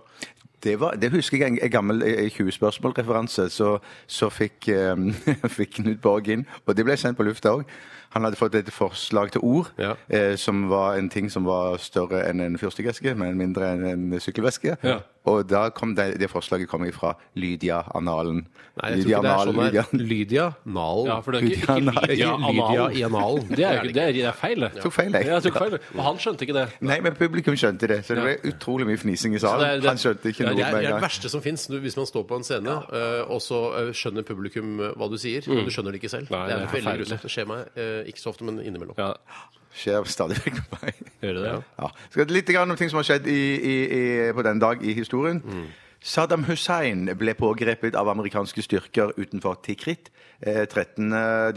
[SPEAKER 4] Det, var, det husker jeg en, en gammel eh, 20 spørsmål-referanse. Så, så fikk, eh, fikk Knut Borg inn, og det ble sendt på lufta òg. Han hadde fått et forslag til ord
[SPEAKER 2] Ja.
[SPEAKER 4] eh, som var en ting som var større enn en fyrstikkeske, men mindre enn en sykkelveske.
[SPEAKER 3] Ja.
[SPEAKER 4] Og da kom det, det forslaget kom fra Lydia Analen.
[SPEAKER 2] Nei, jeg tror ikke det er sånn
[SPEAKER 4] Lydia.
[SPEAKER 2] her. Lydia Nalen.
[SPEAKER 3] Ja, for det er ikke, ikke
[SPEAKER 4] Lydia, nei.
[SPEAKER 3] Lydia
[SPEAKER 2] Lydia
[SPEAKER 3] Analen.
[SPEAKER 2] i analen.
[SPEAKER 3] Det er, jo ikke- det er, det er feil, det.
[SPEAKER 4] Tok feil, jeg.
[SPEAKER 3] Ja, jeg tok feil. Og han skjønte ikke det.
[SPEAKER 4] Nei, men publikum skjønte det, så det ble utrolig mye fnising i
[SPEAKER 3] Så
[SPEAKER 4] salen.
[SPEAKER 3] det er- det-
[SPEAKER 4] Han skjønte ikke
[SPEAKER 2] Ja,
[SPEAKER 4] noe
[SPEAKER 2] det, er, det er
[SPEAKER 4] med en
[SPEAKER 2] det
[SPEAKER 4] gang.
[SPEAKER 2] verste som fins hvis man står på en scene, eh, og så eh, skjønner publikum eh, hva du sier, men du skjønner det ikke selv.
[SPEAKER 3] Nei,
[SPEAKER 2] det er,
[SPEAKER 3] det er
[SPEAKER 2] veldig
[SPEAKER 3] forferdelig.
[SPEAKER 2] grusomt. Det skjer meg eh, ikke så ofte, men innimellom.
[SPEAKER 3] Ja,
[SPEAKER 4] Skjer stadig vekk med meg.
[SPEAKER 3] gjør det det?
[SPEAKER 4] Ja. Skal litt grann om ting som har skjedd i, i, i, på den dag i historien.
[SPEAKER 2] Mm.
[SPEAKER 4] Saddam Hussein ble pågrepet av amerikanske styrker utenfor Tikrit eh,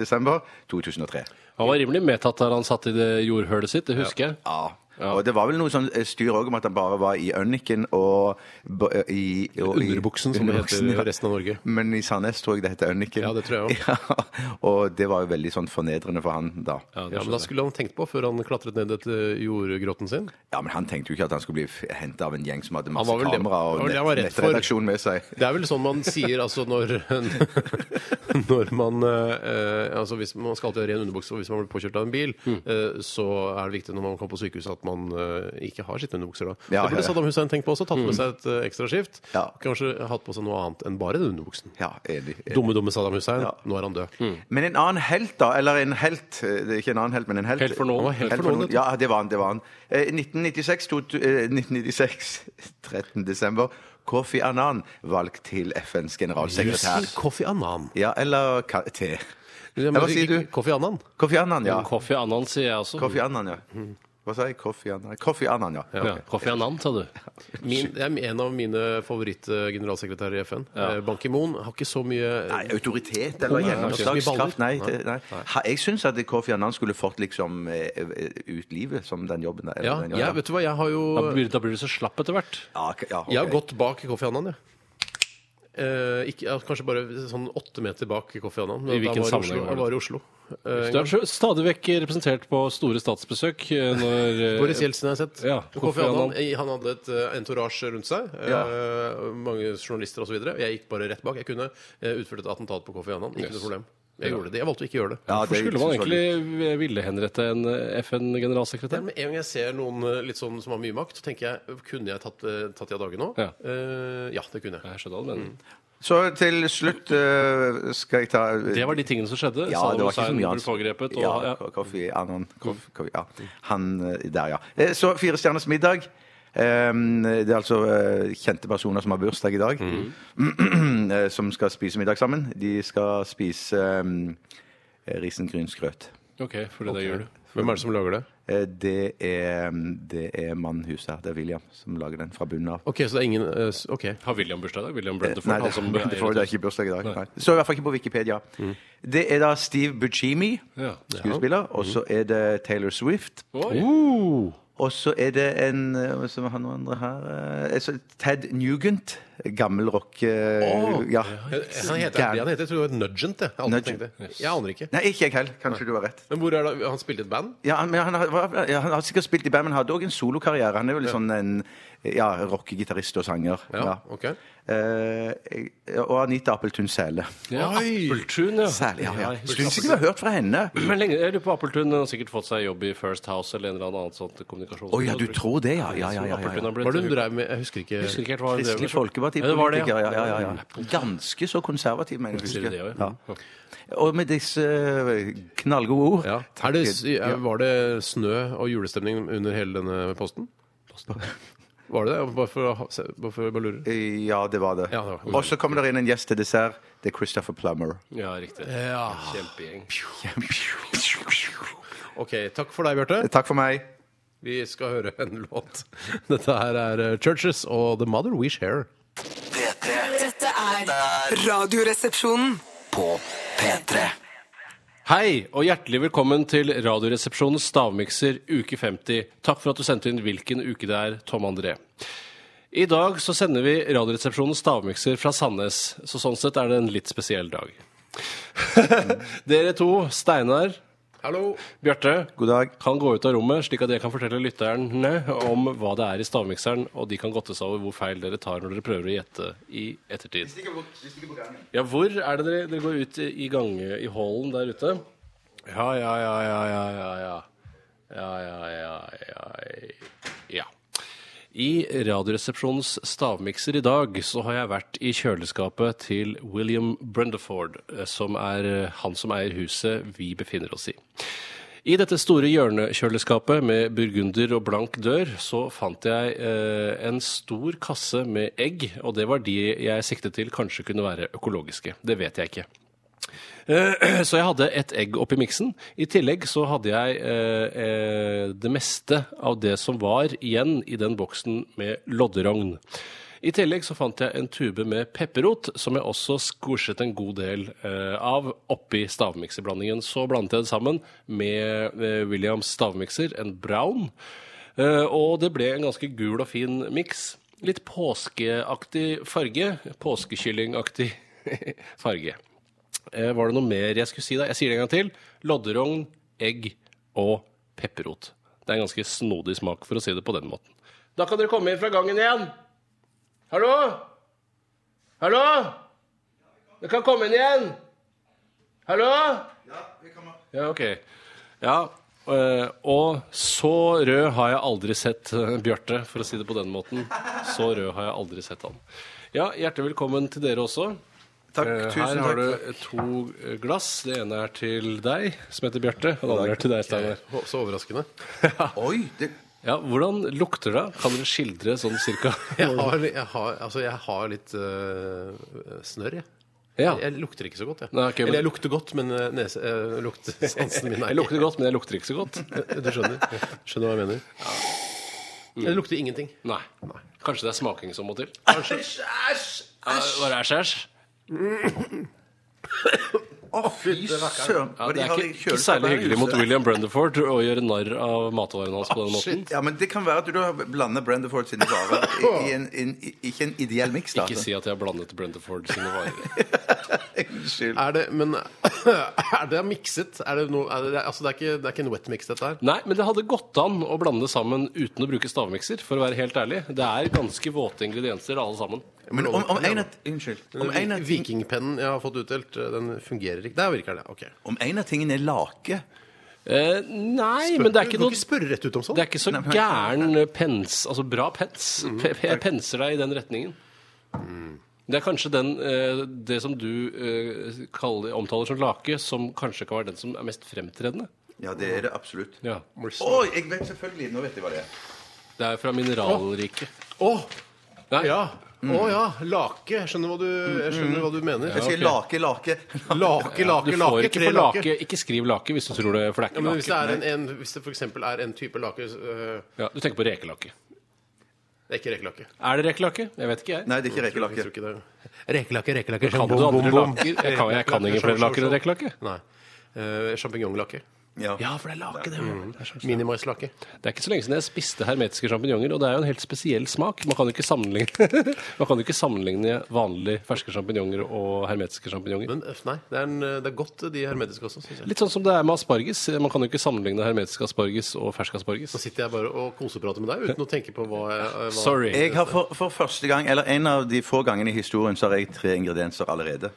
[SPEAKER 4] 13.12.2003.
[SPEAKER 3] Han var rimelig medtatt der han satt i det jordhølet sitt, det husker jeg.
[SPEAKER 4] Ja. Og det var vel noe sånn eh, styr òg om at han bare var i Øniken og b- eh, i, og i
[SPEAKER 2] Underbuksen, som det
[SPEAKER 4] underbuksen,
[SPEAKER 2] heter i
[SPEAKER 4] ja.
[SPEAKER 2] resten av Norge.
[SPEAKER 4] Men i Sandnes tror jeg det heter Øniken.
[SPEAKER 2] Ja, det tror jeg
[SPEAKER 4] Ja, og det var jo veldig sånn fornedrende for han da.
[SPEAKER 3] Ja,
[SPEAKER 2] Ja, men
[SPEAKER 3] det
[SPEAKER 2] Da
[SPEAKER 3] skjønner jeg.
[SPEAKER 2] skulle han tenkt på før han klatret ned etter jordgrotten sin.
[SPEAKER 4] Ja, men han tenkte jo ikke at han skulle bli henta av en gjeng som hadde
[SPEAKER 2] Han
[SPEAKER 4] masse
[SPEAKER 2] var vel det-
[SPEAKER 4] kamera
[SPEAKER 2] det
[SPEAKER 4] og
[SPEAKER 2] var det han var
[SPEAKER 4] nett,
[SPEAKER 2] redd for.
[SPEAKER 4] nettredaksjon med seg.
[SPEAKER 2] Det er vel sånn man sier altså når Når man eh, Altså hvis man skal alltid ha ren underbukse, og hvis man blir påkjørt av en bil,
[SPEAKER 4] Mm.
[SPEAKER 2] eh, så er det viktig når man kommer på sykehuset at man eh, ikke har skitne underbukser da.
[SPEAKER 4] Ja,
[SPEAKER 2] det burde
[SPEAKER 4] ja, ja.
[SPEAKER 2] Saddam Hussein tenkt på også. Tatt med seg et eh, ekstra skift.
[SPEAKER 4] Ja.
[SPEAKER 2] Kanskje hatt på seg noe annet enn bare den underbuksen.
[SPEAKER 4] Ja, enig. enig.
[SPEAKER 2] Dumme, dumme Saddam Hussein.
[SPEAKER 4] Ja. Mm.
[SPEAKER 2] Nå er han død.
[SPEAKER 4] Men en annen helt, da. Eller en helt eh, Det er ikke en annen helt, men en helt.
[SPEAKER 3] Helt for noen.
[SPEAKER 4] Han var
[SPEAKER 3] Helt for noen, vet du.
[SPEAKER 4] Ja, det var han. det var han. Eh, 1996, to, eh, 1996 13. desember, Kofi Annan valgt til FNs generalsekretær.
[SPEAKER 2] Kofi Annan.
[SPEAKER 4] Ja, eller ka- T.
[SPEAKER 2] Men,
[SPEAKER 4] hva sier du?
[SPEAKER 2] Kofi Annan?
[SPEAKER 4] Kofi Annan, ja.
[SPEAKER 3] Kofi Annan, sier jeg også.
[SPEAKER 4] Kofi Annan, ja. Hva sa jeg? Kofi Annan, Kofi Annan ja.
[SPEAKER 3] Ja, Kofi Annan, sa du.
[SPEAKER 2] Min, det er en av mine favorittgeneralsekretærer i FN. Eh, Ban Ki-moon har ikke så mye
[SPEAKER 4] Nei, autoritet eller
[SPEAKER 2] Nei,
[SPEAKER 4] gjennomslagskraft.
[SPEAKER 2] ikke så
[SPEAKER 4] Nei,
[SPEAKER 2] mye
[SPEAKER 4] det, nei. Ha- Jeg syns at Kofi Annan skulle fått liksom eh, eh, ut livet som den jobben der. eller
[SPEAKER 2] Ja,
[SPEAKER 4] den jobben.
[SPEAKER 2] jeg, vet du hva, jeg har jo
[SPEAKER 3] Da blir, da blir du så slapp etter hvert.
[SPEAKER 4] Ja, ok, ja, ok.
[SPEAKER 2] Jeg har gått bak Kofi Annan, jeg. Eh, ikke, ja, kanskje bare sånn åtte meter bak Kofi Annan. men
[SPEAKER 3] I
[SPEAKER 2] da
[SPEAKER 3] hvilken
[SPEAKER 2] var i Oslo,
[SPEAKER 3] sammenheng var det?
[SPEAKER 2] jeg var i Oslo. Eh,
[SPEAKER 3] Du er så- stadig vekk representert på store statsbesøk eh, når eh,
[SPEAKER 2] Boris Jeltsin har jeg sett.
[SPEAKER 3] Ja,
[SPEAKER 2] Kofi
[SPEAKER 3] Kofi Annan.
[SPEAKER 2] Annan eh, han hadde et eh, entourage rundt seg. eh, mange journalister osv. Jeg gikk bare rett bak. Jeg kunne eh, utført et attentat på Kofi Annan. Ikke noe problem. Jeg gjorde det. Jeg valgte å ikke gjøre det.
[SPEAKER 4] Ja,
[SPEAKER 3] Hvorfor
[SPEAKER 4] det-
[SPEAKER 3] skulle man egentlig ville henrette en
[SPEAKER 2] Ja,
[SPEAKER 3] eh, FN-generalsekretær?
[SPEAKER 2] Med en gang jeg ser noen eh, litt sånn som har mye makt, så tenker jeg kunne jeg tatt, eh, tatt de av dage nå?
[SPEAKER 3] Ja.
[SPEAKER 2] Eh, ja, det kunne jeg.
[SPEAKER 3] Jeg skjønner hva du mener.
[SPEAKER 4] Så til slutt eh, skal jeg ta
[SPEAKER 3] Det var de tingene som skjedde.
[SPEAKER 4] ja,
[SPEAKER 3] Saddam
[SPEAKER 4] det var ikke så
[SPEAKER 3] Hussein
[SPEAKER 4] mye
[SPEAKER 3] ble pågrepet. Og,
[SPEAKER 4] ja,
[SPEAKER 3] ja.
[SPEAKER 4] Kofi Annan. Kof, Kofi, ja. Han eh, der, ja. Eh, Så Fire stjerners middag. Ehm, det er altså eh, kjente personer som har bursdag i dag,
[SPEAKER 3] Mhm.
[SPEAKER 4] eh, som skal spise middag sammen. De skal spise um, risengrynsgrøt.
[SPEAKER 3] OK, for det der gjør du.
[SPEAKER 2] Hvem er det som lager det?
[SPEAKER 4] Eh, Det er, ehm, det er mannen huset her, det er William, som lager den fra bunnen av.
[SPEAKER 2] Ok, så det er ingen eh, s- Ok.
[SPEAKER 3] Har William bursdag i dag? William
[SPEAKER 4] Eh,
[SPEAKER 3] Brutherford?
[SPEAKER 4] Nei, det,
[SPEAKER 3] han som
[SPEAKER 4] men det, får, det
[SPEAKER 3] eier-
[SPEAKER 4] er ikke bursdag i dag. Nei. Så i hvert fall ikke på Wikipedia. Det er da Steve Buscemi,
[SPEAKER 3] Ja.
[SPEAKER 4] skuespiller, og så er det Taylor Swift.
[SPEAKER 3] Oi. Uh!
[SPEAKER 4] Og så er det en eh, som er han og andre her eh, så Ted Nugent. Gammel rock... eh,
[SPEAKER 2] Åh,
[SPEAKER 4] ja.
[SPEAKER 2] Han heter,
[SPEAKER 4] Gæren.
[SPEAKER 2] han heter, jeg tror det var Nudgent. Jeg, har alltid
[SPEAKER 4] Nugent.
[SPEAKER 2] tenkt det. jeg aner ikke.
[SPEAKER 4] Nei, ikke jeg heller. Kanskje du har rett.
[SPEAKER 2] Men hvor er det, Han spilte i et band?
[SPEAKER 4] Ja, han- men han, har- var- ja, han har sikkert spilt i band, men hadde òg en solokarriere. Han er vel sånn en ja, rockegitarist og sanger.
[SPEAKER 2] Ja,
[SPEAKER 4] Ja.
[SPEAKER 2] ok.
[SPEAKER 4] Eh, jeg- og Anita Appeltun Sæle.
[SPEAKER 3] Ja,
[SPEAKER 2] Oi.
[SPEAKER 3] Appeltun, ja.
[SPEAKER 4] Særlig, ja. ja.
[SPEAKER 3] Appeltun.
[SPEAKER 4] Syns ikke vi har hørt fra henne.
[SPEAKER 3] Men lenge, jeg lurer på Appeltun har sikkert fått seg jobb i First House eller en eller annen sånt kommunikasjon.
[SPEAKER 4] Å ja, du tror det, ja. ja, ja, ja, ja,
[SPEAKER 3] Appeltun
[SPEAKER 4] ja.
[SPEAKER 3] har blitt
[SPEAKER 2] Hva er det hun drev med? Jeg husker ikke.
[SPEAKER 3] Jeg husker ikke helt hva hun drev med.
[SPEAKER 4] Kristelig
[SPEAKER 3] liksom. Ja, det var det,
[SPEAKER 4] Folkeparti-politiker.
[SPEAKER 3] ja.
[SPEAKER 4] Ja, ja, ja, ja. Ganske så konservativ, mener jeg.
[SPEAKER 3] Sier de det
[SPEAKER 4] husker.
[SPEAKER 3] også,
[SPEAKER 4] Ja.
[SPEAKER 3] ja. Ja.
[SPEAKER 4] Og med disse eh, knallgode ord
[SPEAKER 2] Ja. Er det, s- er- var det snø og julestemning under hele denne posten? Var det det? Bare for å ha- se- bare for å bare lure.
[SPEAKER 4] Ja, det var det.
[SPEAKER 2] Ja, det var-
[SPEAKER 4] Og så kommer det inn en gjest til dessert. Det er Christopher Plummer.
[SPEAKER 3] Ja, riktig. Kjempegjeng.
[SPEAKER 2] OK. Takk for deg, Bjarte.
[SPEAKER 4] Takk for meg.
[SPEAKER 2] Vi skal høre en låt. Dette her er eh, Churches og The Mother We Share.
[SPEAKER 1] P3
[SPEAKER 5] Dette er Radioresepsjonen.
[SPEAKER 1] på P3.
[SPEAKER 3] Hei, og hjertelig velkommen til Radioresepsjonens stavmikser uke 50. Takk for at du sendte inn hvilken uke det er, Tom André. I dag så sender vi Radioresepsjonens stavmikser fra Sandnes, så sånn sett er det en litt spesiell dag. Dere to, Steinar,
[SPEAKER 2] Hallo!
[SPEAKER 3] Bjarte,
[SPEAKER 4] God dag.
[SPEAKER 3] kan gå ut av rommet, slik at jeg kan fortelle lytterne om hva det er i stavmikseren, og de kan godte seg over hvor feil dere tar når dere prøver å gjette i ettertid. Ja, hvor er det dere, dere går ut i, i gange i hallen der ute? Ja, ja, ja, ja, ja, ja, ja. Ja, ja, ja, ja, ja. I Radioresepsjonens stavmikser i dag så har jeg vært i kjøleskapet til William Brundeford, eh, som er eh, han som eier huset vi befinner oss i. I dette store hjørnekjøleskapet med burgunder og blank dør, så fant jeg eh, en stor kasse med egg, og det var de jeg siktet til kanskje kunne være økologiske. Det vet jeg ikke. Eh, Så jeg hadde et egg oppi miksen. I tillegg så hadde jeg eh, eh, det meste av det som var igjen i den boksen med lodderogn. I tillegg så fant jeg en tube med pepperrot, som jeg også squishet en god del eh, av oppi stavmikserblandingen. Så blandet jeg det sammen med eh, Williams stavmikser, en brown. Eh, og det ble en ganske gul og fin miks. Litt påskeaktig farge. Påskekyllingaktig farge. Eh, Var det noe mer jeg skulle si da? Jeg sier det en gang til. Lodderogn, egg og pepperrot. Det er en ganske snodig smak, for å si det på den måten. Da kan dere komme inn fra gangen igjen. Hallo? Hallo? Dere kan komme inn igjen. Hallo? Ja, ok. Ja, eh, og så rød har jeg aldri sett eh, Bjarte, for å si det på den måten. Så rød har jeg aldri sett han. Ja, hjertelig velkommen til dere også.
[SPEAKER 4] Takk,
[SPEAKER 3] Eh, Her
[SPEAKER 4] tusen
[SPEAKER 3] har
[SPEAKER 4] takk.
[SPEAKER 3] du to eh, glass. Det ene er til deg, som heter Bjarte. Og det andre er til deg, Steinar.
[SPEAKER 2] Å, Så overraskende.
[SPEAKER 4] Oi! Det,
[SPEAKER 3] Ja, hvordan lukter det? Kan dere skildre sånn cirka?
[SPEAKER 2] Jeg har, jeg har, altså, jeg har litt øh, snørr, jeg.
[SPEAKER 3] Ja.
[SPEAKER 2] Jeg lukter ikke så godt, jeg.
[SPEAKER 3] Nei, ok, men-
[SPEAKER 2] Eller jeg lukter godt, men øh, nese, øh, luktesansen min er
[SPEAKER 3] Jeg lukter godt, men jeg lukter ikke så godt.
[SPEAKER 2] Du skjønner Skjønner hva jeg mener? Det lukter ingenting.
[SPEAKER 3] Nei. Kanskje det er smaking som må til? Kanskje. Æsj! Bare æsj, æsj.
[SPEAKER 4] å, fy søren!
[SPEAKER 3] Ja,
[SPEAKER 4] Og de
[SPEAKER 3] det er
[SPEAKER 4] har
[SPEAKER 3] ikke,
[SPEAKER 4] i
[SPEAKER 3] ikke
[SPEAKER 4] kjøleskapet
[SPEAKER 3] særlig
[SPEAKER 4] her i
[SPEAKER 3] hyggelig mot
[SPEAKER 4] huset. Ah,
[SPEAKER 3] William Brendeford å gjøre narr av matvarene hans på den måten.
[SPEAKER 4] Ja, men Det kan være at du har blandet Brendeford sine varer i- i en, en, i- ikke en ideell miks. da.
[SPEAKER 3] Ikke si at jeg har blandet Brendeford sine varer.
[SPEAKER 4] Unnskyld.
[SPEAKER 2] Er det, men er det mikset? Er det, noe- er det, altså, det, er ikke, det er ikke en wet mix, dette her?
[SPEAKER 3] Nei, men det hadde gått an å blande det sammen uten å bruke stavmikser, for å være helt ærlig. Det er ganske våte ingredienser alle sammen.
[SPEAKER 4] Men om, om en av Unnskyld. Om en av, ting,
[SPEAKER 2] Vikingpennen jeg har fått utdelt, eh, den fungerer ikke. Der virker det. ok
[SPEAKER 4] om en av tingene er lake
[SPEAKER 3] Eh, nei, men det er ikke
[SPEAKER 2] Du kan
[SPEAKER 3] noe
[SPEAKER 2] ikke spørre rett ut om sånn. sånt.
[SPEAKER 3] Det er ikke så gæren pens, altså bra pens.
[SPEAKER 2] Mhm.
[SPEAKER 3] Pe- pe- Jeg penser deg i den retningen.
[SPEAKER 2] Mm.
[SPEAKER 3] Det er kanskje den, eh, det som du eh, kaller, omtaler som lake, som kanskje kan være den som er mest fremtredende.
[SPEAKER 4] Ja, det er det absolutt. Å,
[SPEAKER 3] Ja.
[SPEAKER 4] jeg vet selvfølgelig Nå vet jeg hva det er.
[SPEAKER 3] Det er fra mineralriket.
[SPEAKER 2] Å
[SPEAKER 3] Nei,
[SPEAKER 2] ja. Å ja. Lake. Jeg skjønner hva du, jeg skjønner hva du mener.
[SPEAKER 4] Jeg sier lake, lake.
[SPEAKER 2] Lake,
[SPEAKER 3] Du
[SPEAKER 2] lake,
[SPEAKER 3] får
[SPEAKER 2] lake.
[SPEAKER 3] ikke
[SPEAKER 2] tre
[SPEAKER 3] på lake. Ikke skriv lake hvis du tror det, for det
[SPEAKER 2] Ja,
[SPEAKER 3] er ikke
[SPEAKER 2] men hvis det, er
[SPEAKER 3] lake.
[SPEAKER 2] en, en, hvis det for eksempel er en type lake øh,
[SPEAKER 3] Ja, du tenker på rekelake.
[SPEAKER 2] Det er ikke rekelake.
[SPEAKER 3] Er det rekelake? Jeg vet ikke, jeg.
[SPEAKER 4] Nei, det er ikke rekelake.
[SPEAKER 2] Jeg tror ikke det er- Rekelake, rekelake,
[SPEAKER 3] Kan du andre laker? Jeg kan, jeg kan ingen flere laker enn rekelake.
[SPEAKER 2] Nei. Uh, Sjampinjonglake.
[SPEAKER 4] Ja.
[SPEAKER 3] Ja, for det er lake, det.
[SPEAKER 2] sånn- Minimaislake.
[SPEAKER 3] Det er ikke så lenge siden jeg spiste hermetiske sjampinjonger, og det er jo en helt spesiell smak. Man kan jo ikke sammenligne, man kan jo ikke sammenligne vanlig ferske sjampinjonger og hermetiske sjampinjonger.
[SPEAKER 2] Men øff, nei, det er, en, øh, det er godt de hermetiske også, syns jeg.
[SPEAKER 3] Litt sånn som det er med asparges. Man kan jo ikke sammenligne hermetisk asparges og fersk asparges.
[SPEAKER 2] Nå sitter jeg bare og koseprater med deg uten å tenke på hva jeg øh, hva...
[SPEAKER 3] Sorry. Jøss.
[SPEAKER 4] Jeg har for, for første gang, eller en av de få gangene i historien, så har jeg tre ingredienser allerede.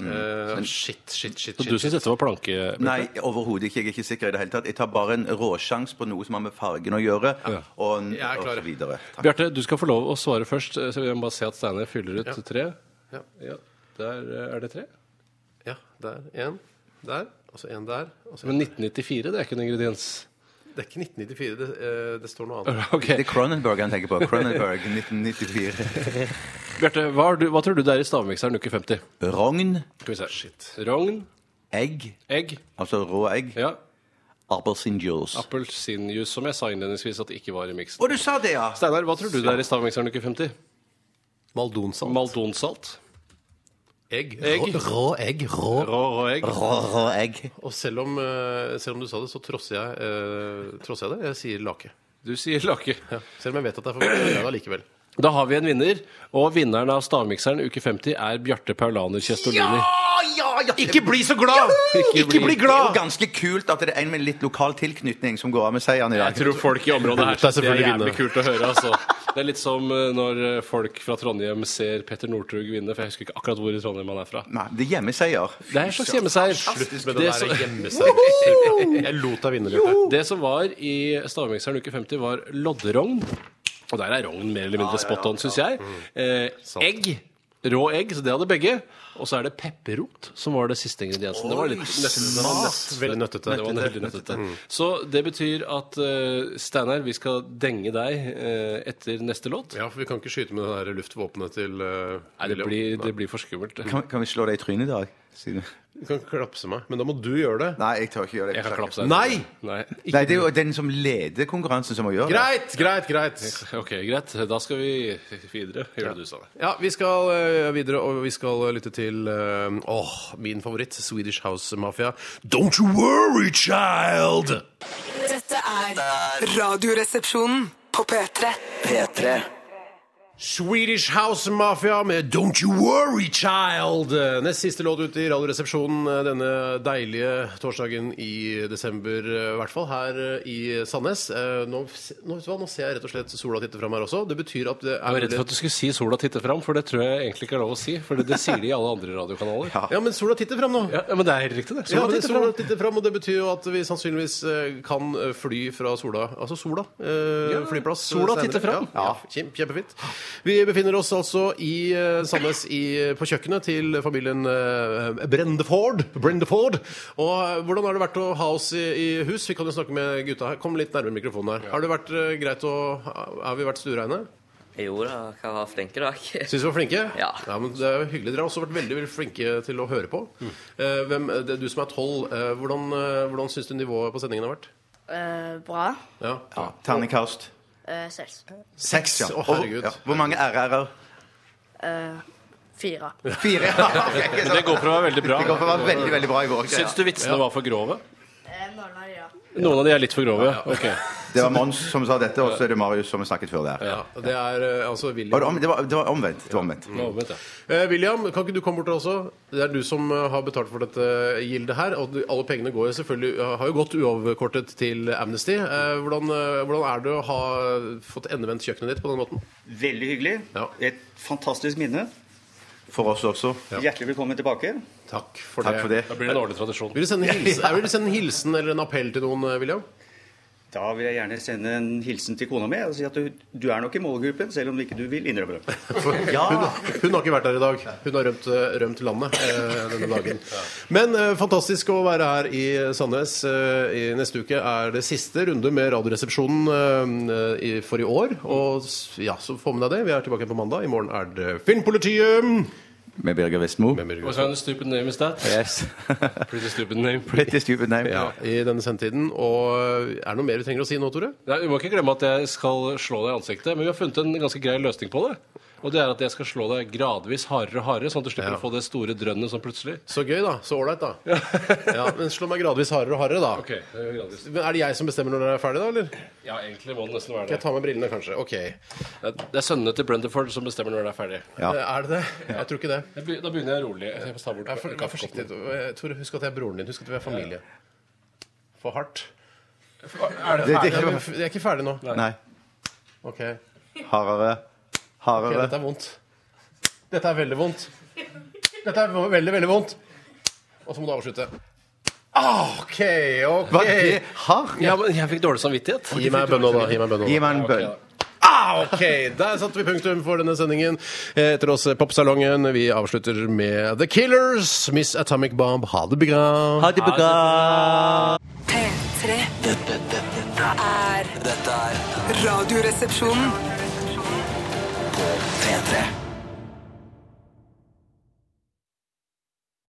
[SPEAKER 2] Eh, shit, shit, shit.
[SPEAKER 3] Så du
[SPEAKER 2] shit.
[SPEAKER 3] syns dette var planke...
[SPEAKER 4] Nei, overhodet ikke. Jeg er ikke sikker i det hele tatt. Jeg tar bare en råsjans på noe som har med fargen å gjøre, og,
[SPEAKER 2] Jeg er
[SPEAKER 4] og
[SPEAKER 2] klar.
[SPEAKER 4] så videre. Takk.
[SPEAKER 3] Bjarte, du skal få lov å svare først. Så jeg må bare se at Steinar fyller ut tre.
[SPEAKER 2] Ja.
[SPEAKER 3] Ja. Der eh, er det tre.
[SPEAKER 2] Ja, der. Én der, og så én der. Og så en.
[SPEAKER 3] Men 1994, det er ikke en ingrediens.
[SPEAKER 2] Det er ikke 1994, det, eh, det står noe annet.
[SPEAKER 3] Ok.
[SPEAKER 4] Det er Cronenberg han tenker på. Cronenberg 1994.
[SPEAKER 3] Bjarte, hva, har du- hva tror du det er i stavmikseren uke 50?
[SPEAKER 4] Rogn,
[SPEAKER 3] Skal vi se. Rogn,
[SPEAKER 4] egg,
[SPEAKER 3] egg,
[SPEAKER 4] altså rå egg,
[SPEAKER 3] ja.
[SPEAKER 4] appelsin juice.
[SPEAKER 3] Appelsinjuice, som jeg sa innledningsvis at det ikke var i miksen.
[SPEAKER 4] Og du sa det, ja!
[SPEAKER 3] Steinar, hva tror du det er i stavmikseren uke 50?
[SPEAKER 2] Maldonsalt.
[SPEAKER 3] Maldonsalt?
[SPEAKER 2] egg.
[SPEAKER 3] Egg.
[SPEAKER 2] Rå, rå egg. Rå.
[SPEAKER 3] Rå og egg?
[SPEAKER 4] Rå, rå egg.
[SPEAKER 2] Og selv om, eh, selv om du sa det, så trosser jeg, eh, trosser jeg det. Jeg sier lake.
[SPEAKER 3] Du sier lake.
[SPEAKER 2] Selv om jeg vet at det er for mye. Jeg gjør det allikevel.
[SPEAKER 3] Da har vi en vinner, og vinneren av Stavmikseren uke 50 er Bjarte Paulaner Kjestolini.
[SPEAKER 4] ja, ja.
[SPEAKER 3] Ikke bli så glad! Ikke bli
[SPEAKER 4] Det er jo
[SPEAKER 3] glad!
[SPEAKER 4] ganske kult at det er en med litt lokal tilknytning som går av med seieren i dag.
[SPEAKER 3] Jeg tror folk i området her
[SPEAKER 2] Det er
[SPEAKER 3] synes det er
[SPEAKER 2] selvfølgelig
[SPEAKER 3] jævlig
[SPEAKER 2] vinner.
[SPEAKER 3] kult å høre. Altså. Det er litt som eh, når eh, folk fra Trondheim ser Petter Northug vinne, for jeg husker ikke akkurat hvor i Trondheim han er fra.
[SPEAKER 4] Nei, det er hjemmeseier.
[SPEAKER 3] Det er en slags hjemmeseier.
[SPEAKER 2] Slutt med
[SPEAKER 3] Det
[SPEAKER 2] det der
[SPEAKER 3] som-
[SPEAKER 2] å gjemme seg. Jeg lot deg vinne, Bjarte.
[SPEAKER 3] Det som var i Stavmikseren uke 50, var lodderogn. Og der er rogn mer eller mindre spot on, syns jeg.
[SPEAKER 4] Mm.
[SPEAKER 3] Eh, egg. Rå egg, så det hadde begge. Og så er det pepperrot som var det siste ingrediensen. Det var litt nøttete.
[SPEAKER 2] Veldig nøttete.
[SPEAKER 3] Det var veldig nøttete.
[SPEAKER 4] Mm.
[SPEAKER 3] Så det betyr at eh, Steinar, vi skal denge deg eh, etter neste låt.
[SPEAKER 2] Ja, for vi kan ikke skyte med det der luftvåpenet til eh,
[SPEAKER 3] Nei, det
[SPEAKER 2] William.
[SPEAKER 3] blir, det blir for skummelt.
[SPEAKER 4] Kan, kan vi slå deg i trynet i dag? Siden-
[SPEAKER 2] Du kan klapse meg, men da må du gjøre det.
[SPEAKER 4] Nei, jeg tør ikke gjøre det.
[SPEAKER 3] Jeg kan klapse deg.
[SPEAKER 2] Nei!
[SPEAKER 3] Nei.
[SPEAKER 4] Nei, det er jo den som leder konkurransen, som må gjøre det.
[SPEAKER 2] Greit, greit, greit.
[SPEAKER 3] Ok, greit. Da skal vi videre. Gjør det du sa.
[SPEAKER 2] Ja, vi skal eh, videre, og vi skal eh, lytte til eh, åh, min favoritt, Swedish House Mafia. Don't you worry, child!
[SPEAKER 5] Dette er Radioresepsjonen på P3.
[SPEAKER 1] P3.
[SPEAKER 2] Swedish House Mafia med Don't You Worry Child. Nest siste låt ut i Radioresepsjonen eh, denne deilige torsdagen i desember, eh, i hvert fall her i Sandnes. Eh, Nå, nå, vet du hva, nå ser jeg rett og slett sola titte fram her også. Det betyr at det
[SPEAKER 3] Jeg
[SPEAKER 2] er
[SPEAKER 3] var redd for at du skulle si 'sola titter fram', for det tror jeg egentlig ikke er lov å si. For det, det sier de i alle andre radiokanaler. Ja.
[SPEAKER 2] Ja, men sola titter fram nå.
[SPEAKER 3] men det er riktig, det.
[SPEAKER 2] Ja,
[SPEAKER 3] Sola
[SPEAKER 2] det
[SPEAKER 3] titter
[SPEAKER 2] sola
[SPEAKER 3] fram.
[SPEAKER 2] titter fram, og det betyr jo at vi sannsynligvis eh, kan eh, fly fra sola. Altså sola. Eh,
[SPEAKER 3] Ja,
[SPEAKER 2] flyplass.
[SPEAKER 3] sola
[SPEAKER 2] senere.
[SPEAKER 3] titter fram.
[SPEAKER 2] Ja, ja. Kjem, kjempefint. Vi befinner oss altså i eh, Sandnes i, på kjøkkenet til familien eh, Brendeford. Brendeford. Og eh, hvordan har det vært å ha oss i, i hus? Vi kan jo snakke med gutta her. Kom litt nærmere mikrofonen her. Har det vært eh, greit å Har vi vært stuereine?
[SPEAKER 6] Jo da, jeg var flink i dag.
[SPEAKER 2] Syns vi var flinke?
[SPEAKER 6] Ja.
[SPEAKER 2] men det er jo hyggelig. Dere har også vært veldig, veldig flinke til å høre på. Eh, hvem, det er du som er tolv, eh, hvordan, eh, hvordan syns du nivået på sendingen har vært?
[SPEAKER 7] Eh, bra.
[SPEAKER 2] Ja.
[SPEAKER 4] Ja. Terningkast.
[SPEAKER 7] Eh, seks.
[SPEAKER 4] Seks, ja.
[SPEAKER 2] Å, herregud.
[SPEAKER 4] Og- ja. Hvor mange RR-er?
[SPEAKER 7] Eh, fire.
[SPEAKER 4] Fire. Ja, ok, ikke sant.
[SPEAKER 3] Det går for å være veldig bra.
[SPEAKER 4] Det går for å være veldig, veldig bra i går. ikke
[SPEAKER 3] Syns
[SPEAKER 4] sant?
[SPEAKER 3] du vitsene var for grove?
[SPEAKER 7] Eh, noen av de, ja.
[SPEAKER 3] Noen av de er litt for grove. Ok.
[SPEAKER 4] Det var Mons som sa dette, og så er det Marius som har snakket før der.
[SPEAKER 2] Ja, det er eh, altså
[SPEAKER 4] Og det,
[SPEAKER 2] William.
[SPEAKER 4] om, det, var, det var omvendt. Det var omvendt.
[SPEAKER 3] Nå vet jeg.
[SPEAKER 2] Eh, William, kan ikke du komme bort også? Det er du som eh, har betalt for dette eh, gildet her. Og du- alle pengene går jo selvfølgelig, eh, har jo gått uavkortet til Amnesty. Eh, hvordan, eh, hvordan er det å ha fått endevendt kjøkkenet ditt på den måten?
[SPEAKER 8] Veldig hyggelig.
[SPEAKER 2] Ja.
[SPEAKER 8] Et fantastisk minne.
[SPEAKER 4] For oss også.
[SPEAKER 8] Hjertelig velkommen tilbake.
[SPEAKER 2] Takk for
[SPEAKER 4] Takk for det.
[SPEAKER 3] Da blir det en årlig tradisjon.
[SPEAKER 2] Vil du sende en hilsen, vil du sende en hilsen eller en appell til noen, eh, William?
[SPEAKER 8] Da vil jeg gjerne sende en hilsen til kona mi og si at du, du er nok i målgruppen, selv om ikke du vil innrømme det.
[SPEAKER 2] Hun, hun har ikke vært her i dag. Hun har rømt, rømt landet eh, denne dagen. Men eh, fantastisk å være her i Sandnes. Eh, i neste uke er det siste runde med Radioresepsjonen eh, i, for i år. Og s- ja, så får med deg det. Vi er tilbake på mandag. I morgen er det Filmpolitiet!
[SPEAKER 4] Med Birger Vestmo.
[SPEAKER 3] What kind of stupid name is that?
[SPEAKER 4] Yes.
[SPEAKER 3] Pretty stupid name.
[SPEAKER 4] Pretty stupid name.
[SPEAKER 2] Ja, I denne sendetiden. Og eh, er det noe mer vi trenger å si nå, Tore?
[SPEAKER 3] Nei, vi må ikke glemme at jeg skal slå deg i ansiktet, men vi har funnet en ganske grei løsning på det. Og det er at jeg skal slå deg gradvis hardere og hardere, sånn at du slipper
[SPEAKER 2] Ja.
[SPEAKER 3] å få det store drønnet sånn plutselig.
[SPEAKER 2] Så gøy, da. Så ålreit, da. Ja, men slå meg gradvis hardere og hardere, da.
[SPEAKER 3] Ok, det er gradvis.
[SPEAKER 2] Men Er det jeg som bestemmer når dere er ferdig, da? eller? Skal
[SPEAKER 3] Ja, egentlig må det nesten være
[SPEAKER 2] jeg ta med brillene, kanskje? Ok.
[SPEAKER 3] Det er sønnene til Brendeford som bestemmer når det er ferdig.
[SPEAKER 4] Ja.
[SPEAKER 2] Eh, Er det det? Jeg tror ikke det.
[SPEAKER 3] Jeg be- Da begynner jeg rolig. Jeg får ta bort
[SPEAKER 2] Vær, for, vær forsiktig. Eh, Tore, husk at jeg er broren din. Husk at vi er familie. For hardt.
[SPEAKER 3] Er det
[SPEAKER 4] Det, det
[SPEAKER 2] Nei, men
[SPEAKER 4] er ikke,
[SPEAKER 2] f- jeg er ikke ferdig nå.
[SPEAKER 4] nei.
[SPEAKER 2] Ok, Ok,
[SPEAKER 4] Hardere. Hardere.
[SPEAKER 2] Dette er vondt. Dette er veldig vondt. Dette er veldig, veldig vondt. Og så må du avslutte. Ah, OK, OK.
[SPEAKER 4] Hva er det? Hard?
[SPEAKER 3] Ja, men jeg fikk dårlig samvittighet.
[SPEAKER 2] Gi meg bønna, da. Gi meg bønna.
[SPEAKER 4] Gi meg en bønn.
[SPEAKER 2] Ah, ok, Der satte vi punktum for denne sendingen. Eh, Etter oss eh, Popsalongen. Vi avslutter med The Killers, Miss Atomic Bomb. Ha det bra.
[SPEAKER 4] Ha det bra.
[SPEAKER 5] P3
[SPEAKER 1] Dette, dette, dette,
[SPEAKER 5] er
[SPEAKER 1] dette er
[SPEAKER 5] Radioresepsjonen.
[SPEAKER 1] P3.